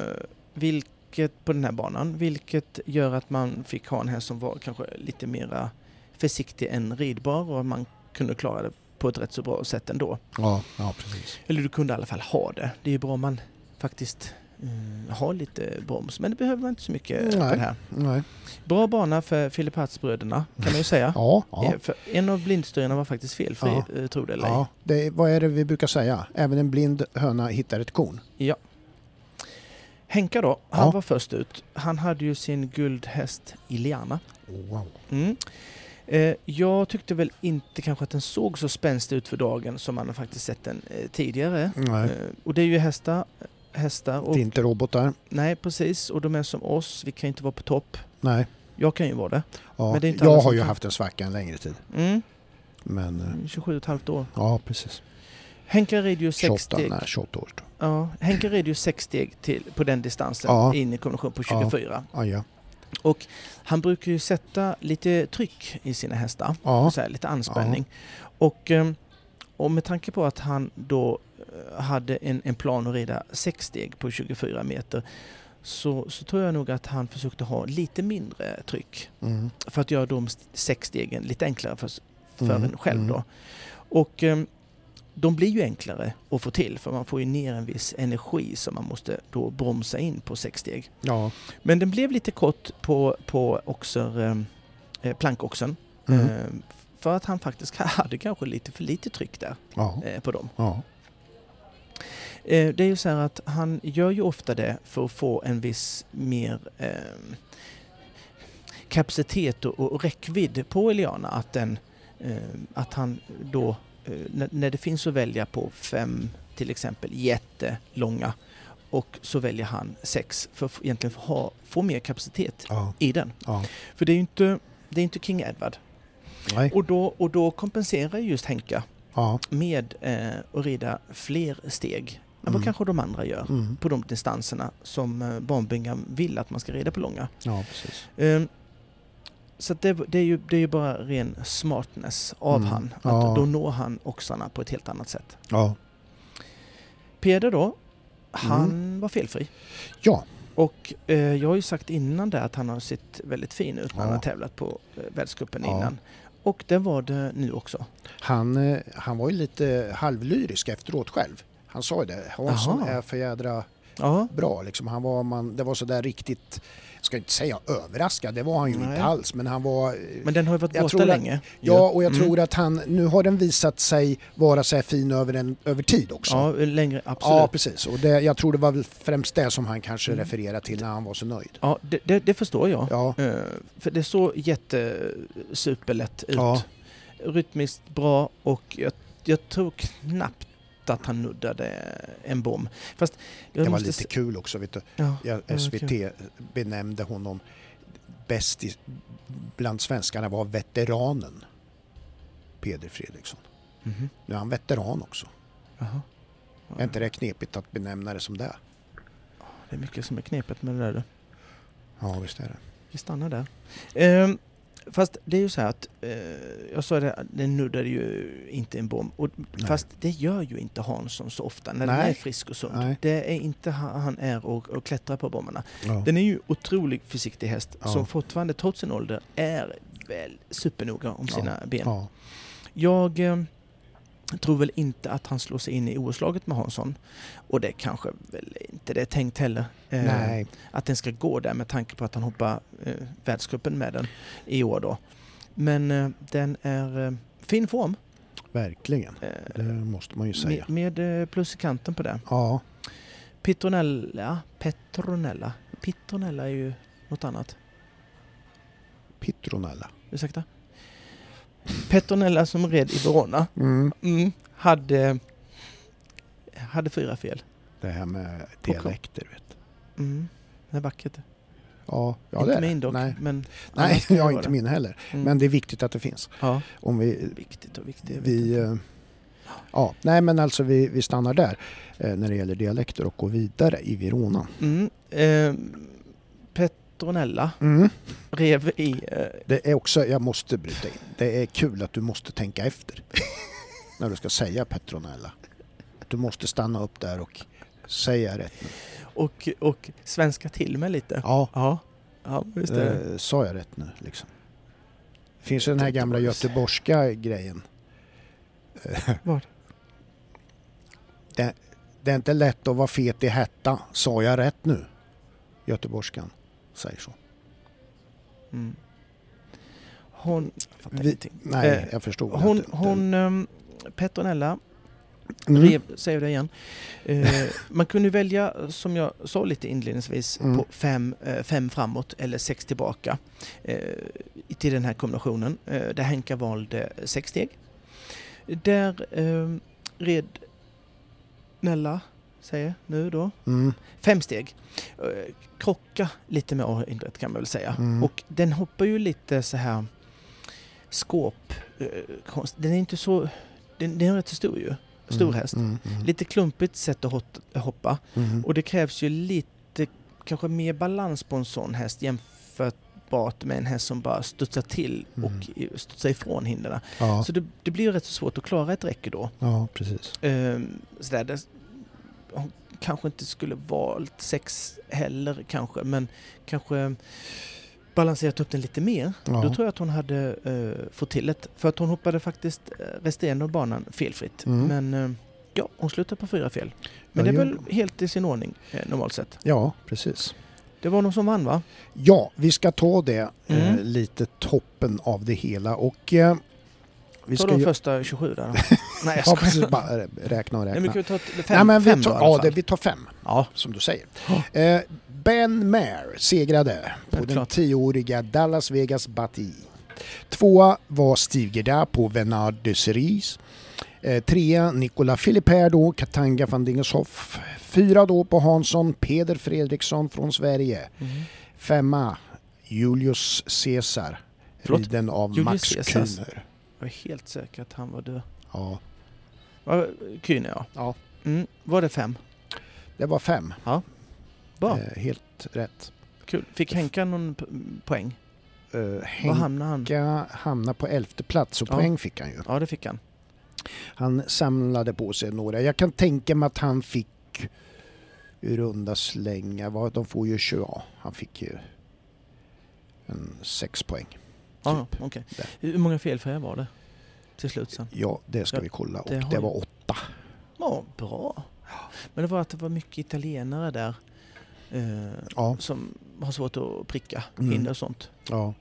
S2: vilket, på den här banan, vilket gör att man fick ha en häst som var kanske lite mera försiktig än ridbar och man kunde klara det på ett rätt så bra sätt ändå.
S3: Ja, ja, precis.
S2: Eller du kunde i alla fall ha det. Det är ju bra om man faktiskt mm, har lite broms, men det behöver man inte så mycket på
S3: Nej.
S2: det här.
S3: Nej.
S2: Bra bana för Philip Hartz-bröderna kan man ju säga.
S3: Ja, ja.
S2: Eh, För en av blindstyrarna var faktiskt felfri,
S3: Ja.
S2: eh, tror det eller ej.
S3: ja. Det, är- vad är det vi brukar säga? Även en blind höna hittar ett korn.
S2: Henka då, han
S3: Ja.
S2: var först ut. Han hade ju sin guldhäst Iliana.
S3: Wow.
S2: Mm. Eh, jag tyckte väl inte kanske att den såg så spänstig ut för dagen som man har faktiskt sett den eh, tidigare.
S3: Nej.
S2: Eh, och det är ju hästar, hästar och
S3: Det är inte robotar.
S2: nej precis, och de är som oss, vi kan ju inte vara på topp.
S3: Nej.
S2: Jag kan ju vara det.
S3: Ja.
S2: Men det är inte alla
S3: jag
S2: som
S3: har ju
S2: kan-
S3: haft en svacka en längre tid.
S2: Mm.
S3: Men eh,
S2: 27,5 år.
S3: ja, precis.
S2: Henka rider ju sex
S3: 28,
S2: steg.
S3: nej, 28 år. då.
S2: Ja, Henke red ju sex steg till, på den distansen
S3: Ja.
S2: in i kombination på
S3: Ja.
S2: 24.
S3: Ja, Ah, ja.
S2: Och han brukar ju sätta lite tryck i sina hästar,
S3: Ja.
S2: så här, lite anspänning. Och, ehm, och med tanke på att han då eh, hade en, en plan att rida sex steg på 24 meter så, så tror jag nog att han försökte ha lite mindre tryck
S3: Mm.
S2: för att göra de st- sex stegen lite enklare för, s- för
S3: Mm,
S2: en själv.
S3: mm.
S2: Då. Och ehm, de blir ju enklare att få till för man får ju ner en viss energi som man måste då bromsa in på sex steg.
S3: Ja.
S2: Men den blev lite kort på, på oxer, ehm, eh, plankoxen
S3: Mm.
S2: ehm, för att han faktiskt hade kanske lite för lite tryck där
S3: Ja.
S2: eh, på dem.
S3: Ja.
S2: Eh, Det är ju så här att han gör ju ofta det för att få en viss mer ehm, kapacitet och, och räckvidd på Eliana. Att, den, ehm, att han då, eh, när, när det finns att välja på fem till exempel jättelånga och så väljer han sex för att egentligen få, ha, få mer kapacitet
S3: Ja.
S2: i den.
S3: Ja.
S2: För det är ju inte, det är inte King Edward.
S3: Nej.
S2: Och då, och då kompenserar just Henka
S3: Ja.
S2: med eh, att rida fler steg än vad
S3: Mm.
S2: kanske de andra gör
S3: Mm.
S2: på de distanserna som eh, barnbingan vill att man ska rida på långa.
S3: Ja, precis.
S2: Ehm, så att det, det, är ju, det är ju bara ren smartness av
S3: Mm.
S2: han. Att
S3: Ja.
S2: Då når han oxarna på ett helt annat sätt.
S3: Ja.
S2: Peder då, han
S3: Mm.
S2: var felfri.
S3: Ja.
S2: Och eh, jag har ju sagt innan det att han har sett väldigt fin ut när han
S3: Ja.
S2: har tävlat på eh, världscupen
S3: Ja.
S2: innan. Och det var det nu också.
S3: Han, eh, han var ju lite halvlyrisk efteråt själv. Han sa ju det. Hansson
S2: Jaha.
S3: är för jädra
S2: Ja,
S3: bra. Liksom. Han var, man, det var sådär riktigt, jag ska inte säga överraskad, det var han ju
S2: Nej.
S3: inte alls. Men han var... eh,
S2: men den har ju varit
S3: Jag
S2: borta
S3: tror det.
S2: länge.
S3: Ja, och jag
S2: Mm.
S3: tror att han, nu har den visat sig vara så här fin över, en, över tid också.
S2: Ja, längre, absolut.
S3: Ja, precis. Och det, jag tror det var väl främst det som han kanske
S2: Mm.
S3: refererade till när han var så nöjd.
S2: Ja, det, det, det förstår jag.
S3: Ja,
S2: Eh, för det såg jättesuperlätt ut.
S3: Ja.
S2: Rytmiskt bra och jag, jag tror knappt att han nuddade en bom. Fast jag
S3: det var
S2: måste
S3: lite
S2: se-
S3: kul också. Vet du.
S2: ja,
S3: Jag,
S2: vad
S3: SVT benämnde honom bäst i, bland svenskarna var veteranen Peder Fredriksson.
S2: mhm,
S3: Nu är han veteran också.
S2: jaha. Ja,
S3: Är inte det knepigt att benämna det som det?
S2: det är mycket som är knepigt med det där. du.
S3: Ja, visst är det.
S2: Vi stannar där. Ehm, fast det är ju så här att, eh, jag sa det, den nuddade ju inte en bomb. Och,
S3: Nej.
S2: fast det gör ju inte Hansson så ofta när den
S3: Nej.
S2: är frisk och sund.
S3: Nej.
S2: Det är inte han han är och, och klättrar på bommarna.
S3: Ja.
S2: Den är ju otroligt försiktig häst
S3: Ja.
S2: som fortfarande trots sin ålder är väl supernoga om
S3: Ja.
S2: sina ben.
S3: ja.
S2: Jag eh, tror väl inte att han slår sig in i OS-laget med Hansson. Och det kanske väl inte det är tänkt heller. eh,
S3: Nej,
S2: Att den ska gå där med tanke på att han hoppar eh, världscupen med den i år då. Men eh, den är eh, fin form.
S3: verkligen.
S2: Eh,
S3: Det måste man ju säga.
S2: med, med eh, plus i kanten på det.
S3: Ja,
S2: Petronella, Petronella, Petronella är ju något annat.
S3: Pitronella.
S2: ursäkta. Petronella som red i Verona
S3: Mm.
S2: mm, hade, hade fyra fel.
S3: Det här med dialekter, vet du.
S2: Mm. Det är vackert.
S3: Ja, ja det
S2: inte
S3: är det.
S2: min dock,
S3: Nej,
S2: men...
S3: Nej
S2: annars kan det
S3: jag är
S2: vara
S3: inte min heller.
S2: Mm.
S3: Men det är viktigt att det finns.
S2: Ja,
S3: Om vi,
S2: viktigt och viktigt. jag vet
S3: vi
S2: inte.
S3: eh, Ja, nej men alltså vi, vi stannar där eh, när det gäller dialekter och går vidare i Verona.
S2: Mm. Eh, Petronella
S3: Mm.
S2: rev i... Eh,
S3: Det är också, jag måste bryta in, det är kul att du måste tänka efter när du ska säga Petronella. Du måste stanna upp där och säga rätt. nu.
S2: och, och svenska till mig lite.
S3: Ja,
S2: Ja, ja just det.
S3: eh, sa jag rätt nu liksom? Finns ju den här gamla
S2: Göteborgs-
S3: göteborgska grejen. Eh,
S2: Vad?
S3: Det, det är inte lätt att vara fet i hetta, sa jag rätt nu? Göteborgskan säger så.
S2: Mm. Hon... Jag fattar
S3: Vi-
S2: ingenting.
S3: Nej,
S2: Eh,
S3: jag förstod.
S2: Hon,
S3: att det-
S2: hon ehm, Petronella,
S3: Mm.
S2: rev, säger det igen. Eh, man kunde välja, som jag sa lite inledningsvis,
S3: Mm.
S2: på fem, eh, fem framåt eller sex tillbaka eh, till den här kombinationen. Eh, där Henka valde sex steg. Där eh, red Nella, säger nu då,
S3: Mm.
S2: fem steg. Eh, krocka lite med A-hindret kan man väl säga.
S3: Mm.
S2: Och den hoppar ju lite så här skåp. eh, konst- Den är inte så... Den, den är rätt så stor ju. Stor häst.
S3: Mm. Mm.
S2: Lite klumpigt sätt att hot- hoppa.
S3: Mm.
S2: Och det krävs ju lite, kanske mer balans på en sån häst jämförbart med en häst som bara studsar till och i- studsar ifrån hindren.
S3: Mm. Ja,
S2: Så det, det blir ju rätt så svårt att klara ett räcke då.
S3: ja, precis.
S2: Ehm, sådär, det, hon kanske inte skulle valt sex heller kanske, men kanske balanserat upp den lite mer.
S3: Ja.
S2: Då tror jag att hon hade eh, fått till det. För att hon hoppade faktiskt eh, resterande av banan felfritt.
S3: Mm.
S2: Men eh, ja, hon slutade på fyra fel. Men
S3: Ja,
S2: det är
S3: jag-
S2: väl helt i sin ordning eh, normalt sett.
S3: Ja, precis.
S2: Det var någon som vann va?
S3: Ja, vi ska ta det
S2: Mm.
S3: eh, lite toppen av det hela och eh, vi
S2: Ta
S3: ska
S2: de
S3: ju...
S2: första 27 där. Nej jag
S3: Ja,
S2: skojar.
S3: precis, bara rä- räkna och
S2: Nej, men
S3: räkna.
S2: kan vi ta ett- fem,
S3: Nej, men
S2: fem
S3: vi
S2: då,
S3: tar,
S2: i alla
S3: ja,
S2: fall?
S3: det, vi tar fem,
S2: ja.
S3: som du säger.
S2: Ja.
S3: Eh, ben Mair segrade på den
S2: Självklart.
S3: tioåriga Dallas Vegas Bati. Tvåa var Steve Gerda på Venard de Cerise. Eh, trea Nicola Philippert då, Katanga van Dingeshoff. Fyra då på Hansson, Peder Fredriksson från Sverige.
S2: Mm.
S3: Femma, Julius Caesar.
S2: Förlåt?
S3: Riden av
S2: Julius
S3: Max
S2: Caesar?
S3: Kühner.
S2: Jag är helt säker att han var död.
S3: Ja,
S2: Ja, Kühne ja.
S3: Ja.
S2: Mm, var det fem?
S3: det var fem.
S2: Bra,
S3: Eh, helt rätt.
S2: kul. Fick Henka någon p- poäng?
S3: Eh,
S2: Var
S3: Henka
S2: hamnade han?
S3: hamnade på elfte plats och
S2: Ja.
S3: poäng fick han ju.
S2: Ja, det fick han.
S3: Han samlade på sig några. Jag kan tänka mig att han fick i runda slängar, vad- de får ju 20, ja, han fick ju en sex poäng.
S2: Ja,
S3: Typ.
S2: okej.
S3: Där.
S2: Hur många felfria var det till slut sen?
S3: Ja, det ska
S2: Ja,
S3: vi kolla och
S2: det har
S3: det
S2: ju-
S3: var åtta.
S2: Ja, bra. Men det var att det var mycket italienare där eh,
S3: Ja,
S2: som har svårt att pricka
S3: Mm.
S2: hinder och sånt.
S3: ja,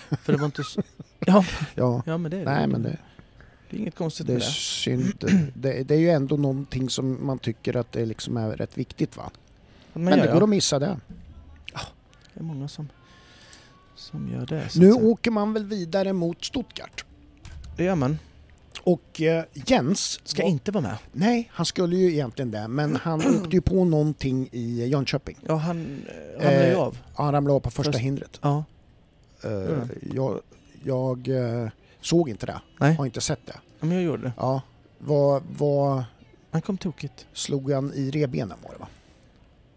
S2: För det var inte så... Ja,
S3: ja.
S2: ja men det är
S3: Nej men det,
S2: det är inget konstigt
S3: Det är
S2: med det.
S3: synd. Det, det är ju ändå någonting som man tycker att det liksom är rätt viktigt va?
S2: Men,
S3: Men det
S2: ja,
S3: går
S2: ja.
S3: att missa det.
S2: det är många som, som gör det. så
S3: Nu
S2: att säga.
S3: åker man väl vidare mot Stuttgart.
S2: Det gör man.
S3: Och eh, Jens,
S2: Ska
S3: var-
S2: inte vara med.
S3: nej han skulle ju egentligen det men han åkte ju på någonting i Jönköping.
S2: Ja, han eh, ramlade ju
S3: Eh.
S2: av.
S3: Han ramlade av på första
S2: Först-
S3: hindret.
S2: Ja.
S3: Eh,
S2: Mm.
S3: jag jag eh, såg inte det,
S2: Nej.
S3: har inte sett det.
S2: ja, men jag gjorde det.
S3: Ja, vad, vad
S2: Han kom tokigt.
S3: slog han i revbenen var det va?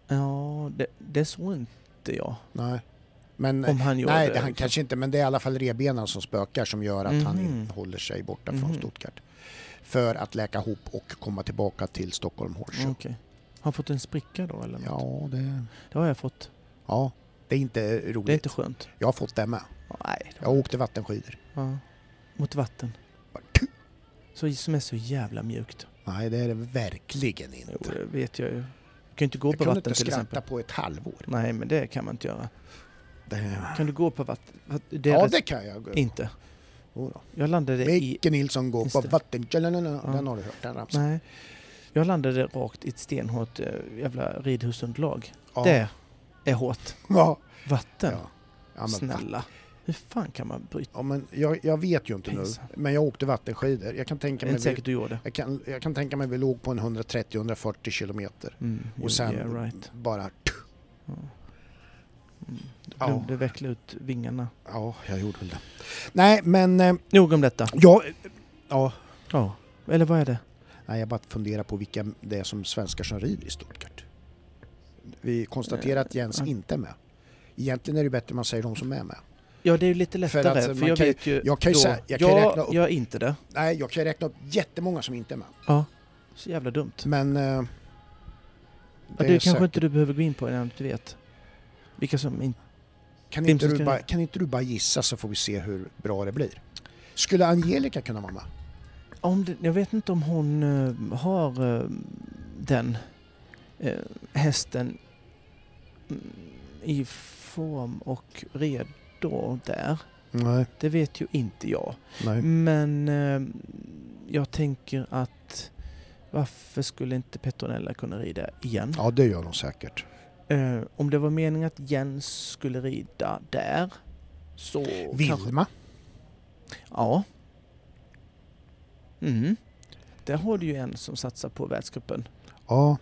S2: Ja, det, det såg inte jag.
S3: Nej. Men
S2: Om han gjorde
S3: Nej, det
S2: det.
S3: han kanske inte, men det är i alla fall rebenen som spökar som gör att han
S2: Mhm.
S3: inte håller sig borta från
S2: Mhm.
S3: Stuttgart. För att läka ihop och komma tillbaka till Stockholm Horse.
S2: Okej. Har han fått en spricka då eller? något?
S3: Ja, det,
S2: Det har jag fått.
S3: ja, det är inte roligt.
S2: Det är inte skönt.
S3: Jag har fått det med.
S2: Nej.
S3: Jag åkte vattenskidor.
S2: Ja. Mot vatten.
S3: Bara,
S2: Så, som är så jävla mjukt.
S3: Nej, det är det verkligen inte.
S2: Jo, det vet jag ju. Du kan ju inte gå
S3: jag
S2: på
S3: kunde
S2: vatten
S3: inte
S2: till
S3: skratta
S2: exempel.
S3: på ett halvår.
S2: Nej, men det kan man inte göra.
S3: Det,
S2: Kan du gå på vatten? Vad- Det är
S3: ja,
S2: rätt-
S3: det kan jag.
S2: Inte.
S3: Jo då.
S2: Jag landade i...
S3: Micke Nilsson går
S2: Just
S3: på
S2: det.
S3: vatten. Den
S2: Ja.
S3: har du hört, den ramsan.
S2: Nej. Jag landade rakt i ett stenhårt eh, jävla ridhusunderlag.
S3: Ja.
S2: Det är hårt.
S3: Ja.
S2: Vatten.
S3: Ja. Ja, men
S2: Snälla. Hur fan kan man bryta?
S3: Ja, men jag, jag vet ju inte nu,
S2: Pinsamt.
S3: men jag åkte vattenskidor. Jag kan
S2: Det
S3: tänka
S2: är
S3: mig,
S2: inte
S3: vi,
S2: säkert du gjorde.
S3: jag kan, jag kan tänka mig vi låg på en 130-140 kilometer.
S2: Mm, jo,
S3: Och sen
S2: yeah, right.
S3: bara...
S2: Mm. Du
S3: Ja.
S2: glömde veckla ut vingarna.
S3: Ja, jag gjorde väl det. Nej, men eh,
S2: Nog om detta.
S3: jag... Ja,
S2: Ja. Eller vad är det?
S3: Nej, jag bara funderar på vilka det är som svenskar som rider i Stuttgart. Vi konstaterar att Jens inte är med. Egentligen är det bättre om man säger de som är med.
S2: Ja, det är ju lite lättare. För,
S3: att man
S2: jag
S3: kan ju-
S2: vet ju...
S3: jag kan ju
S2: Eh, då-
S3: sä- jag kan ju
S2: jag,
S3: räkna upp-
S2: gör inte det.
S3: Nej, jag kan räkna upp jättemånga som inte är med.
S2: Ja. Så jävla dumt.
S3: Men... eh, det
S2: Ja,
S3: är
S2: det kanske
S3: säkert-
S2: inte du behöver gå in på innan du vet. Vilka som inte...
S3: Kan
S2: Vem
S3: inte,
S2: som
S3: du
S2: ska-
S3: bara, kan inte du bara gissa så får vi se hur bra det blir? Skulle Angelica kunna vara med?
S2: Om det, jag vet inte om hon eh, har eh, den eh, hästen mm, i form och redo där.
S3: Nej,
S2: Det vet ju inte jag.
S3: nej.
S2: Men eh, jag tänker att varför skulle inte Petronella kunna rida igen?
S3: Ja, det gör hon säkert.
S2: Eh, om det var meningen att Jens skulle rida där så kanske...
S3: Vilma?
S2: Ja. Mm. Där har du ju en som satsar på världscupen.
S3: Ja,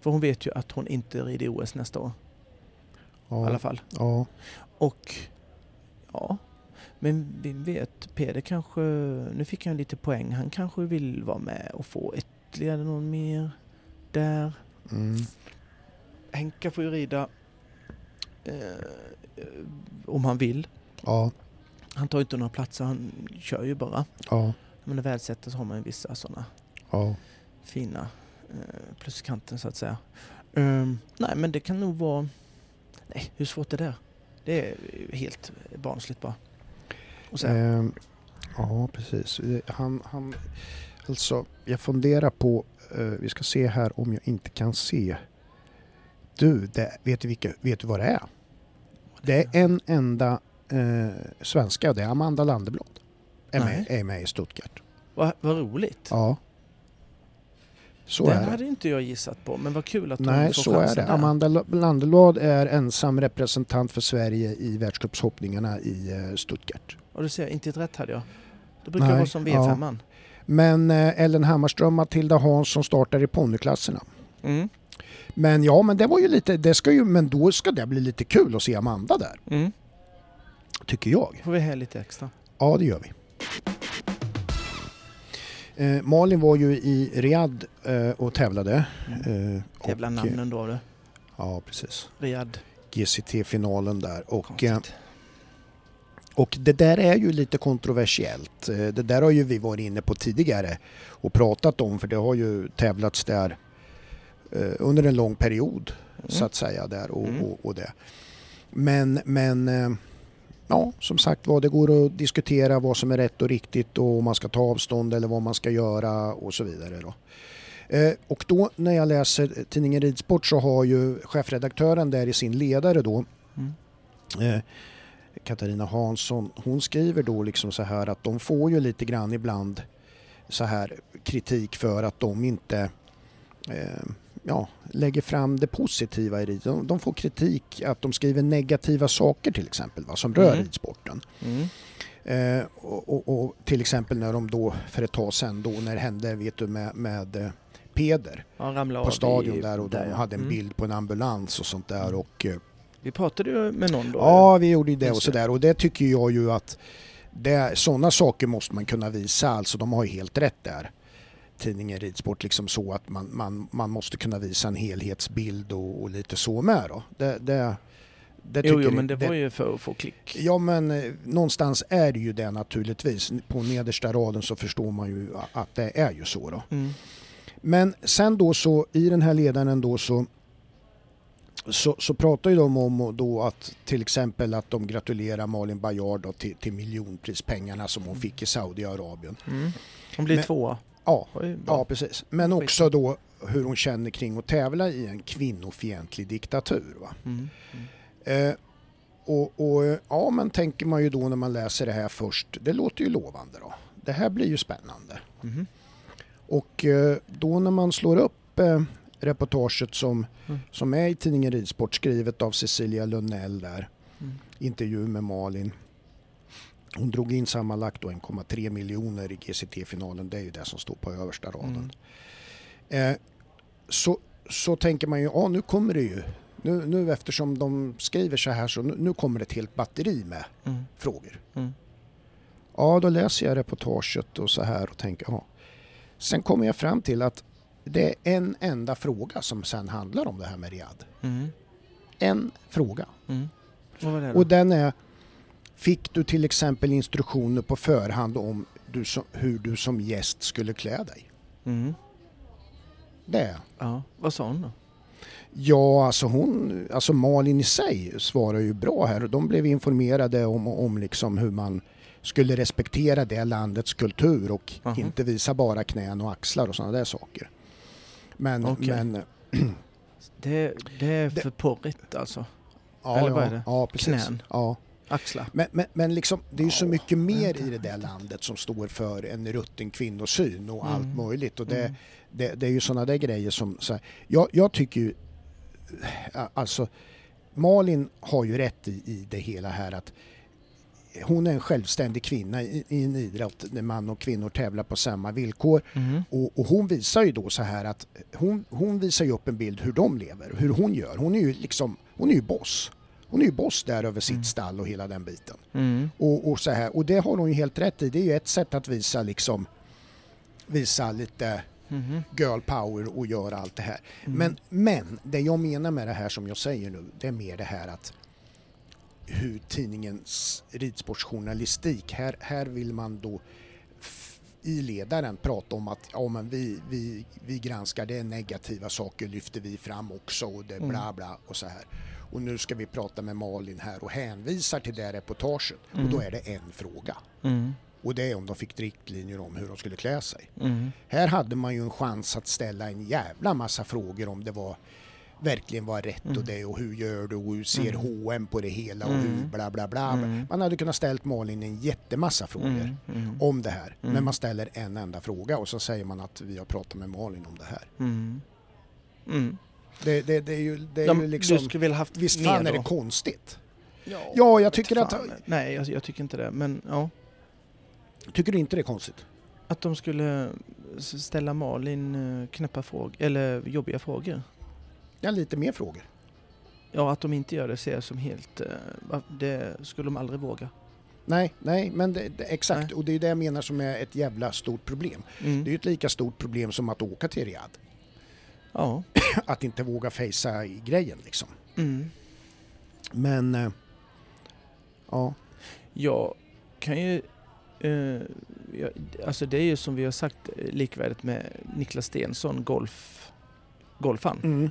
S2: För hon vet ju att hon inte rider i OS nästa år i alla
S3: ja,
S2: fall.
S3: ja.
S2: Och ja, men vem vet, Peder kanske, nu fick han lite poäng, han kanske vill vara med och få ytterligare någon mer där.
S3: Mm.
S2: Henka får ju rida eh, om han vill.
S3: Ja,
S2: Han tar ju inte några platser, han kör ju bara.
S3: ja,
S2: Men när världsettan så har man ju vissa sådana
S3: ja.
S2: fina eh, pluskanten så att säga. Ehm, nej men det kan nog vara... Nej, hur svårt är det? Det är helt barnsligt bara. Och sen,
S3: Ehm, ja, precis. Eh, Han, han, alltså, jag funderar på, eh, vi ska se här om jag inte kan se. Du, det, vet, du vilka, vet du vad det är? Det är
S2: Mm.
S3: en enda eh, svenska och det är Amanda Landeblad. Är med, är med i Stuttgart.
S2: vad, vad roligt!
S3: Ja. Så
S2: Den
S3: är det.
S2: hade inte jag gissat på, men vad kul att hon
S3: Nej,
S2: får
S3: så är
S2: chansen
S3: det.
S2: där.
S3: Amanda L- Landeblad är ensam representant för Sverige i världscupshoppningarna i eh, Stuttgart.
S2: Och du ser, inte ett rätt hade jag. Det brukar
S3: Nej,
S2: vara som
S3: ja.
S2: V5an.
S3: Men eh, Ellen Hammarström, Matilda Hansson startar i ponnyklasserna.
S2: Mm,
S3: Men ja, men det var ju lite, det ska ju, men då ska det bli lite kul att se Amanda där,
S2: mm.
S3: tycker jag.
S2: Får vi här lite extra.
S3: Ja, det gör vi. Eh, Malin var ju i Riyadh eh, och tävlade. Eh,
S2: Jävla
S3: och,
S2: namnen då du.
S3: Ja, precis.
S2: Riyadh.
S3: GCT-finalen där. Och, eh,
S2: Konstigt.
S3: och det där är ju lite kontroversiellt. Eh, det där har ju vi varit inne på tidigare och pratat om för det har ju tävlats där eh, under en lång period. så att säga där och,
S2: Mm.
S3: och, och det. Men, men eh, ja, som sagt var, det går att diskutera vad som är rätt och riktigt och om man ska ta avstånd eller vad man ska göra och så vidare. Då. Eh, Och då när jag läser tidningen Ridsport så har ju chefredaktören där i sin ledare då
S2: Mm.
S3: eh, Katarina Hansson, hon skriver då liksom så här att de får ju lite grann ibland så här kritik för att de inte eh, ja, lägger fram det positiva i ridsporten. De, de får kritik att de skriver negativa saker till exempel va, som rör
S2: Mm.
S3: ridsporten.
S2: Mm.
S3: Eh, och, och, och till exempel när de då för ett tag sedan då när det hände vet du, med, med eh, Peder
S2: Han ramlade av
S3: på
S2: i-
S3: stadion där och de
S2: ja.
S3: hade en
S2: Mm.
S3: bild på en ambulans och sånt där. Och, eh,
S2: Vi pratade ju med någon då.
S3: ja, vi gjorde ju det och
S2: Just det.
S3: sådär och det tycker jag ju att sådana saker måste man kunna visa, alltså de har ju helt rätt där tidningen Ridsport liksom så att man, man, man måste kunna visa en helhetsbild och, och lite så med då. Det, det, det
S2: Jo,
S3: tycker
S2: jo, men det
S3: jag-
S2: var ju för att få klick.
S3: Ja men eh, någonstans är det ju det naturligtvis. På nedersta raden så förstår man ju a- att det är ju så då.
S2: Mm.
S3: Men sen då så i den här ledaren då så så, så pratar ju de om och då att till exempel att de gratulerar Malin Baryard då till, till miljonprispengarna som hon fick i Saudiarabien.
S2: Mm. Hon blir
S3: Men-
S2: tvåa.
S3: Ja,
S2: Oj,
S3: ja precis. Men också då hur hon känner kring att tävla i en kvinnofientlig diktatur. Va?
S2: Mm.
S3: Eh, och, och eh, ja, men tänker man ju då när man läser det här först, det låter ju lovande då. Det här blir ju spännande.
S2: Mhm.
S3: Och eh, då när man slår upp eh, reportaget som,
S2: Mm.
S3: som är i tidningen Ridsport skrivet av Cecilia Lundell där,
S2: Mm.
S3: intervju med Malin. Hon drog in sammanlagt då 1,3 miljoner i GCT-finalen, det är ju det som står på översta raden.
S2: Mm.
S3: Eh, så, så tänker man ju, ja nu kommer det ju, nu, nu eftersom de skriver så här så nu, nu kommer det ett helt batteri med
S2: Mm.
S3: frågor.
S2: Mm.
S3: Ja, då läser jag reportaget och så här och tänker, ja. Sen kommer jag fram till att det är en enda fråga som sen handlar om det här med Riyadh.
S2: Mm.
S3: En fråga.
S2: Mm. Vad var det då?
S3: Och den är, fick du till exempel instruktioner på förhand om du som, hur du som gäst skulle klä dig?
S2: Mm.
S3: Det är
S2: Ja. Vad sa hon då?
S3: Ja, alltså hon, alltså Malin i sig svarar ju bra här och de blev informerade om, om liksom hur man skulle respektera det landets kultur och
S2: Aha.
S3: inte visa bara knän och axlar och sådana där saker. Men,
S2: Okej.
S3: men
S2: Det, det är
S3: Det-
S2: för porrigt alltså.
S3: ja,
S2: Eller vad är
S3: ja,
S2: det?
S3: ja, precis.
S2: Knän?
S3: Ja.
S2: Axlar.
S3: Men, men, men liksom, det är ju så mycket mer i det där landet som står för en rutten kvinnosyn och allt
S2: Mm.
S3: möjligt. Och det,
S2: Mm.
S3: det, det är ju sådana där grejer som... Så här, jag, jag tycker ju... eh, Alltså, Malin har ju rätt i, i det hela här att hon är en självständig kvinna i, i en idrott där man och kvinnor tävlar på samma villkor.
S2: Mm.
S3: Och, och hon visar ju då så här att hon, hon visar ju upp en bild hur de lever, hur hon gör. Hon är ju liksom, hon är ju boss. Hon är ju boss där över sitt stall och hela den biten.
S2: Mm.
S3: Och, och, så här. och det har hon ju helt rätt i. Det är ju ett sätt att visa liksom visa lite
S2: Mhm.
S3: girl power och göra allt det här. Men, men det jag menar med det här som jag säger nu, det är mer det här att hur tidningens ridsportjournalistik, här, här vill man då f- i ledaren prata om att ja, men vi, vi, vi granskar det negativa saker lyfter vi fram också och det bla bla och så här. Och nu ska vi prata med Malin här och hänvisar till det reportaget och då är det en fråga.
S2: Mm.
S3: Och det är om de fick riktlinjer om hur de skulle klä sig.
S2: Mm.
S3: Här hade man ju en chans att ställa en jävla massa frågor om det var verkligen var rätt
S2: Mm.
S3: och det och hur gör du och hur ser H&M på det hela och
S2: Mm.
S3: hur bla bla bla. Man hade kunnat ställt Malin en jättemassa frågor
S2: Mm. Mm-hmm.
S3: om det här. Men man ställer en enda fråga och så säger man att vi har pratat med Malin om det här.
S2: Mm. Mm.
S3: Det, det, det är ju, det är
S2: Ja,
S3: ju
S2: men
S3: liksom...
S2: Du skulle vilja haft
S3: Visst
S2: mer
S3: fan
S2: då?
S3: är det konstigt?
S2: Ja,
S3: Ja, jag tycker att...
S2: fan. Nej, jag, jag tycker inte det. Men ja.
S3: Tycker du inte det är konstigt?
S2: Att de skulle eh, s- ställa Malin eh, knäppa frågor, eller jobbiga frågor.
S3: Ja, lite mer frågor.
S2: Ja, att de inte gör det ser jag som helt... eh, va- Det skulle de aldrig våga.
S3: Nej, nej, men det, det, exakt.
S2: Nej.
S3: Och det är det jag menar som är ett jävla stort problem.
S2: Mm.
S3: Det är ju ett lika stort problem som att åka till Riyadh.
S2: Ja.
S3: Att inte våga fejsa i grejen liksom.
S2: Mm.
S3: Men... eh, Ja.
S2: Jag kan ju... Eh, jag, alltså det är ju som vi har sagt eh, likvärdigt med Niklas Stensson, golf, golfan,
S3: Mm.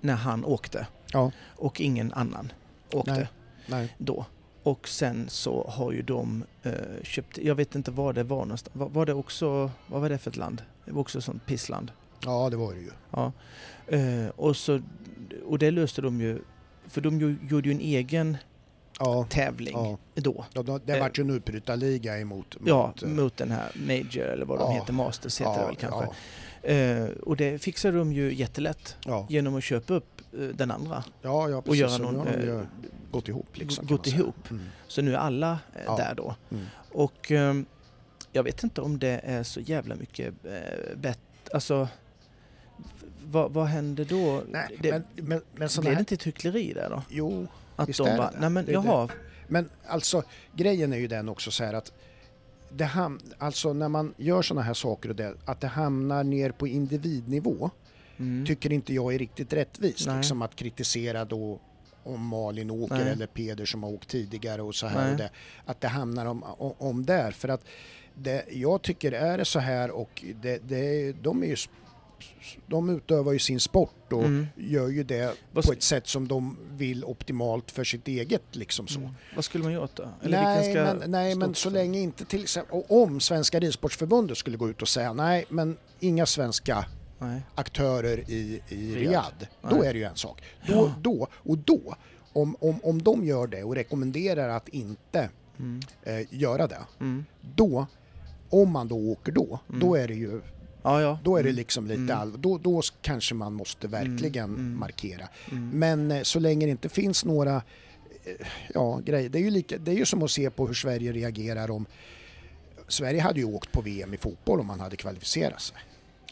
S2: när han åkte.
S3: Ja.
S2: Och ingen annan åkte
S3: Nej. Nej.
S2: då. Och sen så har ju de eh, köpt, jag vet inte var det var någonstans, var, var det också, vad var det för ett land? Det var också ett sånt pissland.
S3: Ja, det var det ju.
S2: Ja. Eh, och, så, och det löste de ju, för de ju, gjorde ju en egen
S3: Ja.
S2: tävling
S3: ja.
S2: då.
S3: ja då- det
S2: Eh.
S3: vart ju en utbrytarliga emot...
S2: Ja,
S3: eh,
S2: mot den här Major eller vad de
S3: Ja.
S2: heter, Masters heter
S3: ja,
S2: det väl kanske.
S3: Ja,
S2: Eh, och det fixar de ju jättelätt
S3: ja.
S2: genom att köpa upp eh, den andra
S3: ja, ja
S2: och
S3: precis.
S2: göra
S3: Så
S2: någon...
S3: nu har de
S2: Eh,
S3: ju gått ihop liksom. kan
S2: gått
S3: man säga.
S2: ihop.
S3: Mm.
S2: Så nu är alla eh,
S3: Ja.
S2: där då.
S3: Mm.
S2: Och eh, jag vet inte om det är så jävla mycket eh, bättre. Alltså, v- vad, vad händer då?
S3: Nej,
S2: det,
S3: men, men, men sådana
S2: blir det
S3: här...
S2: inte ett hyckleri där då?
S3: Jo,
S2: Att
S3: Visst
S2: de
S3: är det
S2: bara,
S3: det.
S2: nej men
S3: Det är
S2: jaha,
S3: Men alltså grejen är ju den också så här att det ham- alltså när man gör sådana här saker och det, att det hamnar ner på individnivå
S2: mm,
S3: tycker inte jag är riktigt rättvist.
S2: Nej.
S3: Liksom att kritisera då om Malin åker
S2: Nej.
S3: eller Peder som har åkt tidigare och så här.
S2: Nej.
S3: Och det, att det hamnar om, om, om där. För att det, jag tycker är det så här och det, det, de är ju s- s- de utövar ju sin sport och
S2: Mm.
S3: gör ju det
S2: Vad
S3: på
S2: s-
S3: ett sätt som de vill optimalt för sitt eget liksom så.
S2: Mm. vad skulle man gjort då? Eller
S3: nej,
S2: vilken ska
S3: men, nej
S2: stå
S3: men
S2: upp
S3: så
S2: för-
S3: länge inte till exempel, och om Svenska Ridsportsförbundet skulle gå ut och säga nej men inga svenska
S2: Nej.
S3: aktörer i, i
S2: Riyadh.
S3: Riyadh, då
S2: Nej.
S3: är det ju en sak. Då, då och då, om, om, om de gör det och rekommenderar att inte
S2: Mm.
S3: eh, göra det,
S2: Mm.
S3: då, om man då åker då, då är det ju
S2: Ja, ja.
S3: då är det
S2: Mm. Mm.
S3: liksom lite allvar. Då, då s- kanske man måste verkligen markera. Men eh, så länge det inte finns några eh, ja, grejer. Det är, ju lika, det är ju som att se på hur Sverige reagerar om... Sverige hade ju åkt på VM i fotboll om man hade kvalificerat sig.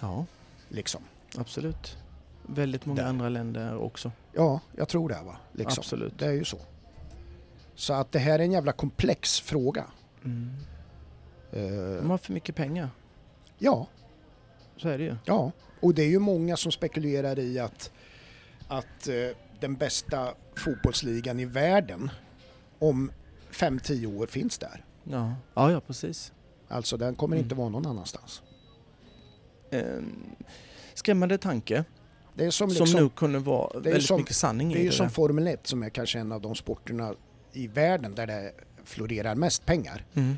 S2: Ja,
S3: Liksom.
S2: absolut. Väldigt många
S3: Där.
S2: andra länder också.
S3: Ja, jag tror det. Va? Liksom.
S2: Absolut.
S3: Det är ju så. Så att det här är en jävla komplex fråga.
S2: Mm.
S3: Eh,
S2: De har för mycket pengar.
S3: ja,
S2: Så är det ju.
S3: Ja, och det är ju många som spekulerar i att, att eh, den bästa fotbollsligan i världen om 5-10 år finns där.
S2: Ja, ja, ja precis.
S3: Alltså den kommer
S2: Mm.
S3: inte vara någon annanstans.
S2: Eh, skrämmande tanke
S3: Det är som,
S2: som
S3: liksom,
S2: nu kunde vara
S3: det är
S2: väldigt
S3: som-
S2: mycket sanning
S3: det är
S2: i
S3: ju
S2: det.
S3: som
S2: där.
S3: Formel 1 som är kanske en av de sporterna i världen där det florerar mest pengar.
S2: Mm.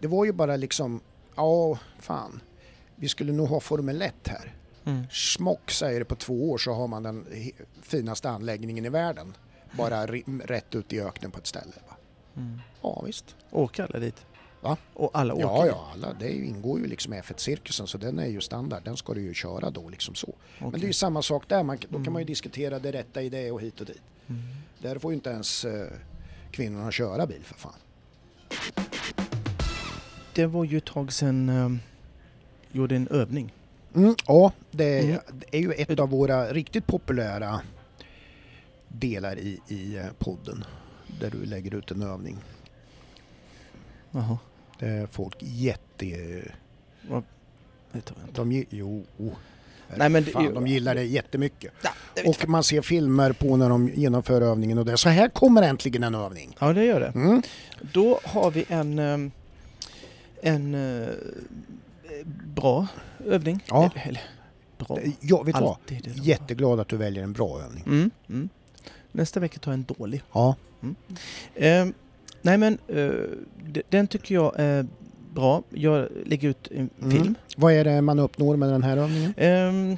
S3: Det var ju bara liksom, ja fan, vi skulle nog ha Formel 1 här.
S2: Mm.
S3: Schmock säger det på två år så har man den he- finaste anläggningen i världen. Bara ri- rätt ut i öknen på ett ställe. Va?
S2: Mm.
S3: Ja visst.
S2: Åker alla dit?
S3: Va?
S2: Och alla åker
S3: Ja,
S2: dit?
S3: ja, alla, det är ju- ingår ju liksom i F1-cirkusen så den är ju standard. Den ska du ju köra då liksom så. Men
S2: Okej.
S3: det är ju samma sak där. Man, då
S2: Mm.
S3: kan man ju diskutera det rätta i det och hit och dit.
S2: Mm.
S3: Där får ju inte ens eh, kvinnorna köra bil för fan.
S2: Det var ju ett tag sedan eh, gjorde en övning.
S3: Mm, ja, det är,
S2: Mm.
S3: det är ju ett av våra riktigt populära delar i, i eh, podden. Där du lägger ut en övning.
S2: Jaha,
S3: Det är folk jätte...
S2: det tar jag inte.
S3: De, gi- jo, oh,
S2: Nej, men det-
S3: fan, de gillar det jättemycket.
S2: Ja, det vet
S3: Och man ser filmer på när de genomför övningen och det. Så här kommer äntligen en övning.
S2: jag. Ja, det gör det.
S3: Mm.
S2: Då har vi en, eh, en eh, bra övning.
S3: Ja.
S2: Eller- Eller, bra.
S3: Ja, vet du vad?
S2: Alltid är det bra.
S3: Jätteglad att du väljer en bra övning.
S2: Mm, mm. Nästa vecka tar jag en dålig.
S3: Ja.
S2: Eh, nej men, eh, d- den tycker jag är bra. Jag lägger ut en
S3: Mm.
S2: film.
S3: Vad är det man uppnår med den här övningen?
S2: Ehm,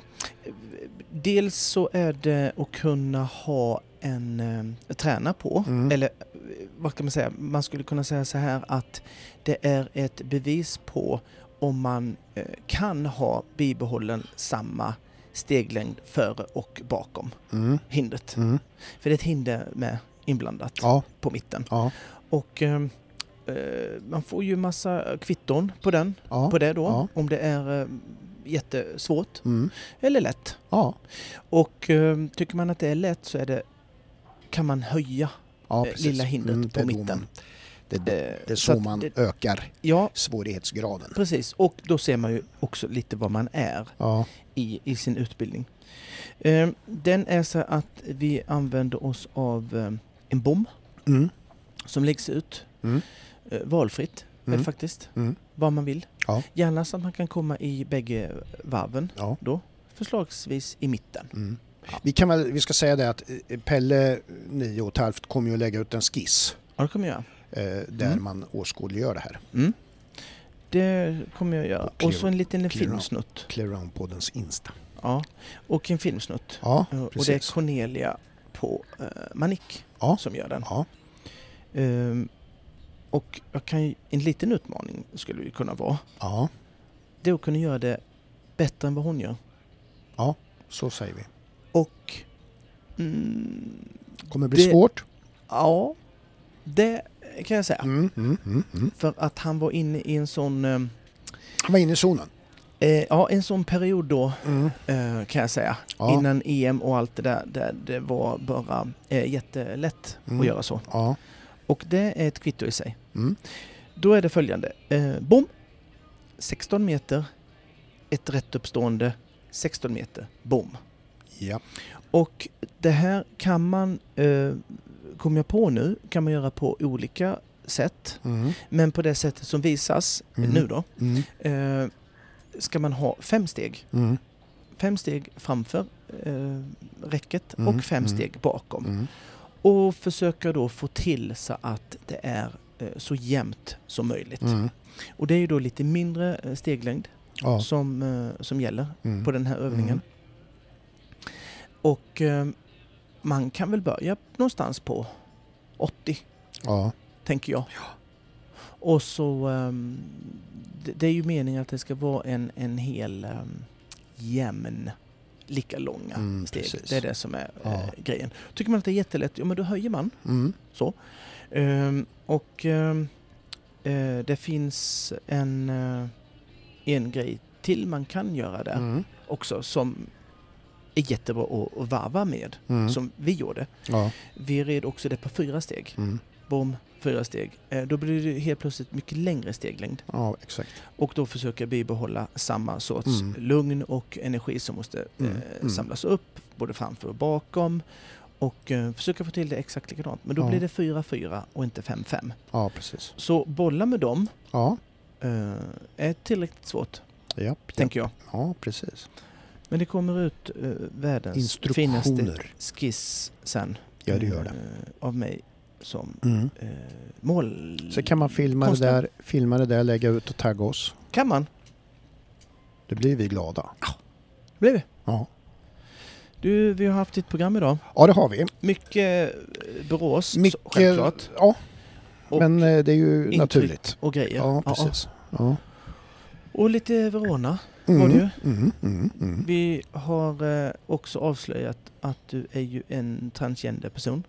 S2: dels så är det att kunna ha en ehm, träna på.
S3: Mm.
S2: Eller eh, vad kan man säga? Man skulle kunna säga så här att det är ett bevis på om man eh, kan ha bibehållen samma steglängd före och bakom
S3: Mm.
S2: hindret.
S3: Mm.
S2: För det är ett hinder med inblandat
S3: Ja,
S2: på mitten.
S3: ja,
S2: Och ehm, eh, man får ju massa kvitton på den,
S3: ja.
S2: på det då,
S3: Ja.
S2: om det är eh, jättesvårt
S3: Mm.
S2: eller lätt.
S3: Ja,
S2: Och eh, tycker man att det är lätt så är det, kan man höja.
S3: ja,
S2: Eh,
S3: precis. Mm,
S2: lilla hindret
S3: det är
S2: på
S3: då
S2: mitten.
S3: Man, det, är då- det,
S2: eh,
S3: är
S2: så
S3: så,
S2: att
S3: man
S2: det-
S3: ökar
S2: Ja,
S3: svårighetsgraden.
S2: precis. Och då ser man ju också lite vad man är
S3: Ja.
S2: i, i sin utbildning. Eh, den är så att vi använder oss av eh, en bom
S3: Mm.
S2: som läggs ut
S3: Mm.
S2: eh, valfritt är det
S3: Mm.
S2: faktiskt,
S3: Mm.
S2: vad man vill.
S3: Ja.
S2: Gärna så att man kan komma i bägge varven
S3: Ja.
S2: då, förslagsvis i mitten.
S3: Mm.
S2: Ja.
S3: Vi, kan väl, vi ska säga det att eh, Pelle, nio och ett halvt, kommer ju att lägga ut en skiss
S2: Ja, det kommer jag göra.
S3: eh, där
S2: Mm.
S3: man åskådliggör det här.
S2: Mm. Det kommer jag göra.
S3: Och clear-
S2: Och så en liten
S3: clear out.
S2: filmsnutt.
S3: Clearown-poddens Insta.
S2: Ja, och en filmsnutt.
S3: Ja,
S2: Eh, Och det är
S3: precis.
S2: Cornelia på eh, Manick
S3: Ja.
S2: som gör den.
S3: Ja.
S2: Ehm, och jag kan ju, en liten utmaning skulle ju kunna vara,
S3: ja,
S2: det är att kunna göra det bättre än vad hon gör.
S3: så säger vi.
S2: Och mm,
S3: kommer bli
S2: Det-
S3: svårt.
S2: ja, det kan jag säga.
S3: Mm, mm, mm, mm.
S2: För att han var inne i en sån, eh,
S3: Han var inne i zonen.
S2: eh, ja en sån period då
S3: Mm.
S2: eh, kan jag säga,
S3: Ja.
S2: innan EM och allt det där, där det var bara eh, jättelätt
S3: Mm.
S2: att göra så.
S3: Ja.
S2: Och det är ett kvitto i sig.
S3: Mm.
S2: Då är det följande. Eh, bom! 16 meter, ett rätt uppstående, 16 meter, bom.
S3: Ja.
S2: Och det här kan man, eh, kom jag på nu, kan man göra på olika sätt.
S3: Mm.
S2: Men på det sättet som visas
S3: Mm.
S2: nu då,
S3: Mm.
S2: eh, ska man ha fem steg.
S3: Mm.
S2: Fem steg framför eh, räcket
S3: Mm,
S2: och fem
S3: mm.
S2: steg bakom.
S3: Mm.
S2: Och försöka då få till så att det är eh, så jämnt som möjligt.
S3: Mm.
S2: Och det är ju då lite mindre eh, steglängd
S3: Ja.
S2: som, eh, som gäller
S3: Mm.
S2: på den här övningen. Och eh, man kan väl börja någonstans på 80,
S3: Ja.
S2: tänker jag. Och så, eh, det, det är ju meningen att det ska vara en, en hel eh, jämn, lika långa
S3: Mm,
S2: steg.
S3: precis.
S2: Det är det som är eh,
S3: Ja.
S2: grejen. Tycker man att det är jättelätt, ja men då höjer man.
S3: Mm.
S2: Ehm, och ehm, eh, det finns en, eh, en grej till man kan göra där
S3: Mm.
S2: också som är jättebra att, att varva med,
S3: Mm.
S2: som vi gjorde.
S3: Ja.
S2: Vi red också det på fyra steg.
S3: Mm.
S2: bom, fyra steg. Eh, Då blir det helt plötsligt mycket längre steglängd.
S3: Ja, exakt.
S2: Och då försöka bibehålla samma sorts
S3: Mm.
S2: lugn och energi som måste
S3: Mm,
S2: eh,
S3: mm.
S2: samlas upp, både framför och bakom. Och eh, försöka få till det exakt likadant. Men då
S3: Ja.
S2: blir det 4-4 och inte 5-5.
S3: Ja, precis.
S2: Så bolla med dem
S3: Ja,
S2: eh, är tillräckligt svårt,
S3: japp, japp.
S2: tänker jag.
S3: ja precis.
S2: Men det kommer ut eh, världens finaste
S3: Instruktioner.
S2: skiss sen.
S3: Ja, det gör det.
S2: Eh, av mig som
S3: Mm.
S2: eh, mål...
S3: Så kan man filma det,
S2: konstnär.
S3: där, filma det där, lägga ut och tagga oss.
S2: Kan man?
S3: Då blir vi glada.
S2: Blir vi.
S3: Ja,
S2: Du, vi har haft ett program idag.
S3: ja det har vi.
S2: Mycket eh, Borås, så-
S3: Mycket,
S2: självklart.
S3: Ja,
S2: Och
S3: men eh, det är ju
S2: intryck.
S3: naturligt.
S2: Och grejer.
S3: Ja, precis. Ja.
S2: Och lite Verona.
S3: Mm,
S2: Var det
S3: Mm, mm, mm.
S2: Vi har eh, också avslöjat att du är ju en transgender person.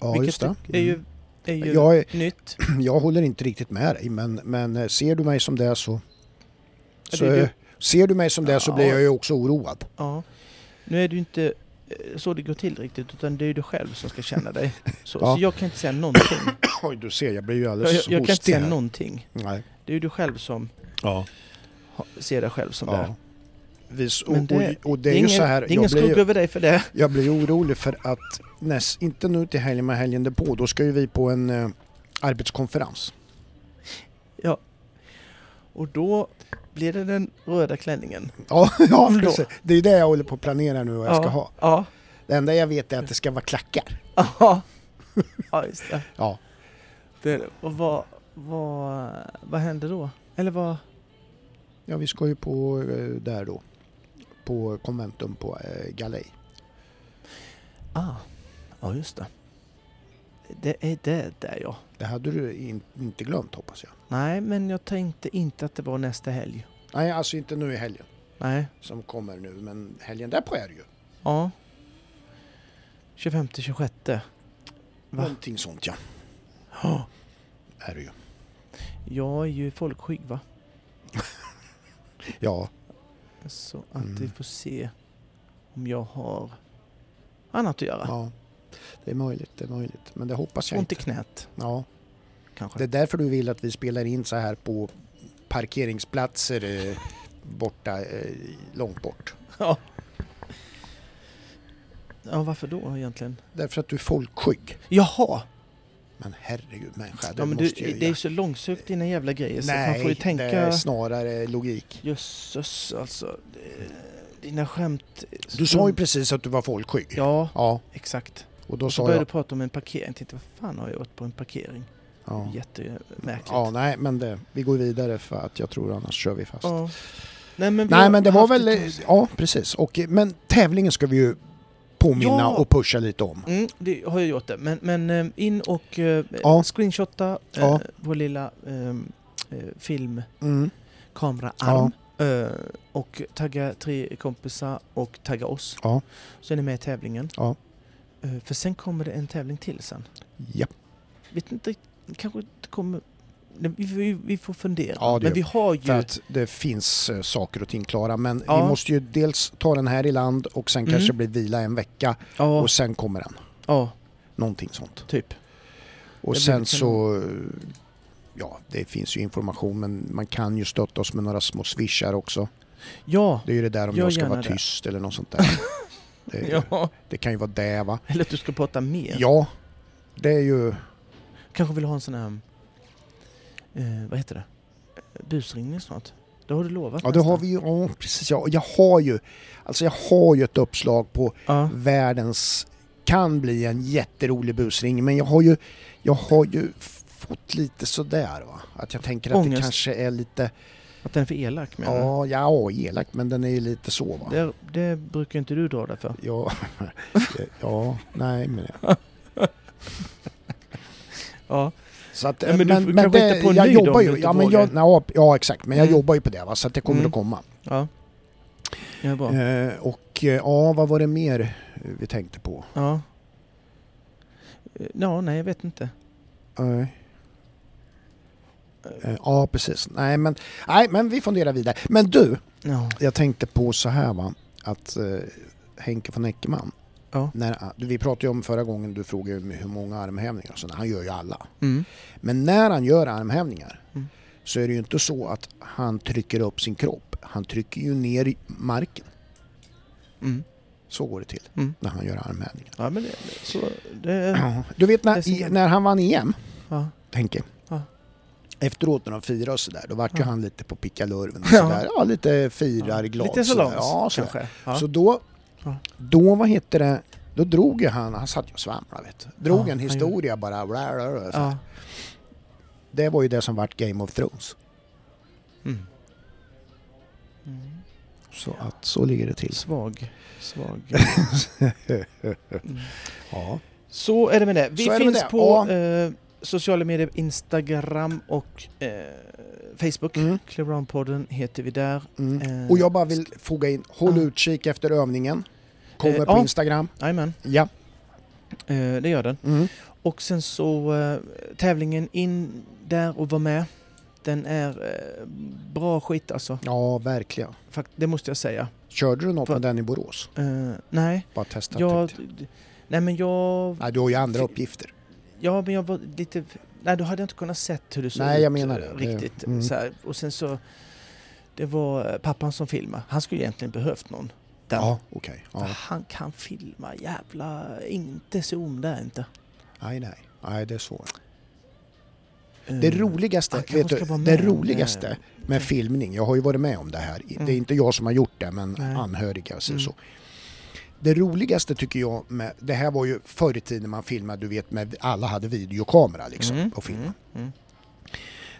S3: Ja, just det. Mm.
S2: är ju, är ju
S3: Jag, är-
S2: nytt.
S3: jag håller inte riktigt med dig, men, men eh, ser du mig som det så...
S2: Ja,
S3: så
S2: det är du.
S3: eh, Ser du mig som det så
S2: Ja.
S3: blir jag ju också oroad.
S2: Ja. Nu är det ju inte eh, så det går till riktigt, utan det är ju du själv som ska känna dig. Så,
S3: Ja.
S2: så jag kan inte säga någonting.
S3: Oj, du ser, jag blir ju
S2: Jag, jag,
S3: alldeles
S2: jag kan inte
S3: hostig
S2: säga
S3: här.
S2: någonting.
S3: Nej.
S2: Det är ju du själv som
S3: Ja.
S2: ha- ser dig själv som det är.
S3: ja. Vis, och,
S2: Men
S3: och,
S2: det-
S3: och det är
S2: ingen,
S3: ju så här,
S2: det är ingen
S3: jag, blir
S2: skugga
S3: ju,
S2: över dig för det.
S3: jag blir ju orolig för att, näst, inte nu till helgen men helgen därpå, då ska ju vi på en eh, arbetskonferens.
S2: Ja. Och då blir det den röda klänningen.
S3: Ja, ja
S2: Då.
S3: precis. det är ju det jag håller på att planera nu vad jag
S2: ja.
S3: ska ha.
S2: Ja.
S3: Det enda jag vet är att det ska vara klackar.
S2: Ja, ja just det.
S3: Ja.
S2: det. Och vad, vad, vad händer då? Eller vad?
S3: Ja, vi ska ju på eh, där då. På konventum på eh, Galej.
S2: Ah, ja just det. Det är det där ja.
S3: Det hade du in, inte glömt hoppas jag.
S2: Nej, men jag tänkte inte att det var nästa helg.
S3: Nej, alltså inte nu i helgen
S2: Nej,
S3: som kommer nu, men helgen därpå är det ju.
S2: ja. 25-26. Va?
S3: Någonting sånt ja,
S2: Ja,
S3: är det ju.
S2: jag är ju folkskygg va?
S3: Ja,
S2: Så att
S3: Mm.
S2: vi får se om jag har annat att göra.
S3: ja. Det är möjligt, det är möjligt. Men det hoppas jag
S2: Ont
S3: inte.
S2: i knät
S3: Ja.
S2: kanske.
S3: Det är därför du vill att vi spelar in så här på parkeringsplatser eh, borta, eh, långt bort.
S2: Ja. ja, varför då egentligen?
S3: Därför att du är folkskygg.
S2: Jaha!
S3: Men herregud människa, det
S2: Ja, men du,
S3: måste ju...
S2: det är så långsökt dina jävla grejer så
S3: Nej,
S2: man får ju
S3: det är
S2: tänka...
S3: snarare logik.
S2: Jösses alltså. Det- Dina skämt...
S3: Du sa ju precis att du var folkskygg.
S2: Ja,
S3: Ja,
S2: exakt.
S3: och då
S2: Så
S3: sa
S2: började du
S3: jag...
S2: prata om en parkering. Jag tänkte, vad fan har jag gjort på en parkering?
S3: Ja.
S2: Jättemärkligt.
S3: ja, nej men det, vi går vidare för att jag tror annars kör vi fast.
S2: Ja. Nej, men, vi har
S3: Nej men det var
S2: haft
S3: väl,
S2: ett-
S3: ja precis. Och, men tävlingen ska vi ju påminna
S2: Ja.
S3: och pusha lite om.
S2: Mm, det har jag gjort det. Men, men eh, in och eh,
S3: Ja.
S2: screenshotta eh,
S3: Ja.
S2: vår lilla eh, eh, film...
S3: Mm.
S2: kameraarm. Eh, och tagga tre kompisar och tagga oss.
S3: Ja.
S2: Så är ni med i tävlingen.
S3: Ja.
S2: Eh, för sen kommer det en tävling till sen.
S3: Ja.
S2: Vet inte, kanske det kommer... Nej, Vi, vi, vi får fundera.
S3: Ja, det
S2: Men
S3: gör
S2: vi har ju...
S3: För att det finns eh, saker och ting klara. Men
S2: Ja.
S3: vi måste ju dels ta den här i land och sen
S2: Mm.
S3: kanske bli vila en vecka
S2: ja,
S3: och sen kommer den.
S2: ja,
S3: Någonting sånt.
S2: typ.
S3: Och
S2: Det blir
S3: sen
S2: lite
S3: så, eh, ja det finns ju information men man kan ju stötta oss med några små swishar också.
S2: Ja.
S3: Det är ju det där om
S2: Gör
S3: jag ska
S2: gärna
S3: vara
S2: det.
S3: tyst eller något sånt där. Det, är-
S2: ja.
S3: det kan ju vara det va.
S2: Eller att du ska prata mer.
S3: Ja, det är ju...
S2: Kanske vill ha en sån här... eh, vad heter det? Eh, Busringning snart. Det har du lovat
S3: Ja, det har
S2: nästan.
S3: vi ju. Ja, precis. Ja, jag har ju... Alltså jag har ju ett uppslag på
S2: Ja.
S3: världens... Kan bli en jätterolig busring, men jag har ju... Jag har ju f- fått lite sådär va. Att jag tänker att det
S2: Ångest.
S3: kanske är lite...
S2: Att den är för elak menar du?
S3: Ja, ja, elakt, men den är ju lite så va.
S2: Det, det brukar inte du dra dig för.
S3: Ja, ja, nej men...
S2: Ja.
S3: Så att,
S2: Ja, men du får kanske hitta på en
S3: jag
S2: ny då,
S3: jobbar
S2: om
S3: ju,
S2: du inte
S3: ja, men
S2: vågar.
S3: jag, ja, ja exakt, men jag
S2: Mm.
S3: jobbar ju på det va, så att det kommer
S2: Mm.
S3: att komma.
S2: Ja. Ja, bra.
S3: Eh, och eh, ja, vad var det mer eh, vi tänkte på?
S2: Ja. Eh, Ja, nej, jag vet inte.
S3: Nej. Eh, Ja, precis. Nej men, nej, men vi funderar vidare. Men du,
S2: Ja.
S3: jag tänkte på så här va, att eh, Henke von Eckermann,
S2: Ja.
S3: När, vi pratade ju om förra gången du frågade ju hur många armhävningar och sådär. Han gör ju alla.
S2: Mm.
S3: Men när han gör armhävningar
S2: Mm.
S3: så är det ju inte så att han trycker upp sin kropp. Han trycker ju ner i marken.
S2: Mm.
S3: Så går det till
S2: Mm.
S3: när han gör armhävningar.
S2: Ja, men det, så det...
S3: Du vet
S2: Det är
S3: när,
S2: så
S3: i,
S2: jävla-
S3: när han vann E EM,
S2: Ja.
S3: tänker
S2: Ja.
S3: Efteråt när de firade och sådär, då vart ju
S2: Ja.
S3: han lite på pickalurven och
S2: Ja.
S3: sådär. Ja, lite firar, glad.
S2: Lite så
S3: sådär.
S2: långt
S3: Ja, sådär.
S2: kanske. Ja.
S3: Så då,
S2: Ja.
S3: då vad heter det, då drog ju han, han satt ju och svamlade vet du. Drog
S2: Ja,
S3: en
S2: han gjorde.
S3: historia bara. Bla, bla, bla, så.
S2: ja.
S3: Det var ju det som vart Game of Thrones.
S2: Mm. Mm.
S3: Så att så ligger det till.
S2: Svag. Svag. Mm.
S3: Ja.
S2: Så är det med det. Vi
S3: Så är det med
S2: finns
S3: det.
S2: på
S3: Ja.
S2: eh, sociala medier, Instagram och eh, Facebook.
S3: Mm.
S2: Clearound-podden heter vi där.
S3: Mm.
S2: Eh,
S3: Och jag bara vill foga in, håll
S2: ja.
S3: utkik efter övningen. Kommer
S2: Eh,
S3: på
S2: ja.
S3: Instagram.
S2: Jajamän,
S3: Ja.
S2: eh, det gör den.
S3: Mm.
S2: Och sen så eh, tävlingen in där och var med. Den är eh, bra skit alltså.
S3: Ja, verkligen.
S2: Fakt, det måste jag säga.
S3: Körde du något
S2: För-
S3: med den i Borås?
S2: Eh, nej,
S3: Bara testa. typ.
S2: jag...
S3: tyckte
S2: Nej men jag...
S3: jag. Nej, du har ju andra
S2: Fy-
S3: uppgifter.
S2: Ja, men jag var lite... Nej, då hade jag inte kunnat sett hur det såg
S3: Nej, jag
S2: ut
S3: menar
S2: eh,
S3: det. Det-
S2: riktigt.
S3: mm.
S2: Så här. Och sen så... Det var eh, pappan som filmade. Han skulle egentligen behövt någon. Där.
S3: Ja, okej.
S2: För
S3: Ja.
S2: Han kan filma jävla... Inte zoom där inte.
S3: Nej, nej. Nej, det är svårt.
S2: Eh,
S3: Det roligaste,
S2: han kanske
S3: vet
S2: ska vara
S3: du, det
S2: med,
S3: roligaste
S2: eh,
S3: med filmning, jag har ju varit med om det här, det
S2: Mm.
S3: är inte jag som har gjort det men
S2: Nej.
S3: anhöriga och
S2: Mm.
S3: så. Det roligaste tycker jag med, det här var ju förr i tiden när man filmade, du vet, med, alla hade videokamera liksom
S2: mm,
S3: på film.
S2: mm, mm.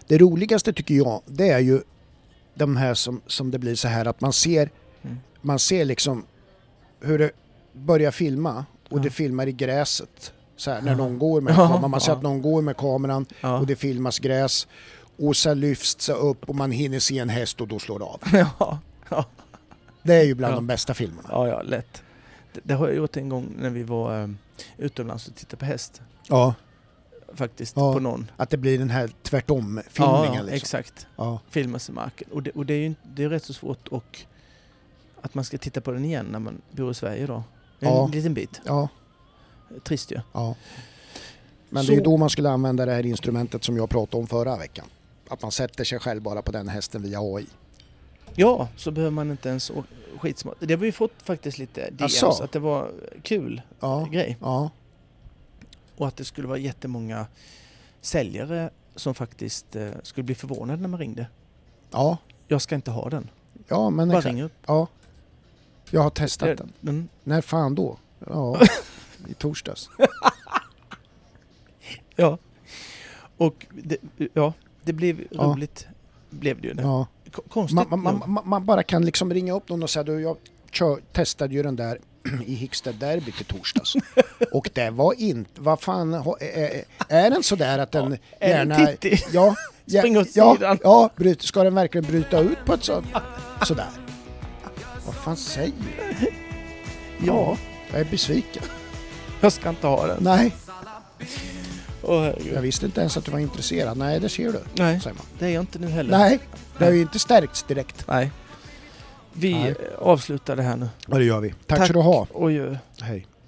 S3: Det roligaste tycker jag, det är ju de här som, som det blir så här att man ser,
S2: Mm.
S3: man ser liksom hur det börjar filma och
S2: Ja.
S3: det filmar i gräset. Så här, när
S2: Ja.
S3: någon går med
S2: Ja,
S3: kameran, man ser
S2: ja.
S3: att någon går med kameran
S2: Ja.
S3: och det filmas gräs och sen lyfts det upp och man hinner se en häst och då slår det av.
S2: ja, ja,
S3: Det är ju bland
S2: Ja.
S3: de bästa filmerna.
S2: ja, ja, lätt. Det, det har jag gjort en gång när vi var eh, utomlands och tittade på häst.
S3: Ja.
S2: Faktiskt,
S3: Ja.
S2: på någon.
S3: Att det blir den här
S2: Ja,
S3: tvärtom-filmningen.
S2: ja,
S3: liksom.
S2: exakt.
S3: Ja.
S2: filmas i marken. Och det, och det är ju inte- det är rätt så svårt och att man ska titta på den igen när man bor i Sverige då. Det är
S3: Ja.
S2: En liten bit.
S3: ja,
S2: Trist ju.
S3: ja. Men
S2: Så-
S3: det är ju då man skulle använda det här instrumentet som jag pratade om förra veckan. Att man sätter sig själv bara på den hästen via AI.
S2: Ja, så behöver man inte ens å- skitsmart. Det har vi fått faktiskt lite DMs
S3: Asså?
S2: att det var kul
S3: Ja,
S2: grej
S3: ja,
S2: och att det skulle vara jättemånga säljare som faktiskt eh, skulle bli förvånade när man ringde.
S3: ja,
S2: Jag ska inte ha den.
S3: ja men
S2: Bara
S3: exakt.
S2: ring upp.
S3: Ja. Jag har testat den.
S2: Mm.
S3: När fan då? Ja, i torsdags.
S2: Ja. Och det, ja, det blev
S3: Ja.
S2: roligt. Blev det ju. Det.
S3: Ja.
S2: Ko- Konstigt
S3: Man, man,
S2: nog.
S3: man, man- man bara kan liksom ringa upp någon och säga du jag kör, testade ju den där i Hickstedderbyt i torsdags. och det var inte, vad fan, ha- är, är- är den sådär att den
S2: är den
S3: gärna...
S2: tittig?
S3: Ja, ja,
S2: Spring åt
S3: ja,
S2: sidan.
S3: ja bryt, ska den verkligen bryta ut på ett sånt, sådär? Vad fan säger du?
S2: Ja,
S3: Jag är besviken.
S2: jag ska inte ha den.
S3: Nej,
S2: Åh
S3: jag
S2: herregud.
S3: visste inte ens att du var intresserad. Nej, det ser du,
S2: Nej,
S3: säger man.
S2: det är jag inte nu heller.
S3: Nej, det har ju inte stärkts direkt.
S2: Nej. Vi
S3: Nej.
S2: eh, avslutar det här nu.
S3: Ja, det gör vi. Tack, Tack. ska du ha.
S2: Oj, oj.
S3: Hej.